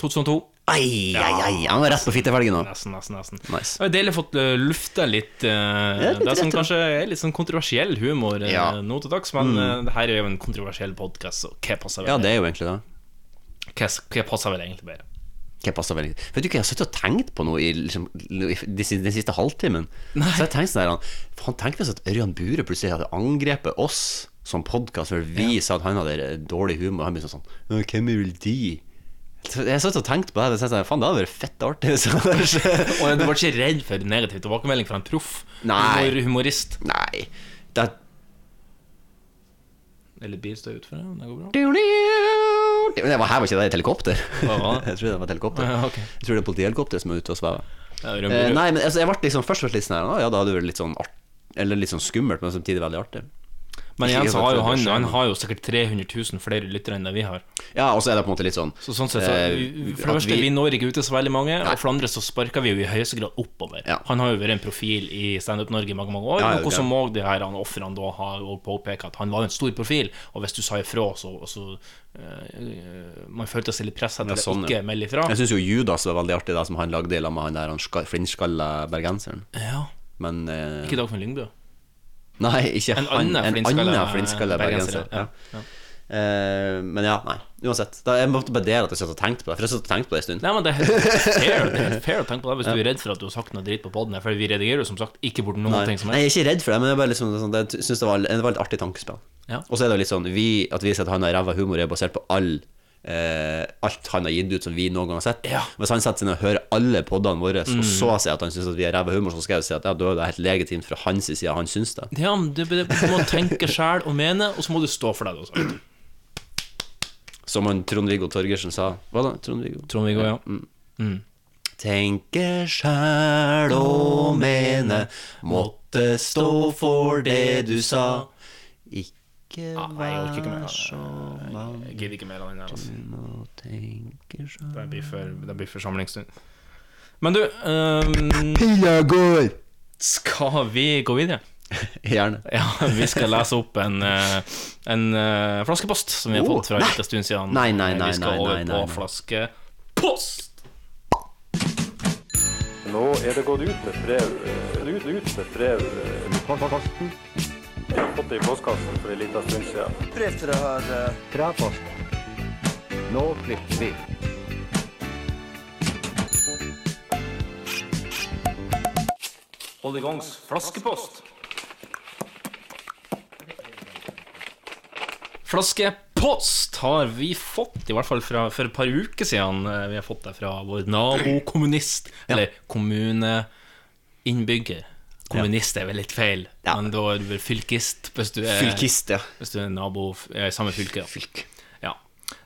[SPEAKER 3] 2001.
[SPEAKER 2] 2002.
[SPEAKER 3] Ai, ai, ai. Han var rett på fittefelgen nå.
[SPEAKER 2] Nesten, nesten, nesten.
[SPEAKER 3] Nice.
[SPEAKER 2] Det er deilig å få eh, lufta litt eh,
[SPEAKER 3] Ja, litt
[SPEAKER 2] det som
[SPEAKER 3] rett-
[SPEAKER 2] kanskje er litt sånn kontroversiell humor eh,
[SPEAKER 3] Ja.
[SPEAKER 2] nå til dags, men
[SPEAKER 3] Mm.
[SPEAKER 2] eh, det her er jo en kontroversiell podkast, så hva passer vel?
[SPEAKER 3] Ja, det er jo egentlig det.
[SPEAKER 2] Hva, hva passer vel egentlig bedre?
[SPEAKER 3] Hva passer veldig Vet du ikke, jeg har sittet og tenkt på noe i, liksom, i de siste- den siste halvtimen. Så jeg tenkte sånn her han- Faen, tenk hvis at Ørjan Bure plutselig hadde angrepet oss som podkast fordi vi sa at han hadde eh, dårlig humor. Og han ble sånn sånn «Å, Hvem er vel de? Så Jeg satt og tenkte på det. og tenkte sånn, Faen, det hadde vært fett artig. hvis det hadde skjedd.
[SPEAKER 2] Og du var ikke redd for negativ tilbakemelding fra en proff?
[SPEAKER 3] Nei.
[SPEAKER 2] Humor, humorist?
[SPEAKER 3] Nei. Det er
[SPEAKER 2] Eller bilstøy utenfor, ja, det går bra.
[SPEAKER 3] Det var, her var ikke det et helikopter.
[SPEAKER 2] Hva var det?
[SPEAKER 3] Jeg tror det var et helikopter.
[SPEAKER 2] Ja, ok.
[SPEAKER 3] Jeg tror det er politihelikopteret som er ute og svever.
[SPEAKER 2] Ja, det er en bra-
[SPEAKER 3] Eh, nei, men altså, jeg ble liksom først og fremst litt sånn her, «Å, Ja, da hadde det vært litt sånn art Eller litt sånn skummelt, men samtidig veldig artig.
[SPEAKER 2] Men
[SPEAKER 3] Ikke
[SPEAKER 2] igjen så har jo
[SPEAKER 3] at det
[SPEAKER 2] han,
[SPEAKER 3] skjer
[SPEAKER 2] han
[SPEAKER 3] noe.
[SPEAKER 2] har jo sikkert 300 000 flere lyttere enn det vi har.
[SPEAKER 3] Ja, og så er det på en måte litt sånn
[SPEAKER 2] Så sånn sett, så,
[SPEAKER 3] eh,
[SPEAKER 2] vi- For det
[SPEAKER 3] at
[SPEAKER 2] første, vi når ikke ut til så veldig mange, og for det andre så sparker vi jo i høyeste grad oppover. Han har jo vært en profil i Standup Norge i mange mange år,
[SPEAKER 3] Ja, ja,
[SPEAKER 2] noe
[SPEAKER 3] ja.
[SPEAKER 2] som òg de her han ofrene da har jo påpekt at han var en stor profil, og hvis du sa ifra, så, så eh, Man følte seg litt pressa til
[SPEAKER 3] Ja, sånn,
[SPEAKER 2] å
[SPEAKER 3] ja.
[SPEAKER 2] ikke melde ifra.
[SPEAKER 3] Jeg syns jo Judas var veldig artig, det som han lagde i lag med han der han ska- flintskalla bergenseren.
[SPEAKER 2] Ja.
[SPEAKER 3] Men eh,
[SPEAKER 2] Ikke Dagfinn Lyngbø.
[SPEAKER 3] Nei, ikke
[SPEAKER 2] En
[SPEAKER 3] han.
[SPEAKER 2] annen
[SPEAKER 3] en
[SPEAKER 2] flintskalla
[SPEAKER 3] annen flintskalla bergenser.
[SPEAKER 2] bergenser, ja.
[SPEAKER 3] Ja. Eh, men ja, nei. Uansett. Da, jeg måtte bare dele at jeg satt og tenkte på det. For jeg satt og tenkte på det en stund.
[SPEAKER 2] Nei, men det er helt fair, det er helt fair å tenke på det hvis du er redd for at du har sagt noe dritt på poden. For vi redigerer jo som sagt ikke bort noen
[SPEAKER 3] Nei.
[SPEAKER 2] ting som
[SPEAKER 3] Nei,
[SPEAKER 2] helst.
[SPEAKER 3] jeg er ikke redd for det, men jeg, bare liksom, sånn, jeg synes det, var, det var et litt artig tankespill.
[SPEAKER 2] Ja.
[SPEAKER 3] Og så er det jo litt sånn vi, at vi sier at han har ræva humor, er basert på all eh, alt han har gitt ut som vi noen gang har sett. Hvis han setter seg ned og hører alle podene våre,
[SPEAKER 2] Mm.
[SPEAKER 3] og så sier at han syns vi har ræva humor, så skal jeg jo si at ja, da er det helt legitimt fra hans side, han syns det.
[SPEAKER 2] Ja, men du, du må tenke sjæl og mene, og så må du stå for det du har sagt.
[SPEAKER 3] Som han Trond-Viggo Torgersen sa. Hva da? Trond-Viggo?
[SPEAKER 2] Trond-Viggo, ja.
[SPEAKER 3] Mm. Tenke sjæl og mene, måtte stå for det du sa. Ikke vær så mann
[SPEAKER 2] Jeg gidder ikke mer av den der. Altså.
[SPEAKER 3] må tenke sjæl
[SPEAKER 2] Det blir for, det blir for samlingsstund. Men du ehm, Skal vi gå videre?
[SPEAKER 3] Gjerne.
[SPEAKER 2] Ja, vi skal lese opp en, eh, en eh, flaskepost som vi har
[SPEAKER 3] Oh,
[SPEAKER 2] fått fra en
[SPEAKER 3] nei.
[SPEAKER 2] liten stund siden.
[SPEAKER 3] Nei, nei, nei,
[SPEAKER 2] Eh, vi skal
[SPEAKER 3] nei,
[SPEAKER 2] over
[SPEAKER 3] nei,
[SPEAKER 2] på
[SPEAKER 3] nei.
[SPEAKER 2] flaske...
[SPEAKER 15] Nå er det gått ut et brev. eh, Ut, ut et brev. Postkassen. Jeg har fått det i postkassen for en liten stund siden.
[SPEAKER 4] Brev til det her eh,
[SPEAKER 15] Nå klipper vi.
[SPEAKER 2] Hold i gangs flaskepost. Flaskepost har vi fått, i hvert fall fra, for et par uker siden. eh, Vi har fått det fra vår nabokommunist, eller kommuneinnbygger. Kommunist er vel litt feil, men da er du vel fylkist hvis du er,
[SPEAKER 3] Fylkist, ja.
[SPEAKER 2] hvis du er nabo eh, i samme fylke. Ja. Ja.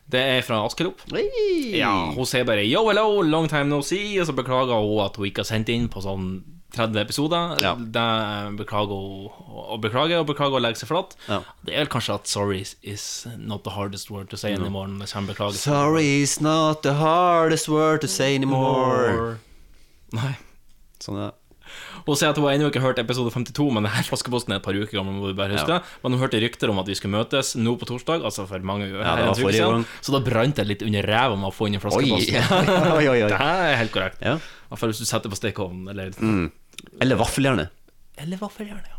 [SPEAKER 2] Det er fra Askelopp.
[SPEAKER 3] Hei!
[SPEAKER 2] Ja, hun sier bare 'yo, hello, long time no see', og så beklager hun at hun ikke har sendt inn på sånn 30 episoder. Det beklager hun og beklager og beklager og legger seg flat.
[SPEAKER 3] Ja.
[SPEAKER 2] Det er vel kanskje at 'sorry is- is not the hardest word to say
[SPEAKER 3] No.
[SPEAKER 2] anymore'. Hvis han beklager seg.
[SPEAKER 3] Sorry is not the hardest word to say anymore.
[SPEAKER 2] More. Nei.
[SPEAKER 3] Sånn er det.
[SPEAKER 2] Hun sier at hun har ennå ikke hørt episode 52, men denne flaskeposten er et par uker gammel. Må vi bare huske
[SPEAKER 3] Ja.
[SPEAKER 2] det. Men hun hørte rykter om at vi skulle møtes nå på torsdag, altså for mange
[SPEAKER 3] Ja, det var
[SPEAKER 2] herrens uker
[SPEAKER 3] forrige
[SPEAKER 2] siden.
[SPEAKER 3] gang.
[SPEAKER 2] Så da brant det litt under ræva med å få inn en flaskepost.
[SPEAKER 3] Oi. Oi, oi, oi.
[SPEAKER 2] Det er helt korrekt.
[SPEAKER 3] Ja.
[SPEAKER 2] I hvert fall hvis du setter på stekeovnen, eller
[SPEAKER 3] Mm. Eller vaffeljerne.
[SPEAKER 2] Eller vaffeljern, ja.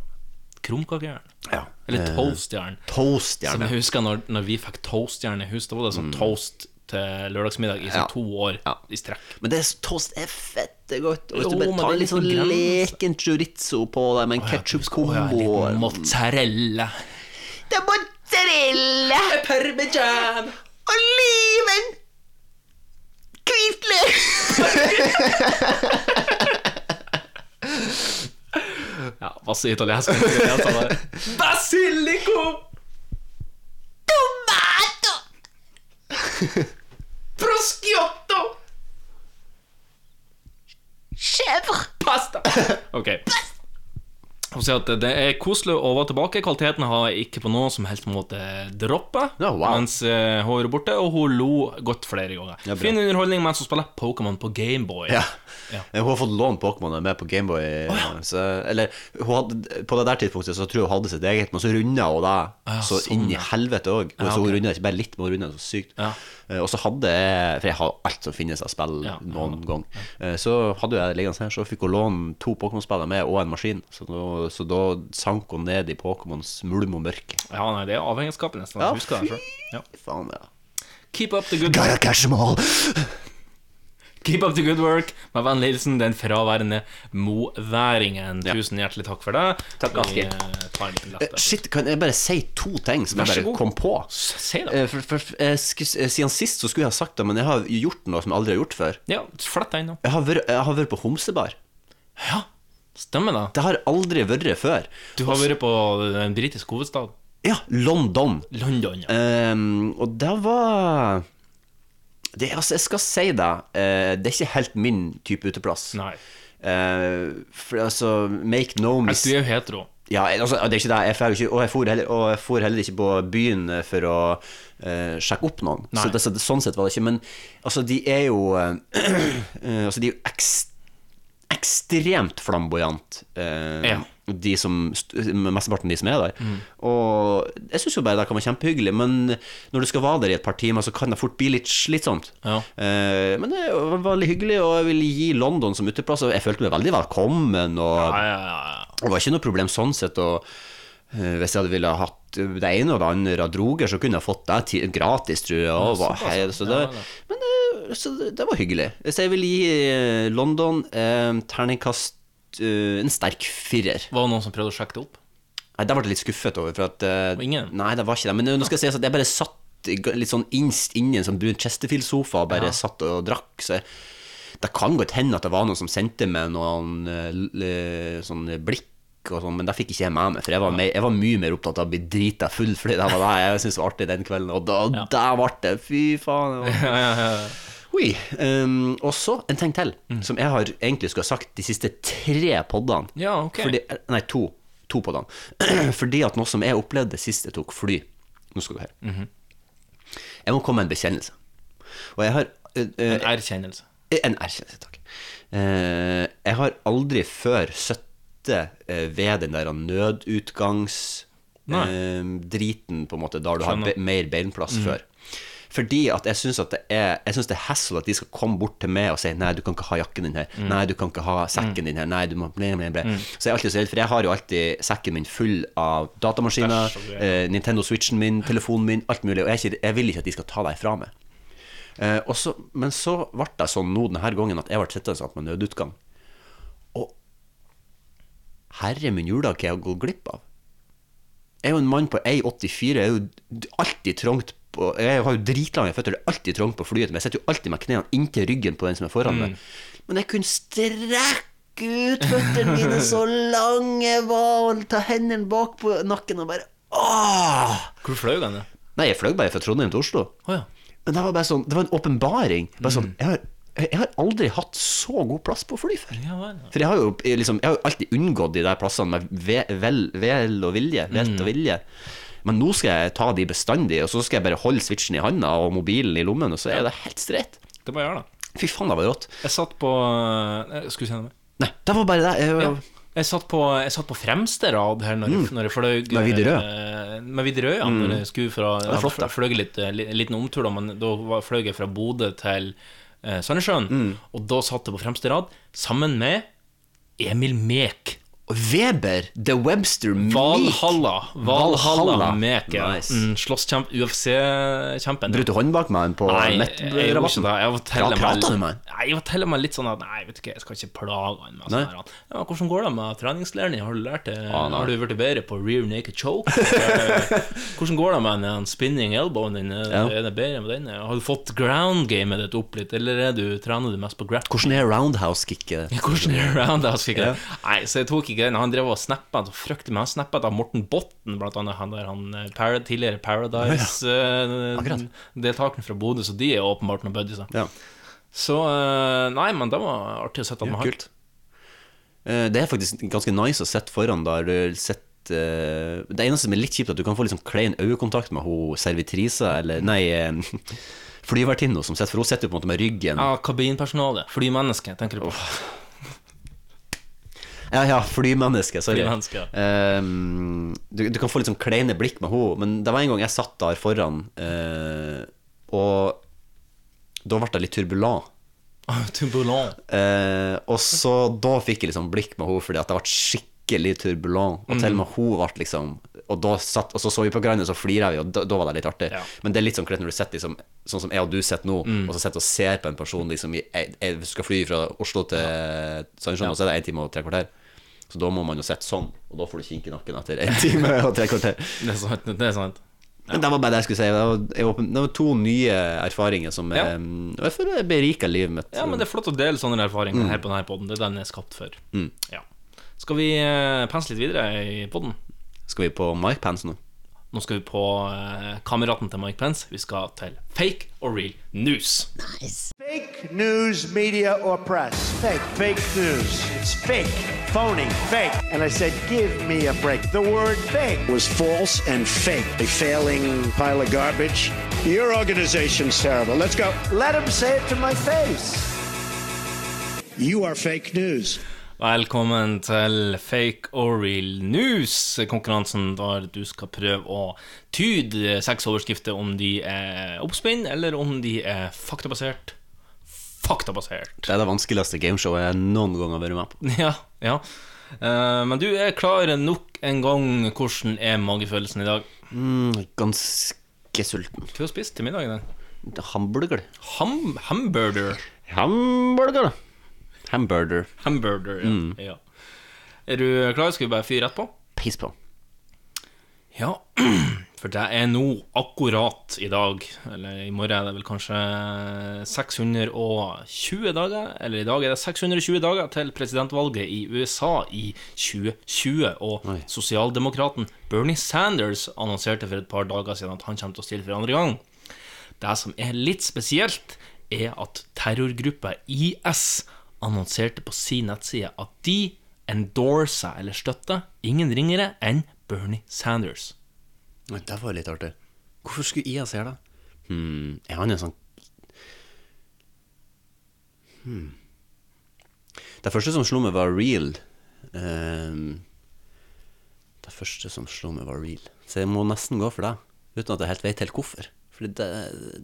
[SPEAKER 2] Krumkakejern.
[SPEAKER 3] Ja.
[SPEAKER 2] Eller
[SPEAKER 3] Eh,
[SPEAKER 2] toastjern.
[SPEAKER 3] toastjern,
[SPEAKER 2] Som
[SPEAKER 3] ja.
[SPEAKER 2] jeg husker når, når vi fikk toastjern i huset, da var det sånn
[SPEAKER 3] Mm.
[SPEAKER 2] toast til lørdagsmiddag i
[SPEAKER 3] Ja.
[SPEAKER 2] sånn to år i strekk.
[SPEAKER 3] Men det er, toast er fette godt. Og hvis
[SPEAKER 2] Jo,
[SPEAKER 3] du bare
[SPEAKER 2] men
[SPEAKER 3] tar
[SPEAKER 2] det er
[SPEAKER 3] litt sånn
[SPEAKER 2] liksom grense.
[SPEAKER 3] leken chorizo på det med en
[SPEAKER 2] Å ja,
[SPEAKER 3] ketsjup-kombo
[SPEAKER 2] litt mozzarella.
[SPEAKER 5] Det er mozzarella. Parmesan. Oliven. Hvitløk.
[SPEAKER 2] Ja, masse italiensk. Basilico!
[SPEAKER 5] Tomato. Prosciutto. Chèvre. Pasta.
[SPEAKER 2] Ok. Hun sier at det er koselig å være tilbake. Kvaliteten har ikke på noen som helst måte droppa. Mens eh, hun er borte, og hun lo godt flere ganger.
[SPEAKER 3] Ja, bra.
[SPEAKER 2] fin underholdning mens hun spiller Pokémon på Gameboy.
[SPEAKER 3] Ja. Hun har fått lånt Pokémon med på Gameboy. så, eller hun hadde, på det der tidspunktet så tror jeg hun hadde sitt eget, men så runda hun det
[SPEAKER 2] Ah, ja,
[SPEAKER 3] så
[SPEAKER 2] sånn,
[SPEAKER 3] inn i
[SPEAKER 2] ja.
[SPEAKER 3] helvete òg.
[SPEAKER 2] Ja,
[SPEAKER 3] Så
[SPEAKER 2] ok.
[SPEAKER 3] hun runda ikke bare litt, men hun runda så sykt. Eh, Og så hadde jeg, for jeg har alt som finnes av spill noen gang, Eh, så hadde jeg det liggende her, så fikk hun låne to Pokémon-spillere med og en maskin. Så da, så da sank hun ned i Pokémons mulm og mørke.
[SPEAKER 2] Ja, nei, det er avhengighetsskapet nesten.
[SPEAKER 3] Ja,
[SPEAKER 2] Ja, husker det selv. Ja.
[SPEAKER 3] Faen, ja.
[SPEAKER 2] Keep up the good
[SPEAKER 5] Gotta catch 'em all.
[SPEAKER 2] Keep up the good work. Med vennlig hilsen den fraværende moværingen. Tusen hjertelig takk for det. Takk,
[SPEAKER 3] Asker. Eh, Shit, kan jeg bare si to ting som
[SPEAKER 2] Vær
[SPEAKER 3] jeg
[SPEAKER 2] så
[SPEAKER 3] bare
[SPEAKER 2] god.
[SPEAKER 3] kom på?
[SPEAKER 2] Si det.
[SPEAKER 3] Eh, For, for, eh, sk- eh, siden sist så skulle jeg ha sagt det, men jeg har gjort noe som jeg aldri har gjort før.
[SPEAKER 2] Ja, flett deg nå.
[SPEAKER 3] Jeg har vært, jeg har vært på homsebar.
[SPEAKER 2] Ja, stemmer det.
[SPEAKER 3] Det har jeg aldri vært før.
[SPEAKER 2] Du har vært på den britiske hovedstaden.
[SPEAKER 3] Ja, London.
[SPEAKER 2] London, ja.
[SPEAKER 3] Ehm, og det var det, altså, Jeg skal si det, eh, det er ikke helt min type uteplass. Eh,
[SPEAKER 2] Nei.
[SPEAKER 3] for altså, make no mis...
[SPEAKER 2] Du er jo hetero.
[SPEAKER 3] Ja, altså, det er ikke det. Jeg får jo ikke, og jeg for heller, og jeg for heller ikke på byen for å eh, sjekke opp noen.
[SPEAKER 2] Nei.
[SPEAKER 3] Så det, så det, sånn sett var det ikke. Men altså, de er jo eh, eh, Altså, de er jo ekst, ekstremt flamboyant eh,
[SPEAKER 2] Ja.
[SPEAKER 3] de som, st- mesteparten av de som er der.
[SPEAKER 2] Mm.
[SPEAKER 3] Og jeg syns jo bare det kan være kjempehyggelig, men når du skal være der i et par timer, så kan det fort bli litt slitsomt.
[SPEAKER 2] Ja.
[SPEAKER 3] Eh, men det var veldig hyggelig, og jeg vil gi London som uteplass. Og jeg følte meg veldig velkommen, og
[SPEAKER 2] ja, ja, ja.
[SPEAKER 3] det var ikke noe problem sånn sett. Og eh, hvis jeg hadde ville ha hatt det ene og det andre av droger, så kunne jeg fått det ti- gratis, tror jeg. Og,
[SPEAKER 5] Ja,
[SPEAKER 3] var
[SPEAKER 5] såpass,
[SPEAKER 3] helt- så det,
[SPEAKER 5] ja, da.
[SPEAKER 3] men det, så det det var hyggelig. Så jeg vil gi eh, London eh, terningkast eh, en sterk firer.
[SPEAKER 2] Var det noen som prøvde å sjekke det opp?
[SPEAKER 3] Nei, Der ble jeg litt skuffet over. For at, eh, Nei, det var ikke det. Men eh, nå skal jeg si at jeg bare satt i ga- litt sånn innst inni en sånn brun Chesterfield-sofa og bare
[SPEAKER 2] Ja.
[SPEAKER 3] satt og drakk. Så jeg, det kan godt hende at det var noen som sendte meg noen eh, l- eh, sånne blikk. Og sånn, men det fikk ikke jeg med meg, for jeg var, mer- jeg var mye mer opptatt av å bli drita full. Fordi det var det jeg syntes var artig den kvelden, og da der ble det Fy faen. det var- Oi. Um, og så en ting til,
[SPEAKER 2] Mm.
[SPEAKER 3] som jeg har egentlig skulle ha sagt de siste tre poddene.
[SPEAKER 2] Ja, ok.
[SPEAKER 3] Fordi, eh, nei, to. To poddene. Fordi at noe som jeg opplevde sist jeg tok fly Nå skal du høre.
[SPEAKER 2] Mhm.
[SPEAKER 3] Jeg må komme med en bekjennelse. Og jeg har eh, En
[SPEAKER 2] erkjennelse.
[SPEAKER 3] En erkjennelse, takk. Eh, jeg har aldri før sittet eh, ved den der nødutgangs
[SPEAKER 2] Nei.
[SPEAKER 3] eh, driten, på en måte, der du har
[SPEAKER 2] Skjønner.
[SPEAKER 3] be mer beinplass
[SPEAKER 2] Mm.
[SPEAKER 3] før. Fordi at jeg syns det er Jeg synes det er hassle at de skal komme bort til meg og si Nei, du kan ikke ha jakken din her.
[SPEAKER 2] Mm.
[SPEAKER 3] Nei, du kan ikke ha sekken
[SPEAKER 2] Mhm.
[SPEAKER 3] din her. Nei, du må ble, ble, ble.
[SPEAKER 2] Mm.
[SPEAKER 3] Så jeg er alltid så redd, for jeg har jo alltid sekken min full av datamaskiner,
[SPEAKER 2] Æsj, og greier.
[SPEAKER 3] eh, Nintendo Switchen min, telefonen min, alt mulig. Og jeg, er ikke- jeg vil ikke at de skal ta deg fra meg. Eh, og så, men så ble det sånn nå denne gangen at jeg ble sittende sånn med nødutgang. Og herre min jula, hva jeg har gått glipp av? Jeg er jo en mann på 1,84. Jeg er jo alltid trangt på Jeg har jo dritlange føtter, det er alltid trangt på flyet. Men jeg sitter jo alltid med knærne inntil ryggen på den som er foran meg. Men jeg kunne strekke ut føttene mine så lange jeg var, og ta hendene bak på nakken og bare Åh!
[SPEAKER 2] Hvor fløy den? da?
[SPEAKER 3] Nei, jeg fløy bare fra Trondheim til Oslo. Men det var bare sånn, det var en åpenbaring. Bare sånn,
[SPEAKER 2] Mm.
[SPEAKER 3] jeg, har, jeg har aldri hatt så god plass på fly før.
[SPEAKER 2] Ja, vel.
[SPEAKER 3] For jeg har jo eh, liksom, jeg har jo alltid unngått de der plassene med ve- vel, vel og vilje.
[SPEAKER 2] Mm.
[SPEAKER 3] Velt og vilje. Men nå skal jeg ta de bestandig, og så skal jeg bare holde switchen i handa og mobilen i lommen, og så er det helt streit.
[SPEAKER 2] Det må jeg gjøre, da.
[SPEAKER 3] Fy faen, det var rått.
[SPEAKER 2] Jeg satt på eh, Skulle kjenne meg.
[SPEAKER 3] Nei, det var bare det. Jeg,
[SPEAKER 2] Ja. Jeg satt, på, jeg satt på fremste rad her når, jeg- når jeg fløy
[SPEAKER 3] Mm. Med Widerøe.
[SPEAKER 2] eh, Med Widerøe, ja.
[SPEAKER 3] Mm.
[SPEAKER 2] Når jeg skulle fra
[SPEAKER 3] Det er
[SPEAKER 2] Jeg
[SPEAKER 3] flott, da.
[SPEAKER 2] hadde fløy litt, eh, li- en liten omtur, da, men da var- fløy jeg fra Bodø til eh, Sandnessjøen.
[SPEAKER 3] Mm.
[SPEAKER 2] Og da satt jeg på fremste rad sammen med Emil Mek.
[SPEAKER 3] Weber, The Webster Meek.
[SPEAKER 2] Valhalla. Valhalla,
[SPEAKER 3] Valhalla.
[SPEAKER 2] Mek. Ja.
[SPEAKER 3] Nice.
[SPEAKER 2] Mm, Slåsskjemp, UFC-kjempen.
[SPEAKER 3] Brøt du hånd bak meg på
[SPEAKER 2] Nei, jeg
[SPEAKER 3] nettrabatten?
[SPEAKER 2] gjorde ikke det. Jeg var til og
[SPEAKER 3] Ja, pratet du med han?
[SPEAKER 2] Nei, jeg var til og med litt sånn at Nei, vet du hva, jeg skal ikke plage han med
[SPEAKER 3] Nei.
[SPEAKER 2] sånn her. han. Ja, hvordan går det med treningslæren din? Har du lært det?
[SPEAKER 3] Ah, nei.
[SPEAKER 2] har du blitt bedre på rear naked choke? Eh, hvordan går det med den, den spinning elbowen din? Er-
[SPEAKER 3] Ja.
[SPEAKER 2] Er det bedre med den? Har du fått ground gamet ditt opp litt, eller er du, trener du mest på grappling?
[SPEAKER 3] Hvordan er roundhouse-kicket?
[SPEAKER 2] Hvordan er roundhouse kicket?
[SPEAKER 3] Ja.
[SPEAKER 2] Nei, så jeg tok ikke den. Han drev og snappa så fryktelig mye. Han snappa av Morten Botten, blant annet han der han eh, para, tidligere
[SPEAKER 3] Akkurat.
[SPEAKER 2] Paradise-deltakeren fra Bodø, så de er åpenbart noen buddies. da.
[SPEAKER 3] Ja.
[SPEAKER 2] Så eh, Nei, men det var artig å sette
[SPEAKER 3] Ja,
[SPEAKER 2] han med hardt.
[SPEAKER 3] kult. Eh, Det er faktisk ganske nice å sitte foran der du sitter eh, Det eneste som er litt kjipt, er at du kan få litt sånn klein øyekontakt med hun servitrisa, eller nei, eh, flyvertinna som sitter, for hun sitter jo på en måte med ryggen
[SPEAKER 2] Ja, kabinpersonale. Flymenneske, tenker du på.
[SPEAKER 3] Ja, ja, flymenneske, sorry.
[SPEAKER 2] Flymenneske, ja.
[SPEAKER 3] Ehm, du, du kan få litt sånn kleine blikk med henne, men det var en gang jeg satt der foran, eh, og da ble jeg litt turbulent.
[SPEAKER 2] Turbulent.
[SPEAKER 3] Eh, og så da fikk jeg liksom blikk med henne fordi at det ble skikkelig turbulent. Og til
[SPEAKER 2] Mm.
[SPEAKER 3] og med hun ble liksom Og, da satt, og så så vi på hverandre, og så flira vi, og da, da var det litt artig. Men det er litt sånn klart når du sitter liksom, sånn som jeg og du sitter nå,
[SPEAKER 2] Mm.
[SPEAKER 3] og så sitter og ser på en person liksom, i, jeg, jeg skal fly fra Oslo til Sandnessjøen, og så er det én time og tre kvarter. Så da må man jo sitte sånn, og da får du kink i nakken etter én time og tre kvarter.
[SPEAKER 2] Det er sant. Det er sant.
[SPEAKER 3] Men det var bare det jeg skulle si. Det var, jeg håper- det var to nye erfaringer som
[SPEAKER 2] Ja.
[SPEAKER 3] eh, Og jeg føler det beriker livet mitt.
[SPEAKER 2] Ja, men det er flott å dele sånne erfaringer
[SPEAKER 3] Mm.
[SPEAKER 2] her på denne podden Det er den jeg er skapt for.
[SPEAKER 3] Mm.
[SPEAKER 2] Ja. Skal vi eh, pense litt videre i podden
[SPEAKER 3] Skal vi på Mike Pence nå?
[SPEAKER 2] Nå skal vi på eh, kameraten til Mike Pence. Vi skal til fake og real news.
[SPEAKER 16] Fake news, media, or press. Fake. Fake news. It's fake. Phony. Fake. And I said, give me a break. The word fake was false and fake. A failing pile of garbage. Your organization's terrible. Let's go. Let them say it to my face. You are fake news.
[SPEAKER 2] Velkommen til Fake or real news, konkurransen der du skal prøve å tyde seks overskrifter om de er oppspinn, eller om de er faktabasert. Faktabasert.
[SPEAKER 3] Det er det vanskeligste gameshowet jeg noen gang har vært med på.
[SPEAKER 2] Ja, ja. Eh, men du er klar nok en gang. Hvordan er magefølelsen i dag?
[SPEAKER 3] Mm, ganske sulten.
[SPEAKER 2] Hva har du spist til middagen?
[SPEAKER 3] Hamburger.
[SPEAKER 2] Ham hamburger.
[SPEAKER 3] Hamburger. Hamburger.
[SPEAKER 2] Hamburger, ja.
[SPEAKER 3] Mm.
[SPEAKER 2] ja. Er du klar? Skal vi bare fyre rett på?
[SPEAKER 3] Piss på.
[SPEAKER 2] Ja, for det er nå akkurat i dag, eller i morgen er det vel kanskje 620 dager, eller i dag er det 620 dager til presidentvalget i USA i 2020, og sosialdemokraten Bernie Sanders annonserte for et par dager siden at han kommer til å stille for andre gang. Det som er litt spesielt, er at terrorgruppa IS annonserte på sin nettside at de endorser eller støtter ingen ringere enn Bernie Sanders.
[SPEAKER 3] Oi, Det var jo litt artig. Hvorfor skulle IS gjøre det? Hmm, er han en sånn hmm. Det første som slo meg, var real. Ehm, det første som slo meg, var real. Så jeg må nesten gå for det, uten at jeg helt vet helt hvorfor. For det,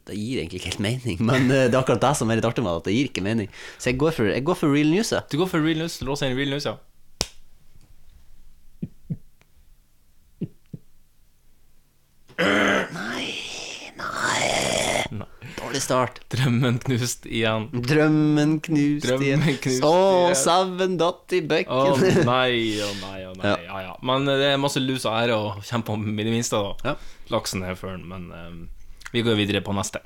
[SPEAKER 3] det gir egentlig ikke helt mening, men eh, det er akkurat det som er litt artig med det, at det gir ikke mening. Så jeg går for, jeg går for real news.
[SPEAKER 2] Du går for real news? Du låser inn real news, ja?
[SPEAKER 3] Dårlig start.
[SPEAKER 2] Drømmen knust igjen.
[SPEAKER 3] Drømmen knust
[SPEAKER 2] Drømmen knust
[SPEAKER 3] Å,
[SPEAKER 2] igjen.
[SPEAKER 3] sauen datt i
[SPEAKER 2] Å
[SPEAKER 3] bekken.
[SPEAKER 2] nei, å nei, å nei.
[SPEAKER 3] Ja.
[SPEAKER 2] Ja, ja. Men eh, det er masse lus og ære å kjempe om i det minste, da. Laksen er føren, men eh, vi går videre på neste.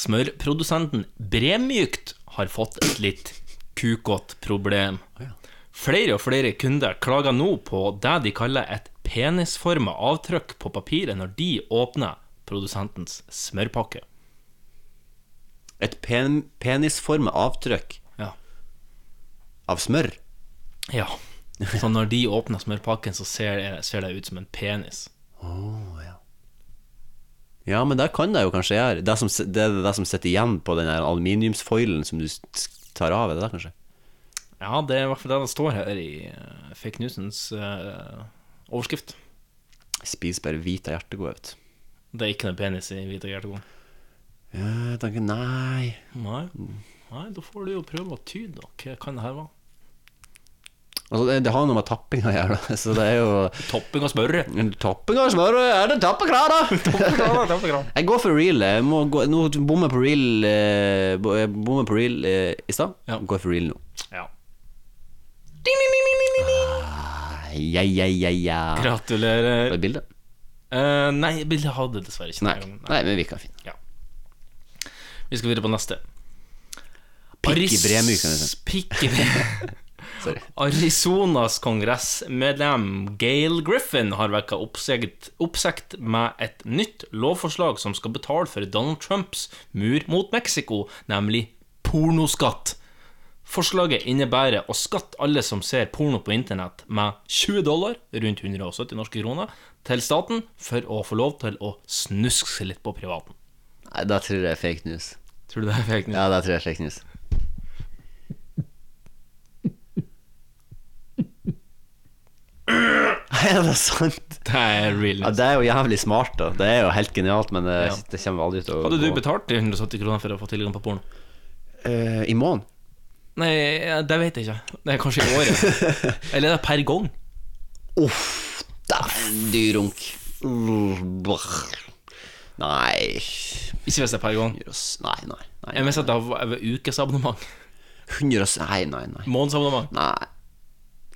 [SPEAKER 2] Smørprodusenten Bremykt har fått et litt kukått problem. Flere og flere kunder klager nå på det de kaller et penisforma avtrykk på papiret når de åpner produsentens smørpakke.
[SPEAKER 3] Et pen penisformet avtrykk
[SPEAKER 2] Ja.
[SPEAKER 3] av smør.
[SPEAKER 2] Ja. Så når de åpner smørpakken, så ser det, ser det ut som en penis.
[SPEAKER 3] Ja, men det kan det jo kanskje gjøre. Det, som, det er det som sitter igjen på den der aluminiumsfoilen som du s- tar av, er det det kanskje?
[SPEAKER 2] Ja, det er i hvert fall det det står her i eh, Fake Newsens eh, overskrift.
[SPEAKER 3] Spis bare hvit av hjertegod, vet du.
[SPEAKER 2] Det er ikke noe penis i Hvite hjertegården.
[SPEAKER 3] Ja, jeg tenker nei.
[SPEAKER 2] Nei. Nei, da får du jo prøve å tyde, da. Hva kan det her være?
[SPEAKER 3] Altså, det, det har noe med tapping å gjøre, da, så det er jo
[SPEAKER 2] Topping av smøret.
[SPEAKER 3] Topping av smøret, er det tappeklar, da? jeg går for real. Jeg må gå, nå bommer jeg på real, eh, bo- jeg bommer på real eh, i stad. Går for real nå.
[SPEAKER 2] Ja.
[SPEAKER 3] Ja, ja, ja, ja.
[SPEAKER 2] Gratulerer.
[SPEAKER 3] Var det bildet?
[SPEAKER 2] Eh, nei, bildet hadde dessverre ikke
[SPEAKER 3] Nei.
[SPEAKER 2] den gangen.
[SPEAKER 3] Nei, men vi kan finne
[SPEAKER 2] Ja. Vi skal videre på neste.
[SPEAKER 3] Pikk i
[SPEAKER 2] Aris-
[SPEAKER 3] Bremyk, kan
[SPEAKER 2] liksom.
[SPEAKER 3] vi si.
[SPEAKER 2] Pikk i Bremyk. Arizonas kongressmedlem Gail Griffin har vekka oppsikt, oppsikt med et nytt lovforslag som skal betale for Donald Trumps mur mot Mexico, nemlig pornoskatt. Forslaget innebærer å skatte alle som ser porno på internett med 20 dollar, rundt 170 norske kroner, til staten for å få lov til å snuske seg litt på privaten.
[SPEAKER 3] Nei, da tror jeg det er fake news.
[SPEAKER 2] Tror du det er fake news?
[SPEAKER 3] Ja, da tror jeg det er fake news. er det sant?
[SPEAKER 2] Det er real
[SPEAKER 3] Ja, det er jo jævlig smart, da. Det er jo helt genialt, men det,
[SPEAKER 2] Ja.
[SPEAKER 3] det kommer aldri til å
[SPEAKER 2] Hadde du
[SPEAKER 3] gå.
[SPEAKER 2] betalt de 170 kroner for å få tilgang på porno?
[SPEAKER 3] Eh, I måneden?
[SPEAKER 2] Nei, ja, det vet jeg ikke. Det er kanskje i året. Eller er det per gang?
[SPEAKER 3] Uff, dæven dyrunk. Nei
[SPEAKER 2] Ikke hvis det er per gang.
[SPEAKER 3] Nei, nei. nei.
[SPEAKER 2] Jeg mener at det er ved ukesabonnement.
[SPEAKER 3] 100 og s- Nei, nei, nei.
[SPEAKER 2] Månedsabonnement.
[SPEAKER 3] Nei.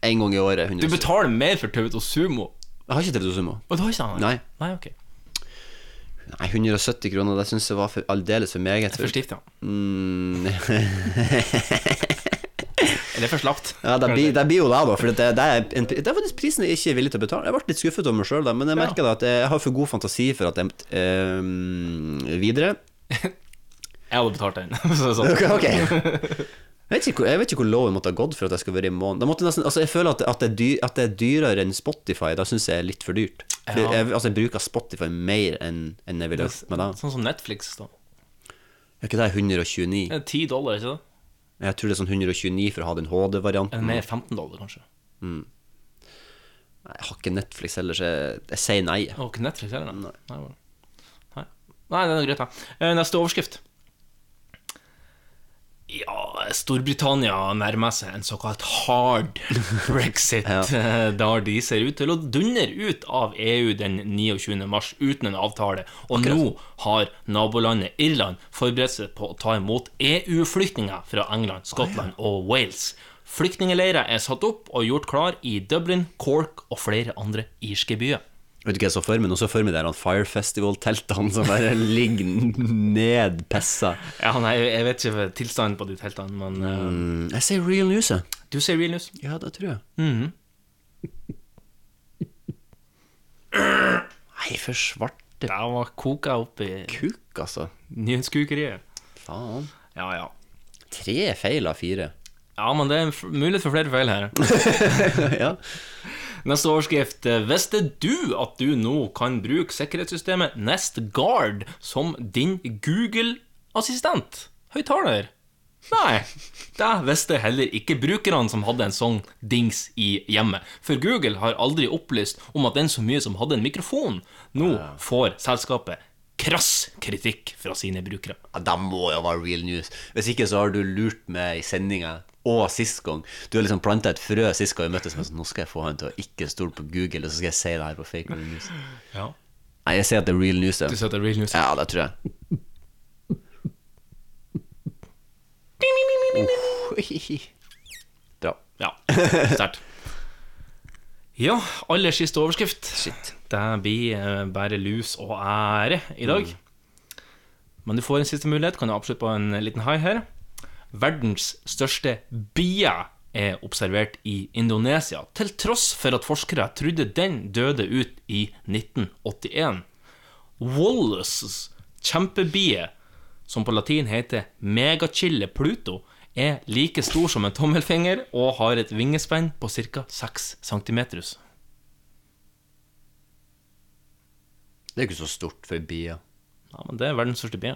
[SPEAKER 3] En gang i året. 100
[SPEAKER 2] Du betaler mer for Tauto Sumo.
[SPEAKER 3] Jeg har ikke TV2 Sumo.
[SPEAKER 2] Og du har ikke det?
[SPEAKER 3] Nei.
[SPEAKER 2] Nei, ok.
[SPEAKER 3] Nei, 170 kroner, det syns jeg var for- aldeles for meget.
[SPEAKER 2] For stivt, ja.
[SPEAKER 3] Mm.
[SPEAKER 2] Eller for slapt.
[SPEAKER 3] ja, det blir, det blir jo det, da. For det, det, er en, pri- det er faktisk prisen jeg ikke er villig til å betale. Jeg ble litt skuffet over meg sjøl, men jeg merker da at jeg har for god fantasi for at jeg eh, Videre.
[SPEAKER 2] Jeg hadde betalt den. Så det er
[SPEAKER 3] Ok,
[SPEAKER 2] sånn.
[SPEAKER 3] ok. Jeg vet, ikke, hvor- jeg vet ikke hvor low jeg måtte ha gått for at jeg skal være i måneden. Det måtte nesten, altså jeg føler at, at, det er dyr, at det er dyrere enn Spotify. Da syns jeg er litt for dyrt. For
[SPEAKER 2] Ja.
[SPEAKER 3] Jeg, altså jeg bruker Spotify mer enn enn jeg ville gjort med det.
[SPEAKER 2] Sånn som Netflix, da.
[SPEAKER 3] Er ikke det 129?
[SPEAKER 2] Det er 10 dollar, ikke det?
[SPEAKER 3] Jeg tror det er sånn 129 for å ha den HD-varianten.
[SPEAKER 2] Eller mer 15 dollar, kanskje.
[SPEAKER 3] Mm. Nei, Jeg har ikke Netflix heller, så jeg, jeg sier nei.
[SPEAKER 2] Og ikke Netflix heller, nei. Nei, bare- nei. nei, det er noe greit, da. Eh, Neste overskrift. Ja, Storbritannia nærmer seg en såkalt hard brexit, eh, der de ser ut til å dundre ut av EU den 29. mars uten en avtale. Og nå har nabolandet Irland forberedt seg på å ta imot EU-flyktninger fra England, Skottland og Wales. Flyktningleirer er satt opp og gjort klar i Dublin, Cork og flere andre irske byer.
[SPEAKER 3] Vet du hva jeg så for meg? Nå så for meg der han Fire Festival-teltene som bare ligger nedpessa.
[SPEAKER 2] Ja, nei, jeg vet ikke tilstanden på de teltene, men eh,
[SPEAKER 3] mm, Jeg sier real news, jeg.
[SPEAKER 2] Du sier real news?
[SPEAKER 3] Ja, det tror jeg. Nei, for svarte
[SPEAKER 2] Der var koka opp i
[SPEAKER 3] Kuk, altså.
[SPEAKER 2] nyhetskukeriet.
[SPEAKER 3] Faen.
[SPEAKER 2] Ja, ja.
[SPEAKER 3] Tre feil av fire.
[SPEAKER 2] Ja, men det er en f- mulighet for flere feil her. Neste overskrift. eh, Visste du at du nå kan bruke sikkerhetssystemet NestGuard som din Google-assistent? Høyttaler? Nei, det visste heller ikke brukerne som hadde en sånn dings i hjemmet. For Google har aldri opplyst om at den så mye som hadde en mikrofon, nå får selskapet krass kritikk fra sine brukere.
[SPEAKER 3] Ja, da må jo være real news. Hvis ikke så har du lurt meg i sendinga og sist gang. Du har liksom planta et frø sist gang vi møttes, men så nå skal jeg få han til å ikke stole på Google, og så skal jeg si det her på fake real news.
[SPEAKER 2] Ja.
[SPEAKER 3] Nei, jeg sier at det er real news.
[SPEAKER 2] Du sier at det er real news?
[SPEAKER 3] Ja, det tror jeg. Bra.
[SPEAKER 2] Ja, sterkt. Ja, aller siste overskrift. Det blir eh, bare lus og ære i dag. Men du får en siste mulighet. Kan du absolutt på en liten high her? Verdens største bie er observert i Indonesia, til tross for at forskere trodde den døde ut i 1981. Wallaces kjempebie, som på latin heter megachille Pluto, er like stor som en tommelfinger og har et vingespenn på ca. 6 cm.
[SPEAKER 3] Det er jo ikke så stort for bier.
[SPEAKER 2] Ja, men det er verdens største bie.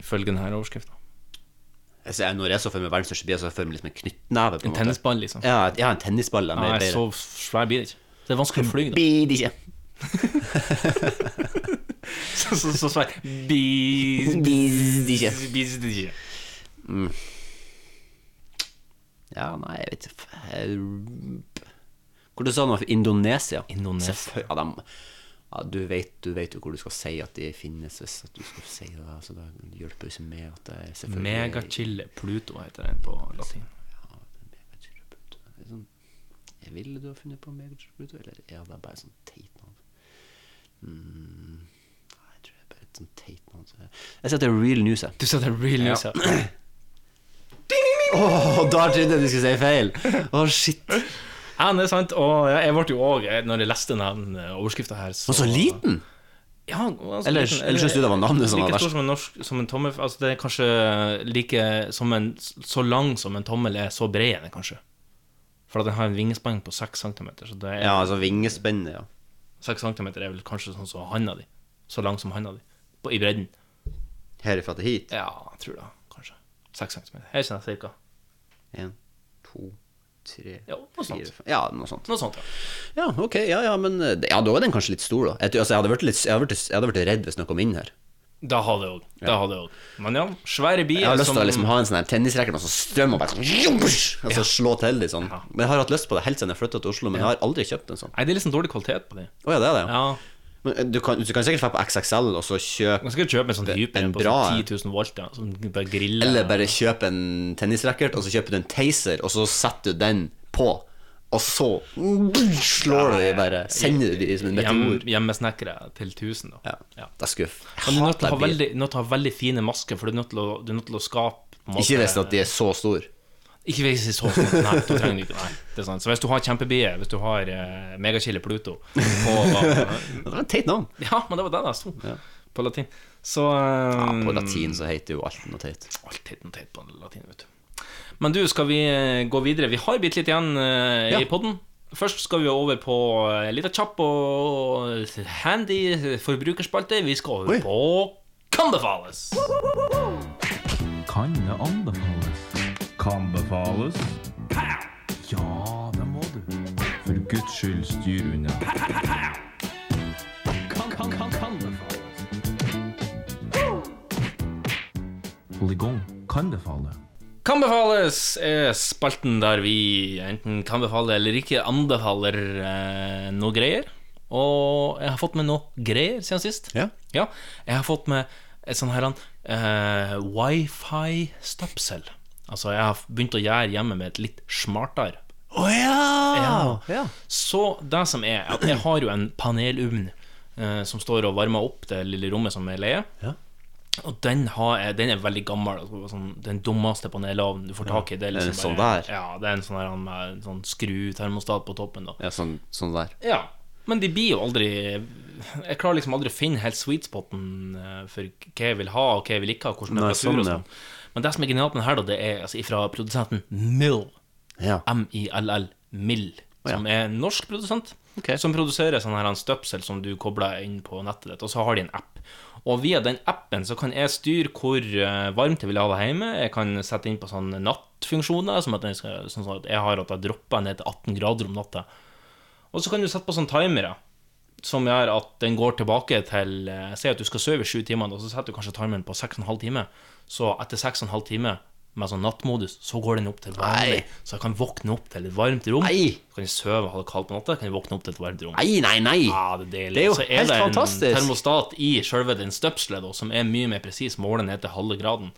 [SPEAKER 2] Ifølge denne overskriften.
[SPEAKER 3] Altså, jeg- når jeg så for meg verdens største bie, så jeg for meg liksom en knyttneve. på
[SPEAKER 2] En
[SPEAKER 3] måte.
[SPEAKER 2] tennisball, liksom.
[SPEAKER 3] Ja, et- ja en tennisball. da,
[SPEAKER 2] Nei,
[SPEAKER 3] med-
[SPEAKER 2] så svær blir det ikke. Det er vanskelig å fly. da.
[SPEAKER 3] Blir det ikke.
[SPEAKER 2] Så, så, så svær. Bis,
[SPEAKER 3] Bis- ikke.
[SPEAKER 2] bis- ikke.
[SPEAKER 3] Mm. Ja, nei, jeg vet ikke Jeg- Hvor du sa noe for Indonesia?
[SPEAKER 2] Indonesia.
[SPEAKER 3] Selvfø- Ja, de, ja, du, vet, du vet jo hvor du skal si at de finnes, hvis at du skal si det. Så det hjelper jo ikke med at det er selvfølgelig
[SPEAKER 2] Megachille Pluto heter den på latin.
[SPEAKER 3] Det er sånn, jeg ville du ha funnet på Megachipluto, eller er det bare sånn teit navn? Mm, nei, jeg tror det er bare et sånn teit navn. så jeg- Jeg sier at det er real news, jeg.
[SPEAKER 2] Du sier at det er real news, ja.
[SPEAKER 3] Åh, da trodde jeg du skulle si feil! Å, shit.
[SPEAKER 2] Ja, det er sant. Og jeg ble jo òg, når jeg leste den overskrifta her så,
[SPEAKER 3] Og så liten!
[SPEAKER 2] Ja, han var så
[SPEAKER 3] Eller-
[SPEAKER 2] liten.
[SPEAKER 3] eller synes du det var navnet som var
[SPEAKER 2] Like
[SPEAKER 3] verst?
[SPEAKER 2] stor som en, norsk, som en tommel Altså, det er kanskje like som en, Så lang som en tommel er, så bred er den kanskje. For at den har en vingespenn på 6 cm. Så det er,
[SPEAKER 3] Ja, altså vingespennet, ja.
[SPEAKER 2] 6 cm er vel kanskje sånn som handa di. Så lang som handa di. På, I bredden.
[SPEAKER 3] Herifra til hit.
[SPEAKER 2] Ja, jeg tror det. Kanskje. 6 cm. Her kjenner jeg cirka.
[SPEAKER 3] En, to, tre,
[SPEAKER 2] Ja, noe sånt.
[SPEAKER 3] fire fem. Ja, noe sånt.
[SPEAKER 2] Noe sånt, ja.
[SPEAKER 3] Ja, ok, ja, ja, men eh, ja, da er den kanskje litt stor, da. Jeg, tror- altså, jeg, hadde vært litt, jeg, hadde vært, jeg hadde vært redd hvis noe kom inn her.
[SPEAKER 2] Da hadde jeg òg. Da hadde jeg òg. Men ja, svære bier
[SPEAKER 3] Jeg har lyst til
[SPEAKER 2] som-
[SPEAKER 3] å liksom ha en sånn her tennisracket med sånn strøm og bare sånn, jumbush, og så slå til de sånn. Men jeg har hatt lyst på det helt siden jeg flytta til Oslo, men jeg har aldri kjøpt en sånn.
[SPEAKER 2] Nei, det er liksom dårlig kvalitet på de.
[SPEAKER 3] Å ja, det er det, ja.
[SPEAKER 2] Ja.
[SPEAKER 3] Men eh, du kan, du kan sikkert dra på XXL og så kjøpe
[SPEAKER 2] Man skal kjøpe en sånn hyper
[SPEAKER 3] en
[SPEAKER 2] på
[SPEAKER 3] bra
[SPEAKER 2] sånn
[SPEAKER 3] en.
[SPEAKER 2] 10 000 volt, ja, som bare griller.
[SPEAKER 3] Eller bare kjøpe en tennisracket, og så kjøper du en taser, og så setter du den på. Og så slår du de bare Sender du de som en
[SPEAKER 2] Hjem,
[SPEAKER 3] meteor.
[SPEAKER 2] hjemmesnekkere til 1000, da. Ja.
[SPEAKER 3] Det er skuff.
[SPEAKER 2] Men du er nødt til å ha
[SPEAKER 3] Hater bil.
[SPEAKER 2] veldig, nødt til å ha veldig fine masker, for du er nødt til å, du er nødt til å skape på en måte-
[SPEAKER 3] Ikke hvis at de er så store.
[SPEAKER 2] Ikke hvis de er så store. Nei, du trenger ikke Nei, det er sant. Så hvis du har kjempebie, hvis du har uh, megakille Pluto
[SPEAKER 3] Det var et teit navn.
[SPEAKER 2] Ja, men det var det det sto på latin. Så
[SPEAKER 3] Ja,
[SPEAKER 2] eh,
[SPEAKER 3] på latin så heter jo alt noe teit.
[SPEAKER 2] Alt heter noe teit på latin, vet du. Men du, skal vi eh, gå videre? Vi har bitte litt igjen eh, i podden. Først skal vi over på eh, litt av kjapp og handy forbrukerspalte. Vi skal over på Kan befales!
[SPEAKER 17] Kan det anbefales? Kan befales? Ja, det må du. For Guds skyld, styr unna.
[SPEAKER 2] Kan, kan, kan, kan befales.
[SPEAKER 17] Polygon kan befale.
[SPEAKER 2] Kan befales er spalten der vi enten kan befale eller ikke anbefaler eh, noe greier. Og jeg har fått med noe greier siden sist. Ja. jeg har fått med et sånn her eh, wifi-støpsel. Altså, jeg har begynt å gjøre hjemmet med et litt smartere.
[SPEAKER 5] Å ja!
[SPEAKER 2] Så det som er, at jeg har jo en panelovn eh, som står og varmer opp det lille rommet som jeg leier. Og den, har jeg, den er veldig gammel. altså, Sånn, den dummeste panelovnen du får tak i. Det er
[SPEAKER 3] Ja,
[SPEAKER 2] liksom
[SPEAKER 3] sånn
[SPEAKER 2] bare-
[SPEAKER 3] der.
[SPEAKER 2] Ja, det er en sånn, her, med en sånn skrutermostat på toppen. da
[SPEAKER 3] Ja, sånn, sånn der.
[SPEAKER 2] Ja, Men de blir jo aldri Jeg klarer liksom aldri å finne helt sweet spoten eh, for hva jeg vil ha, og hva jeg vil ikke ha. Hvordan
[SPEAKER 3] Nei,
[SPEAKER 2] temperatur og
[SPEAKER 3] sånn, ja.
[SPEAKER 2] sånn Men det som er genialt med den her, da, det er altså, fra produsenten Mill. M-I-L-L, Mill. Som er en norsk produsent. Som produserer sånn her en støpsel som du kobler inn på nettet ditt, og så har de en app. Og via den appen så kan jeg styre hvor eh, varmt jeg vil ha det hjemme. Jeg kan sette inn på sånne nattfunksjoner, som at, den skal, sånn som at jeg har at jeg dropper ned til 18 grader om natta. Og så kan du sette på sånne timere som gjør at den går tilbake til eh, Si at du skal sove i sju timer, og så setter du kanskje timeren på seks og en halv time. Så etter seks og en halv time med sånn nattmodus, så går den opp til vanlig. Så jeg kan våkne opp til et varmt rom. Så kan jeg sove og ha det kaldt på natta, kan jeg våkne opp til et varmt rom.
[SPEAKER 3] Nei, nei, nei.
[SPEAKER 2] Ja, det, er deilig.
[SPEAKER 3] Det er jo
[SPEAKER 2] Så
[SPEAKER 3] helt
[SPEAKER 2] det en
[SPEAKER 3] fantastisk.
[SPEAKER 2] termostat i selve den støpselet, da, som er mye mer presis, måler ned til halve graden.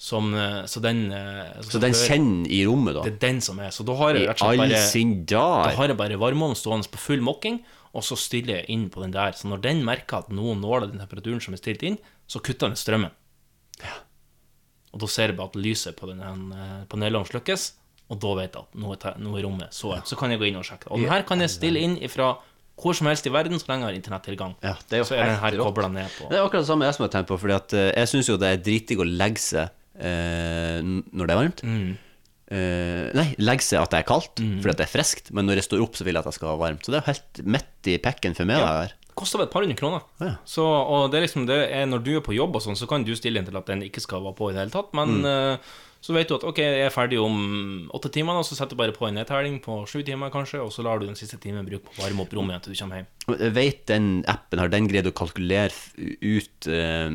[SPEAKER 2] Som, eh, så den eh,
[SPEAKER 3] Så den kjenner i rommet, da?
[SPEAKER 2] Det er den som er. Så da har jeg
[SPEAKER 3] I
[SPEAKER 2] rett og slett
[SPEAKER 3] all
[SPEAKER 2] bare
[SPEAKER 3] sin dag.
[SPEAKER 2] Da har jeg bare varmeovnen stående på full mokking, og så stiller jeg inn på den der. Så når den merker at nå når det den temperaturen som er stilt inn, så kutter den strømmen. Og da ser jeg bare at lyset på den eh, panelovnen slukkes, og da vet jeg at nå er, te- nå er rommet så Så kan jeg gå inn og sjekke. Og den her kan jeg stille inn ifra hvor som helst i verden, så lenge jeg har internettilgang. så er den her
[SPEAKER 3] helt rått.
[SPEAKER 2] kobla ned på.
[SPEAKER 3] Det er akkurat det samme jeg som har tenkt på, Fordi at eh, jeg syns jo det er dritdigg å legge seg eh, n- når det er varmt.
[SPEAKER 2] Mm.
[SPEAKER 3] Eh, nei, legge seg at det er kaldt, fordi at det er friskt. Men når jeg står opp, så vil jeg at jeg skal ha varmt. Så det er jo helt midt i pekken for meg. det her.
[SPEAKER 2] koster vel et par hundre kroner. Så, og det er liksom det er, når du er på jobb, og sånn, så kan du stille inn til at den ikke skal være på i det hele tatt. Men eh, så vet du at ok, jeg er ferdig om åtte timer, og så setter du bare på en nedtelling på sju timer, kanskje, og så lar du den siste timen bruke på å varme opp rommet igjen til du kommer hjem.
[SPEAKER 3] Vet den appen, har den greid å kalkulere f- ut eh,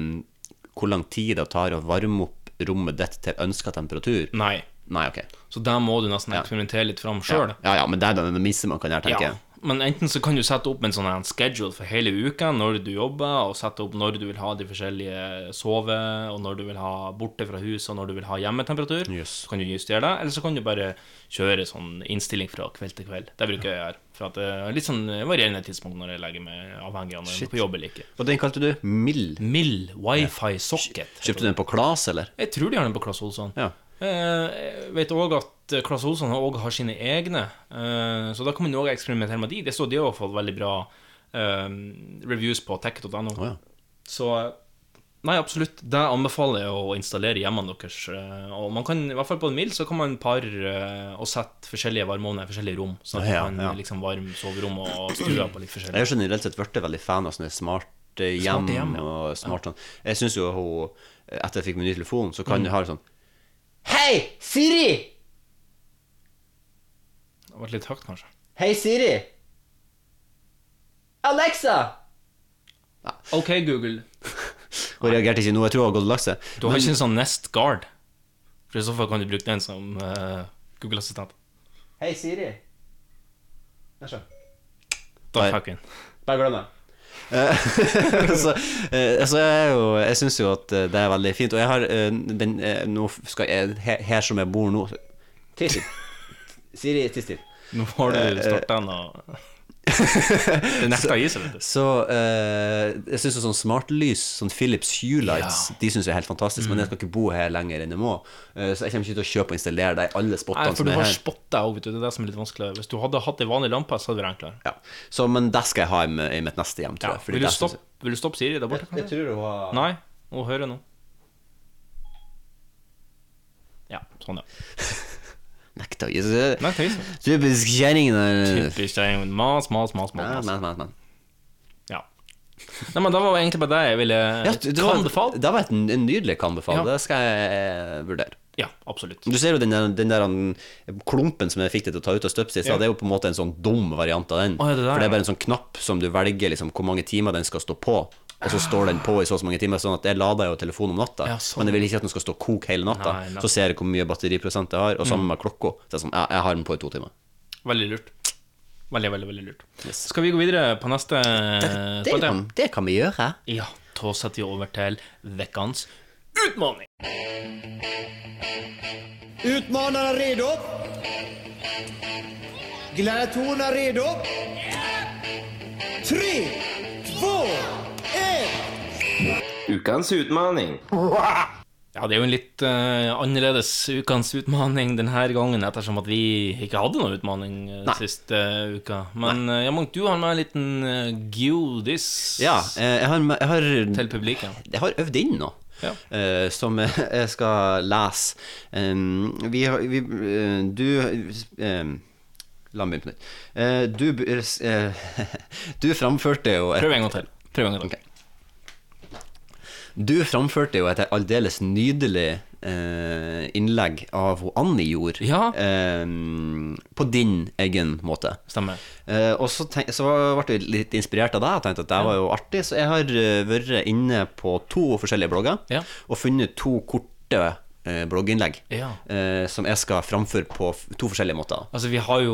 [SPEAKER 3] hvor lang tid det tar å varme opp rommet ditt til ønska temperatur?
[SPEAKER 2] Nei.
[SPEAKER 3] Nei, ok
[SPEAKER 2] Så der må du nesten eksperimentere litt fram sjøl.
[SPEAKER 3] Ja. ja, ja, men det er det minste man kan gjøre, tenker jeg.
[SPEAKER 2] Men enten så kan du sette opp en sånn her schedule for hele uka, når du jobber, og sette opp når du vil ha de forskjellige sove, og når du vil ha borte fra huset, og når du vil ha hjemmetemperatur. Så kan du justere det, eller så kan du bare kjøre sånn innstilling fra kveld til kveld. Det bruker jeg å gjøre. For at det er litt sånn varierende tidspunkt når jeg legger meg, avhengig av når jeg
[SPEAKER 3] Shit.
[SPEAKER 2] er på jobb eller ikke.
[SPEAKER 3] Og den kalte du Mill?
[SPEAKER 2] Mill Wifi Socket.
[SPEAKER 3] Kjøpte du den på Klas, eller?
[SPEAKER 2] Jeg tror de har den på Claes Olsson.
[SPEAKER 3] Ja.
[SPEAKER 2] Eh, Jeg vet òg at eh, Claes Olsson har, også har sine egne, eh, så da kan man òg eksperimentere med de. Det står de har fått veldig bra eh, reviews på tech.no. Så eh, nei, absolutt. Det anbefaler jeg å installere hjemmene deres. eh, Og man kan, i hvert fall på en mild, så kan man pare eh, og sette forskjellige varmeovner i forskjellige rom, sånn at
[SPEAKER 3] Ja,
[SPEAKER 2] man
[SPEAKER 3] ja.
[SPEAKER 2] kan liksom varme soverom og stua på litt forskjellig.
[SPEAKER 3] Jeg har generelt sett vært veldig fan av sånne smarte hjem.
[SPEAKER 2] Smarte hjem, ja.
[SPEAKER 3] og smart, sånn. Jeg syns jo hun, eh, etter jeg fikk min nye telefon, så
[SPEAKER 2] Mm.
[SPEAKER 3] kan du ha sånn Hei, Siri!
[SPEAKER 2] Det ble litt høyt, kanskje.
[SPEAKER 3] Hei, Siri! Alexa!
[SPEAKER 2] OK, Google.
[SPEAKER 3] Hun reagerte ikke nå, jeg tror hun har gått og lagt seg.
[SPEAKER 2] Du har
[SPEAKER 3] Men-
[SPEAKER 2] ikke en sånn Nest Guard? For i så fall kan du bruke den som eh, Google-assistent.
[SPEAKER 3] Hei, Siri. Æsj.
[SPEAKER 2] Da fikk vi den.
[SPEAKER 3] Bare glem det. Eh, så, eh, så jeg, er jo, jeg syns jo at eh, det er veldig fint. Og jeg har eh, den eh, Nå skal jeg her, her som jeg bor nå Tiss still. Siri, tiss still.
[SPEAKER 2] Nå har du starta den, og Det nekter å gi seg, vet du.
[SPEAKER 3] Så eh, jeg syns sånn smartlys, sånn Philips Hue Lights, de syns jeg er helt fantastisk.
[SPEAKER 2] Mm.
[SPEAKER 3] Men jeg skal ikke bo her lenger enn jeg må. Eh, så jeg kommer ikke til å kjøpe og installere det i alle
[SPEAKER 2] Nei,
[SPEAKER 3] spottene
[SPEAKER 2] for
[SPEAKER 3] som
[SPEAKER 2] du
[SPEAKER 3] er
[SPEAKER 2] har
[SPEAKER 3] her.
[SPEAKER 2] spotta òg, vet du. Det er det som er litt vanskelig. Hvis du hadde hatt ei vanlig lampe, så hadde det vært enklere.
[SPEAKER 3] Ja. Så, men det skal jeg ha i, m- i mitt neste hjem, tror jeg. fordi
[SPEAKER 2] Vil du,
[SPEAKER 3] det syns
[SPEAKER 2] stoppe, vil du stoppe Siri der borte?
[SPEAKER 3] Jeg, jeg tror hun har
[SPEAKER 2] Nei, hun hører nå. Ja, sånn, ja.
[SPEAKER 3] Nekta å gi seg.
[SPEAKER 2] Nekta å gi
[SPEAKER 3] Typisk kjerring. der.
[SPEAKER 2] Typisk kjerring. Mas, mas, mas.
[SPEAKER 3] Eh. Ja,
[SPEAKER 2] mas.
[SPEAKER 3] men, men, men.
[SPEAKER 2] Ja. Nei, men det var egentlig bare det jeg ville
[SPEAKER 3] Ja, det, var, det var et n- en nydelig kanbefal. Det skal jeg eh, vurdere.
[SPEAKER 2] Ja, absolutt.
[SPEAKER 3] Du ser jo den der, den der han- klumpen som jeg fikk deg til å ta ut av støpselet i stad,
[SPEAKER 2] Ja.
[SPEAKER 3] det er jo på en måte en sånn dum variant av den.
[SPEAKER 2] Å, ja, det der,
[SPEAKER 3] For det
[SPEAKER 2] ja.
[SPEAKER 3] er bare en sånn knapp som du velger liksom, hvor mange timer den skal stå på. og så står den på i så og så mange timer. Sånn at jeg lader jo telefonen om natta,
[SPEAKER 2] sånn.
[SPEAKER 3] men jeg vil ikke at den skal stå kok hele natta.
[SPEAKER 2] Nei, nei.
[SPEAKER 3] Så ser jeg hvor mye batteriprosent jeg har, og sammen
[SPEAKER 2] Mm.
[SPEAKER 3] med klokka. Så er det sånn, jeg, jeg har den på i to timer.
[SPEAKER 2] Veldig lurt. Veldig, veldig, veldig lurt. Skal vi gå videre på neste
[SPEAKER 3] det kan- det kan vi gjøre.
[SPEAKER 2] Ja, da setter vi over til ukens utmaning.
[SPEAKER 18] Utmanarna redo? Gladiatorerna redo? Tre, två, ett!
[SPEAKER 19] Ukens utmaning.
[SPEAKER 2] Ja, det er jo en litt eh, annerledes ukens utmaning denne gangen, ettersom at vi ikke hadde noen utmaning eh, siste eh, uka. Men eh, ja, Munch, du har med en liten eh, gudis
[SPEAKER 3] Ja, eh, jeg har, jeg har
[SPEAKER 2] til publikum.
[SPEAKER 3] Jeg har øvd inn nå. eh, som jeg- jeg skal lese. Um, vi har vi, eh, Du um, La meg begynne på nytt. Eh, du, b- eh, du framførte jo et-
[SPEAKER 2] Prøv en gang til. Prøv en gang til.
[SPEAKER 3] Ok. Du framførte jo et aldeles nydelig eh, innlegg av hun Annie gjorde, eh, på din egen måte.
[SPEAKER 2] Stemmer.
[SPEAKER 3] Eh, og så, tenk, så ble jeg litt inspirert av deg og tenkte at det var jo artig, så jeg har eh, vært inne på to forskjellige blogger og funnet to korte eh, blogginnlegg
[SPEAKER 2] Ja.
[SPEAKER 3] eh, som jeg skal framføre på f- to forskjellige måter.
[SPEAKER 2] Altså, vi har jo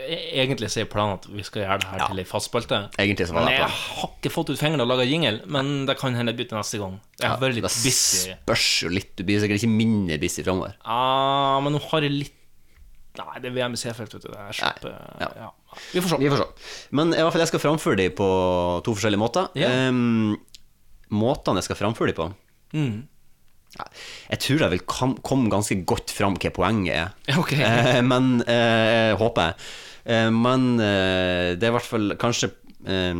[SPEAKER 2] e- egentlig så er planen at vi skal gjøre det her til ei fast spalte.
[SPEAKER 3] Egentlig så var
[SPEAKER 2] Men
[SPEAKER 3] det
[SPEAKER 2] jeg
[SPEAKER 3] planen.
[SPEAKER 2] har ikke fått ut fingrene og laga jingle, men det kan hende jeg bytter neste gang. Jeg har vært
[SPEAKER 3] det
[SPEAKER 2] litt busy.
[SPEAKER 3] spørs jo litt, du blir sikkert ikke mindre busy framover.
[SPEAKER 2] Ah, men nå har jeg litt Nei, det er VMC-felt, vet du. Det er slapp, eh, ja. Vi får se.
[SPEAKER 3] Men i hvert fall jeg skal framføre dem på to forskjellige måter.
[SPEAKER 2] Ja.
[SPEAKER 3] Em, måtene jeg skal framføre dem på
[SPEAKER 2] Mm.
[SPEAKER 3] Jeg tror jeg vil kom, komme ganske godt fram hva poenget er.
[SPEAKER 2] Ok.
[SPEAKER 3] Eh, men eh, jeg håper jeg. Eh, men eh, det er i hvert fall kanskje eh,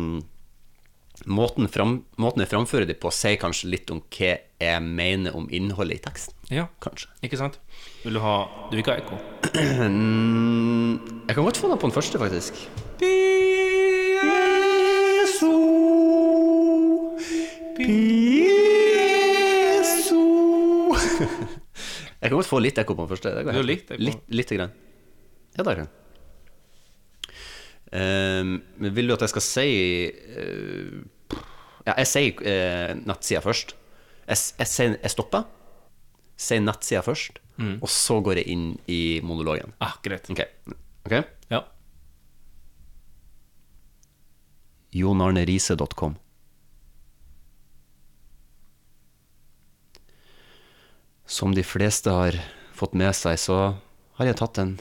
[SPEAKER 3] måten, fram, måten jeg framfører det på, sier kanskje litt om hva jeg mener om innholdet i teksten.
[SPEAKER 2] Ja,
[SPEAKER 3] kanskje.
[SPEAKER 2] Ikke sant? Vil du ha Du vil ikke ha ekko?
[SPEAKER 3] Mm, jeg kan godt få det på den første, faktisk. Jeg kan godt få litt ekko på den første. Det går
[SPEAKER 2] Du har
[SPEAKER 3] helt-
[SPEAKER 2] litt ekko?
[SPEAKER 3] Litt, lite grann. Ja, det er det. Ehm, men vil du at jeg skal si eh, Ja, jeg sier uh, nettsida først. Jeg, s- jeg, sier- jeg stopper, sier nettsida først,
[SPEAKER 2] Mm.
[SPEAKER 3] og så går jeg inn i monologen.
[SPEAKER 2] Ah, greit.
[SPEAKER 3] Ok. Ok?
[SPEAKER 2] Ja.
[SPEAKER 3] jonarnerise.com. Som de fleste har fått med seg, så har jeg tatt en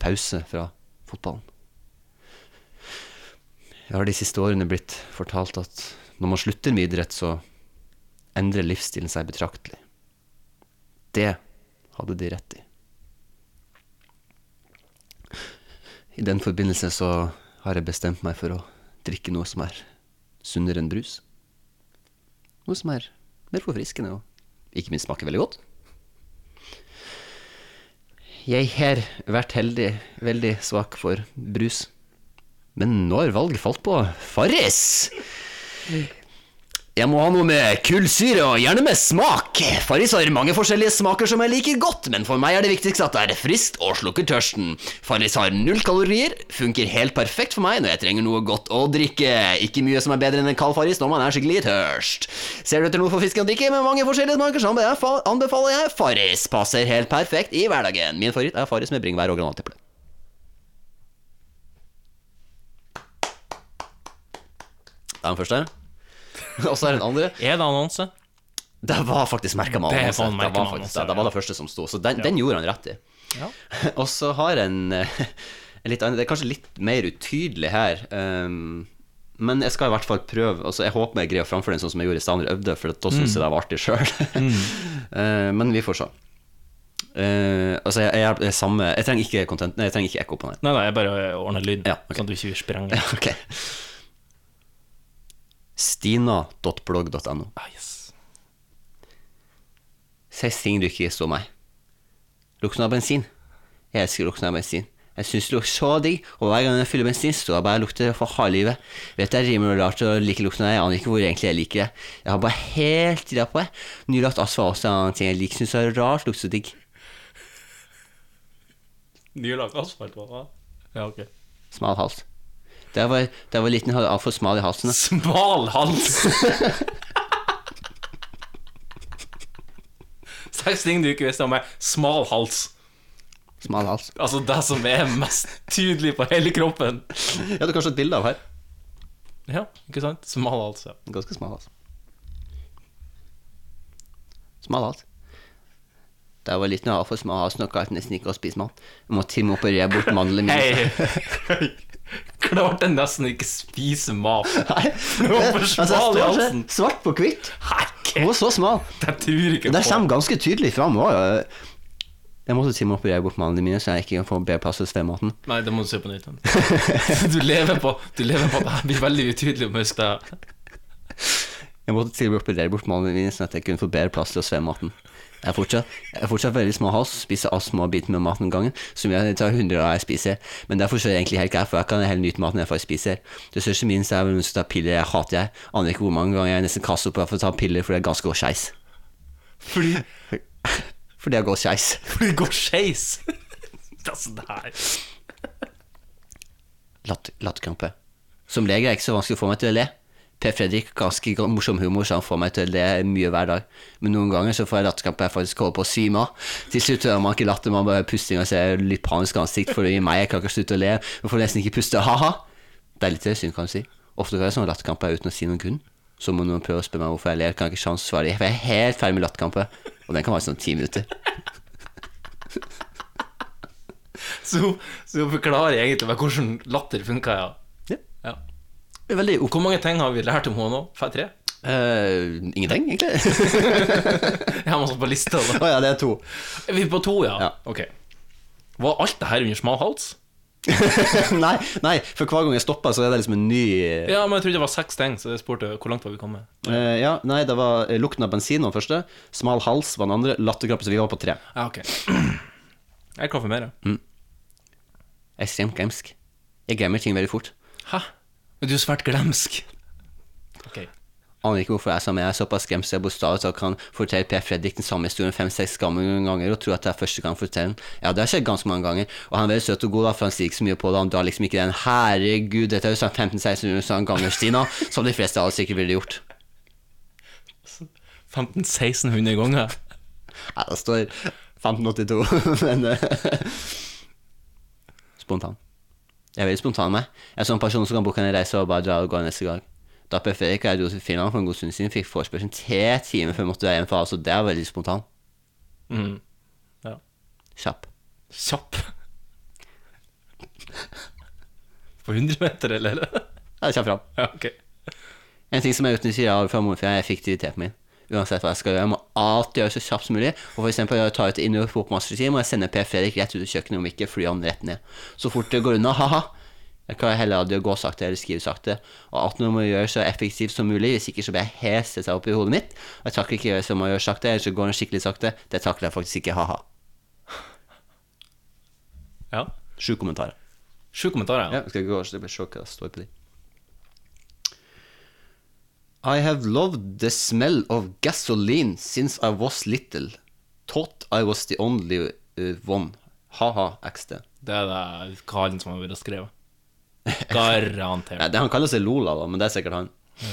[SPEAKER 3] pause fra fotballen. Jeg har de siste årene blitt fortalt at når man slutter med idrett, så endrer livsstilen seg betraktelig. Det hadde de rett i. I den forbindelse så har jeg bestemt meg for å drikke noe som er sunnere enn brus. Noe som er mer forfriskende og ikke minst smaker veldig godt. Jeg har vært heldig, veldig svak for brus. Men nå har valget falt på Farris! Jeg må ha noe med kullsyre og gjerne med smak. Farris har mange forskjellige smaker som jeg liker godt, men for meg er det viktigste at det er friskt og slukker tørsten. Farris har null kalorier, funker helt perfekt for meg når jeg trenger noe godt å drikke. Ikke mye som er bedre enn en kald Farris når man er skikkelig tørst. Ser du etter noe for fisken å drikke med mange forskjellige smaker, så anbe- fa- anbefaler jeg Farris. Passer helt perfekt i hverdagen. Min favoritt er Farris med bringebær og granateple. Det er den første. Og så er det den andre.
[SPEAKER 2] Er det annonse?
[SPEAKER 3] Det var faktisk merka med
[SPEAKER 2] Det
[SPEAKER 3] annonse.
[SPEAKER 2] var
[SPEAKER 3] Det var,
[SPEAKER 2] merket med
[SPEAKER 3] faktisk,
[SPEAKER 2] annonse,
[SPEAKER 3] det var det første som sto, så den,
[SPEAKER 2] Ja.
[SPEAKER 3] den gjorde han rett i.
[SPEAKER 2] Ja.
[SPEAKER 3] Og så har jeg en, eh, en litt annen Det er kanskje litt mer utydelig her. ehm, men jeg skal i hvert fall prøve altså Jeg håper jeg greier å framføre den sånn som jeg gjorde i stad, når jeg øvde, for da
[SPEAKER 2] Mm.
[SPEAKER 3] syns jeg det var artig sjøl. men vi får se. Eh, altså, jeg, jeg, er samme Jeg trenger ikke content Nei, jeg trenger ikke ekko på den. her.
[SPEAKER 2] Nei, nei, jeg bare ordner lyden,
[SPEAKER 3] Ja,
[SPEAKER 2] sånn at du ikke vil sprenge. Ja,
[SPEAKER 3] ok. Stina.blogg.no.
[SPEAKER 2] Ah, yes.
[SPEAKER 3] Seks ting du ikke så meg. Lukten av bensin. Jeg elsker lukten av bensin. Jeg syns det lukter så digg, og hver gang jeg fyller bensin, så jeg bare lukter det for harde livet. Vet det er rimelig rart å like lukten av det, jeg aner ikke hvor egentlig jeg liker det. Jeg har bare helt tida på det. Nylig at asfalt også er en annen ting jeg liker, syns det er rart, lukter så digg.
[SPEAKER 2] Nylagt asfalt, hva? Ja, ok.
[SPEAKER 3] Smal hals. Da jeg var, da jeg var liten, hadde jeg altfor smal i halsen.
[SPEAKER 2] Smal hals! Seks ting du ikke visste om meg. Smal hals.
[SPEAKER 3] Smal hals.
[SPEAKER 2] Altså det som er mest tydelig på hele kroppen.
[SPEAKER 3] Jeg hadde kanskje et bilde av her.
[SPEAKER 2] Ja, ikke sant? Smal altså. hals, ja.
[SPEAKER 3] Ganske smal altså. hals. Smal hals. Da jeg var liten, hadde jeg altfor smal hals, noe jeg nesten ikke å spise mat. Jeg måtte til og med operere bort mandelen min.
[SPEAKER 2] Hei! Klarte nesten ikke spise mat. Nei, det var for
[SPEAKER 3] Altså, jeg
[SPEAKER 2] smal i
[SPEAKER 3] står så
[SPEAKER 2] halsen.
[SPEAKER 3] svart på hvitt. Hun var så smal.
[SPEAKER 2] Jeg tror ikke
[SPEAKER 3] Det
[SPEAKER 2] på
[SPEAKER 3] kommer ganske tydelig fram òg. Jeg måtte til og med operere bort mandelen mine, så jeg ikke kan få bedre plass hos fematen.
[SPEAKER 2] Nei, det må du se på nytt. Du lever på Du lever på det her blir veldig utydelig å miste
[SPEAKER 3] Jeg måtte til og med operere bort mandelen mine, sånn at jeg kunne få bedre plass til å svømme maten. Jeg er fortsatt, jeg er fortsatt veldig små hals, spiser alle små biter med maten om gangen, som jeg tar 100 av jeg spiser. Men derfor så er jeg egentlig helt greit, for jeg kan heller nyte maten jeg faktisk spiser. Det største minst er vel noen som tar piller, jeg hater jeg. Aner ikke hvor mange ganger jeg nesten kaster opp for å ta piller, for det er ganske å skeis.
[SPEAKER 2] Fordi
[SPEAKER 3] Fordi jeg går skeis.
[SPEAKER 2] Fordi det går skeis! Altså, det her
[SPEAKER 3] Latt- Latterkrampe. Som lege er det ikke så vanskelig å få meg til å le. Per Fredrik har ganske ga- morsom humor, så han får meg til å le mye hver dag. Men noen ganger så får jeg latterkrampe jeg faktisk holder på å svime av. Til slutt hører man ikke latter, man bare pusting og ser litt panisk ansikt, for det gir meg, jeg klarer ikke å slutte å le, man får nesten ikke puste, ha-ha. Det er litt synd, kan du si. Ofte kan jeg sånne latterkramper uten å si noen grunn. Så må noen prøve å spørre meg hvorfor jeg ler, kan jeg ikke sjans svare, for jeg er helt ferdig med latterkramper. Og den kan være sånn ti minutter.
[SPEAKER 2] Så hun- så hun forklarer egentlig meg hvordan latter funker, ja. ja. Hvor mange ting har vi lært om henne nå? Fe- Tre?
[SPEAKER 3] Eh, ingenting, egentlig.
[SPEAKER 2] Jeg har masse på lista. da.
[SPEAKER 3] Å ja, det er to.
[SPEAKER 2] Er vi på to, ja? Ok. Var alt det her under smal hals?
[SPEAKER 3] nei, nei, for hver gang jeg stopper, så er det liksom en ny eh,
[SPEAKER 2] Ja, men jeg trodde det var seks ting, så jeg spurte hvor langt var vi kommet.
[SPEAKER 3] Eh, ja, nei, det var eh, lukten av bensin var den første. Smal hals var den andre. Latterkrampe, så vi var på tre.
[SPEAKER 2] Ja, ok. Jeg er klar for mer, ja.
[SPEAKER 3] Ekstremt glemsk. Jeg glemmer ting veldig fort.
[SPEAKER 2] Mm. Hæ? Men du er svært glemsk. Ok.
[SPEAKER 3] Aner ikke hvorfor jeg er som jeg er såpass skremt så jeg bokstavelig talt kan fortelle Per Fredrik den samme historien fem-seks ganger og tro at det er første gang jeg forteller den. Ja, det har skjedd ganske mange ganger, og han er veldig søt og god, da, for han sier ikke så mye på det. Han drar liksom ikke den 'herregud, dette er jo sånn 15-16 ganger, Stina', som de fleste av oss sikkert ville gjort.
[SPEAKER 2] 1500-1600 ganger.
[SPEAKER 3] Nei, det står 1582, men eh, Spontan. Jeg er veldig spontan, meg. Jeg er sånn person som kan booke en reise og bare dra og gå neste gang. Da E Per Fredrik og jeg dro til Finland for en god stund siden, fikk forespørselen tre timer før jeg måtte dra hjem fra, så det er veldig spontan.
[SPEAKER 2] Mm. Ja.
[SPEAKER 3] Kjapp.
[SPEAKER 2] Kjapp. På 100 meter, eller?
[SPEAKER 3] Ja, kjapp fram.
[SPEAKER 2] Ja, ok.
[SPEAKER 3] En ting som jeg utnytter jeg har fra morfar, er effektiviteten min. Uansett hva jeg skal gjøre, jeg må alltid gjøre det så kjapt som mulig. Og for eksempel, jeg tar ut inn- og fotmassasje, må jeg sende Per Fredrik rett ut i kjøkkenet, om ikke flyr han rett ned. Så fort det går unna, haha. Jeg klarer heller aldri å gå sakte eller skrive sakte. Og alt noe må jeg gjøre så effektivt som mulig, hvis ikke så blir jeg helt stressa opp i hodet mitt. Og jeg takler ikke å gjøre som jeg gjør sakte, eller så går det skikkelig sakte. Det takler jeg faktisk ikke, haha.
[SPEAKER 2] Ja.
[SPEAKER 3] Sju kommentarer.
[SPEAKER 2] Sju kommentarer,
[SPEAKER 3] ja. Skal vi gå, så det blir sjokk hva det står på de. I have loved the smell of gasoline since I was little. Thought I was the only uh, one. Ha-ha, XD.
[SPEAKER 2] Det er det karen som har vært skrevet. Garantert.
[SPEAKER 3] Nei, det, han kaller seg Lola, da, men det er sikkert han.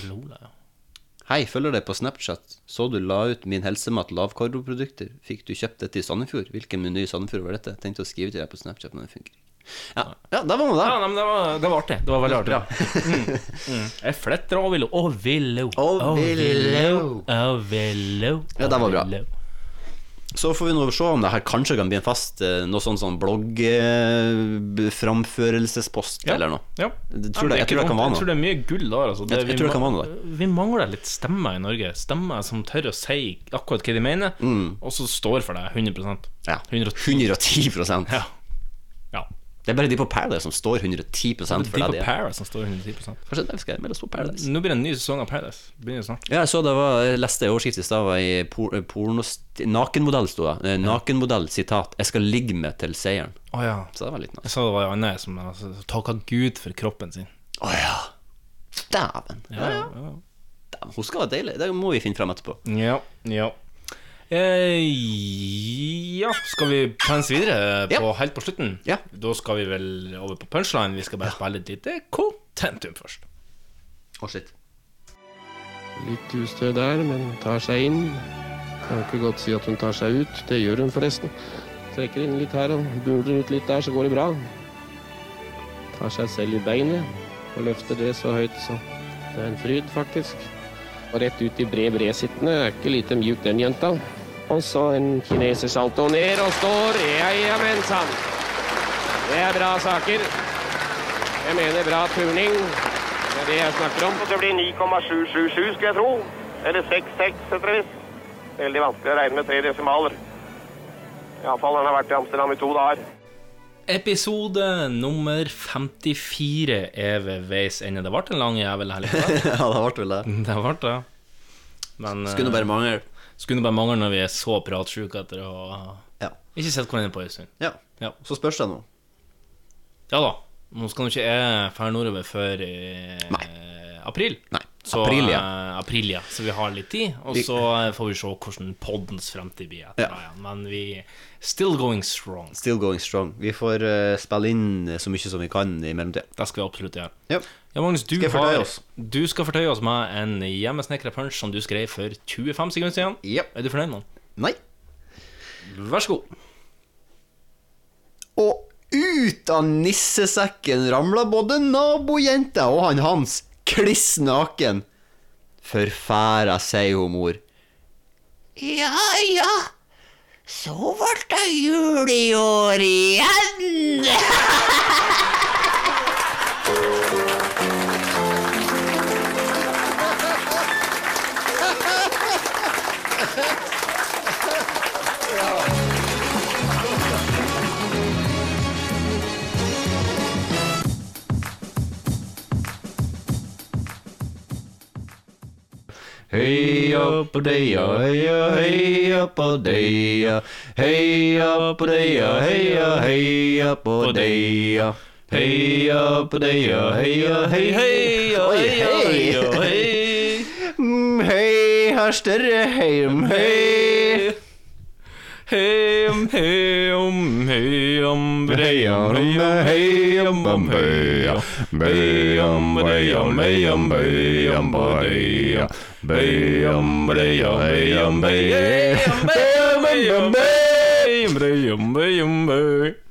[SPEAKER 2] Lola, ja.
[SPEAKER 3] Hei, følger deg på Snapchat. Så du la ut min helsemat lavkarboprodukter. Fikk du kjøpt dette i Sandefjord? Hvilken meny i Sandefjord var dette? Tenkte å skrive til deg på Snapchat, men det funker ikke. Ja, ja der var vi da.
[SPEAKER 2] Ja, nei, men det var, det var artig. Det var veldig artig. Mm. Mm. Jeg fletter over Willow. Å, Willow. Å,
[SPEAKER 3] Willow.
[SPEAKER 2] Å, Willow.
[SPEAKER 3] Ja, det var bra.
[SPEAKER 2] Willow.
[SPEAKER 3] Så får vi nå se om det her kanskje kan bli en fast eh, noe sånn, sånn bloggframførelsespost
[SPEAKER 2] Ja.
[SPEAKER 3] eller noe.
[SPEAKER 2] Ja. Ja,
[SPEAKER 3] Jeg tror det,
[SPEAKER 2] er
[SPEAKER 3] jeg
[SPEAKER 2] ikke
[SPEAKER 3] tror det kan
[SPEAKER 2] dumt.
[SPEAKER 3] være
[SPEAKER 2] Jeg tror
[SPEAKER 3] noe.
[SPEAKER 2] det er mye gull der. Altså.
[SPEAKER 3] Jeg- jeg tror det kan være noe
[SPEAKER 2] Vi mangler litt stemmer i Norge. Stemmer som tør å si akkurat hva de mener, og så står for det 100
[SPEAKER 3] Mm. Ja. 110
[SPEAKER 2] ja. ja.
[SPEAKER 3] Det er bare de på Paradise som står 110 for
[SPEAKER 2] Det er de
[SPEAKER 3] det
[SPEAKER 2] på
[SPEAKER 3] de er.
[SPEAKER 2] Paradise som står 110
[SPEAKER 3] Kanskje det vi skal melde oss på Paradise.
[SPEAKER 2] Nå blir det en ny sesong av Paradise. Begynner snart.
[SPEAKER 3] Ja, jeg så det var, jeg leste i overskrift i stad, var i por, eh, pornost... Nakenmodell sto det. Eh, Nakenmodell, sitat. 'Jeg skal ligge med til seieren'.
[SPEAKER 2] Å ja.
[SPEAKER 3] Så det var litt nice.
[SPEAKER 2] Jeg sa det var en annen som altså, takka Gud for kroppen sin.
[SPEAKER 3] Å ja. Dæven. Ja, ja. Dæven, Hun skal være deilig. Det må vi finne fram etterpå.
[SPEAKER 2] Ja. ja. Eh, ja, skal vi pense videre på, helt på slutten? Da skal vi vel over på punchline. Vi skal bare spille et lite kort Tentum først.
[SPEAKER 3] Å, shit.
[SPEAKER 7] Litt ustø der, men tar seg inn. Kan ikke godt si at hun tar seg ut. Det gjør hun forresten. Trekker inn litt her og buler ut litt der, så går det bra. Tar seg selv i beinet og løfter det så høyt, så det er en fryd, faktisk. Og rett ut i bred bredsittende. Er ikke lite mjuk, den jenta. Og så en kinesersalto ned og står. Ja, ja, men sann. Det er bra saker. Jeg mener bra turning. Det er det jeg snakker om.
[SPEAKER 20] Det blir 9,777, skulle jeg tro. Eller 66, etter visst. Veldig vanskelig å regne med tre desimaler. Iallfall han har vært i Amsterdam i to dager.
[SPEAKER 2] Episode nummer 54 er ved veis ende. Det ble en lang jævel her.
[SPEAKER 3] ja, det ble vel det.
[SPEAKER 2] Det ble det. Men, eh,
[SPEAKER 3] Skulle nå bare mangle.
[SPEAKER 2] Skulle nå bare mangle når vi er så pratsjuke etter å ha ikke sett hverandre på en stund.
[SPEAKER 3] Ja. Så spørs det nå.
[SPEAKER 2] Ja da. Nå skal nå ikke jeg dra nordover før i april. Så,
[SPEAKER 3] April,
[SPEAKER 2] eh, april, ja. Så vi har litt tid. Og
[SPEAKER 3] Vi-
[SPEAKER 2] så eh, får vi se hvordan poddens fremtid blir etter
[SPEAKER 3] Ja.
[SPEAKER 2] det. igjen. Men vi still going strong.
[SPEAKER 3] Still going strong. Vi får eh, spille inn så mye som vi kan i mellomtida.
[SPEAKER 2] Det skal vi absolutt gjøre.
[SPEAKER 3] Ja.
[SPEAKER 2] Ja, Magnus, du,
[SPEAKER 3] Skal jeg fortøye
[SPEAKER 2] har,
[SPEAKER 3] oss?
[SPEAKER 2] du skal fortøye oss med en hjemmesnekra punch som du skrev for 25 sekunder siden. Er du fornøyd med den?
[SPEAKER 3] Nei.
[SPEAKER 2] Vær så god.
[SPEAKER 3] Ut av nissesekken ramla både nabojenta og han Hans, kliss naken. Forfæra, sier hun mor.
[SPEAKER 18] Ja, ja. Så ble det jul i år igjen.
[SPEAKER 3] Heia på deia, heia, heia på deia. Heia på deia, heia, heia på deia. Heia på deia, heia, hei, heia, heia, heia, hei. Mm, Hei, herr Større, heim, hei.
[SPEAKER 2] Heim, heim, heim,
[SPEAKER 18] breia, heim, heim, heia. Bøyam, bøyam, bøyam, bøyam, bøya. Bøyam, bøya, bøyam, bøya.
[SPEAKER 2] Bøyam, bøyam, bøyam, bøyam, bøyam, bøyam.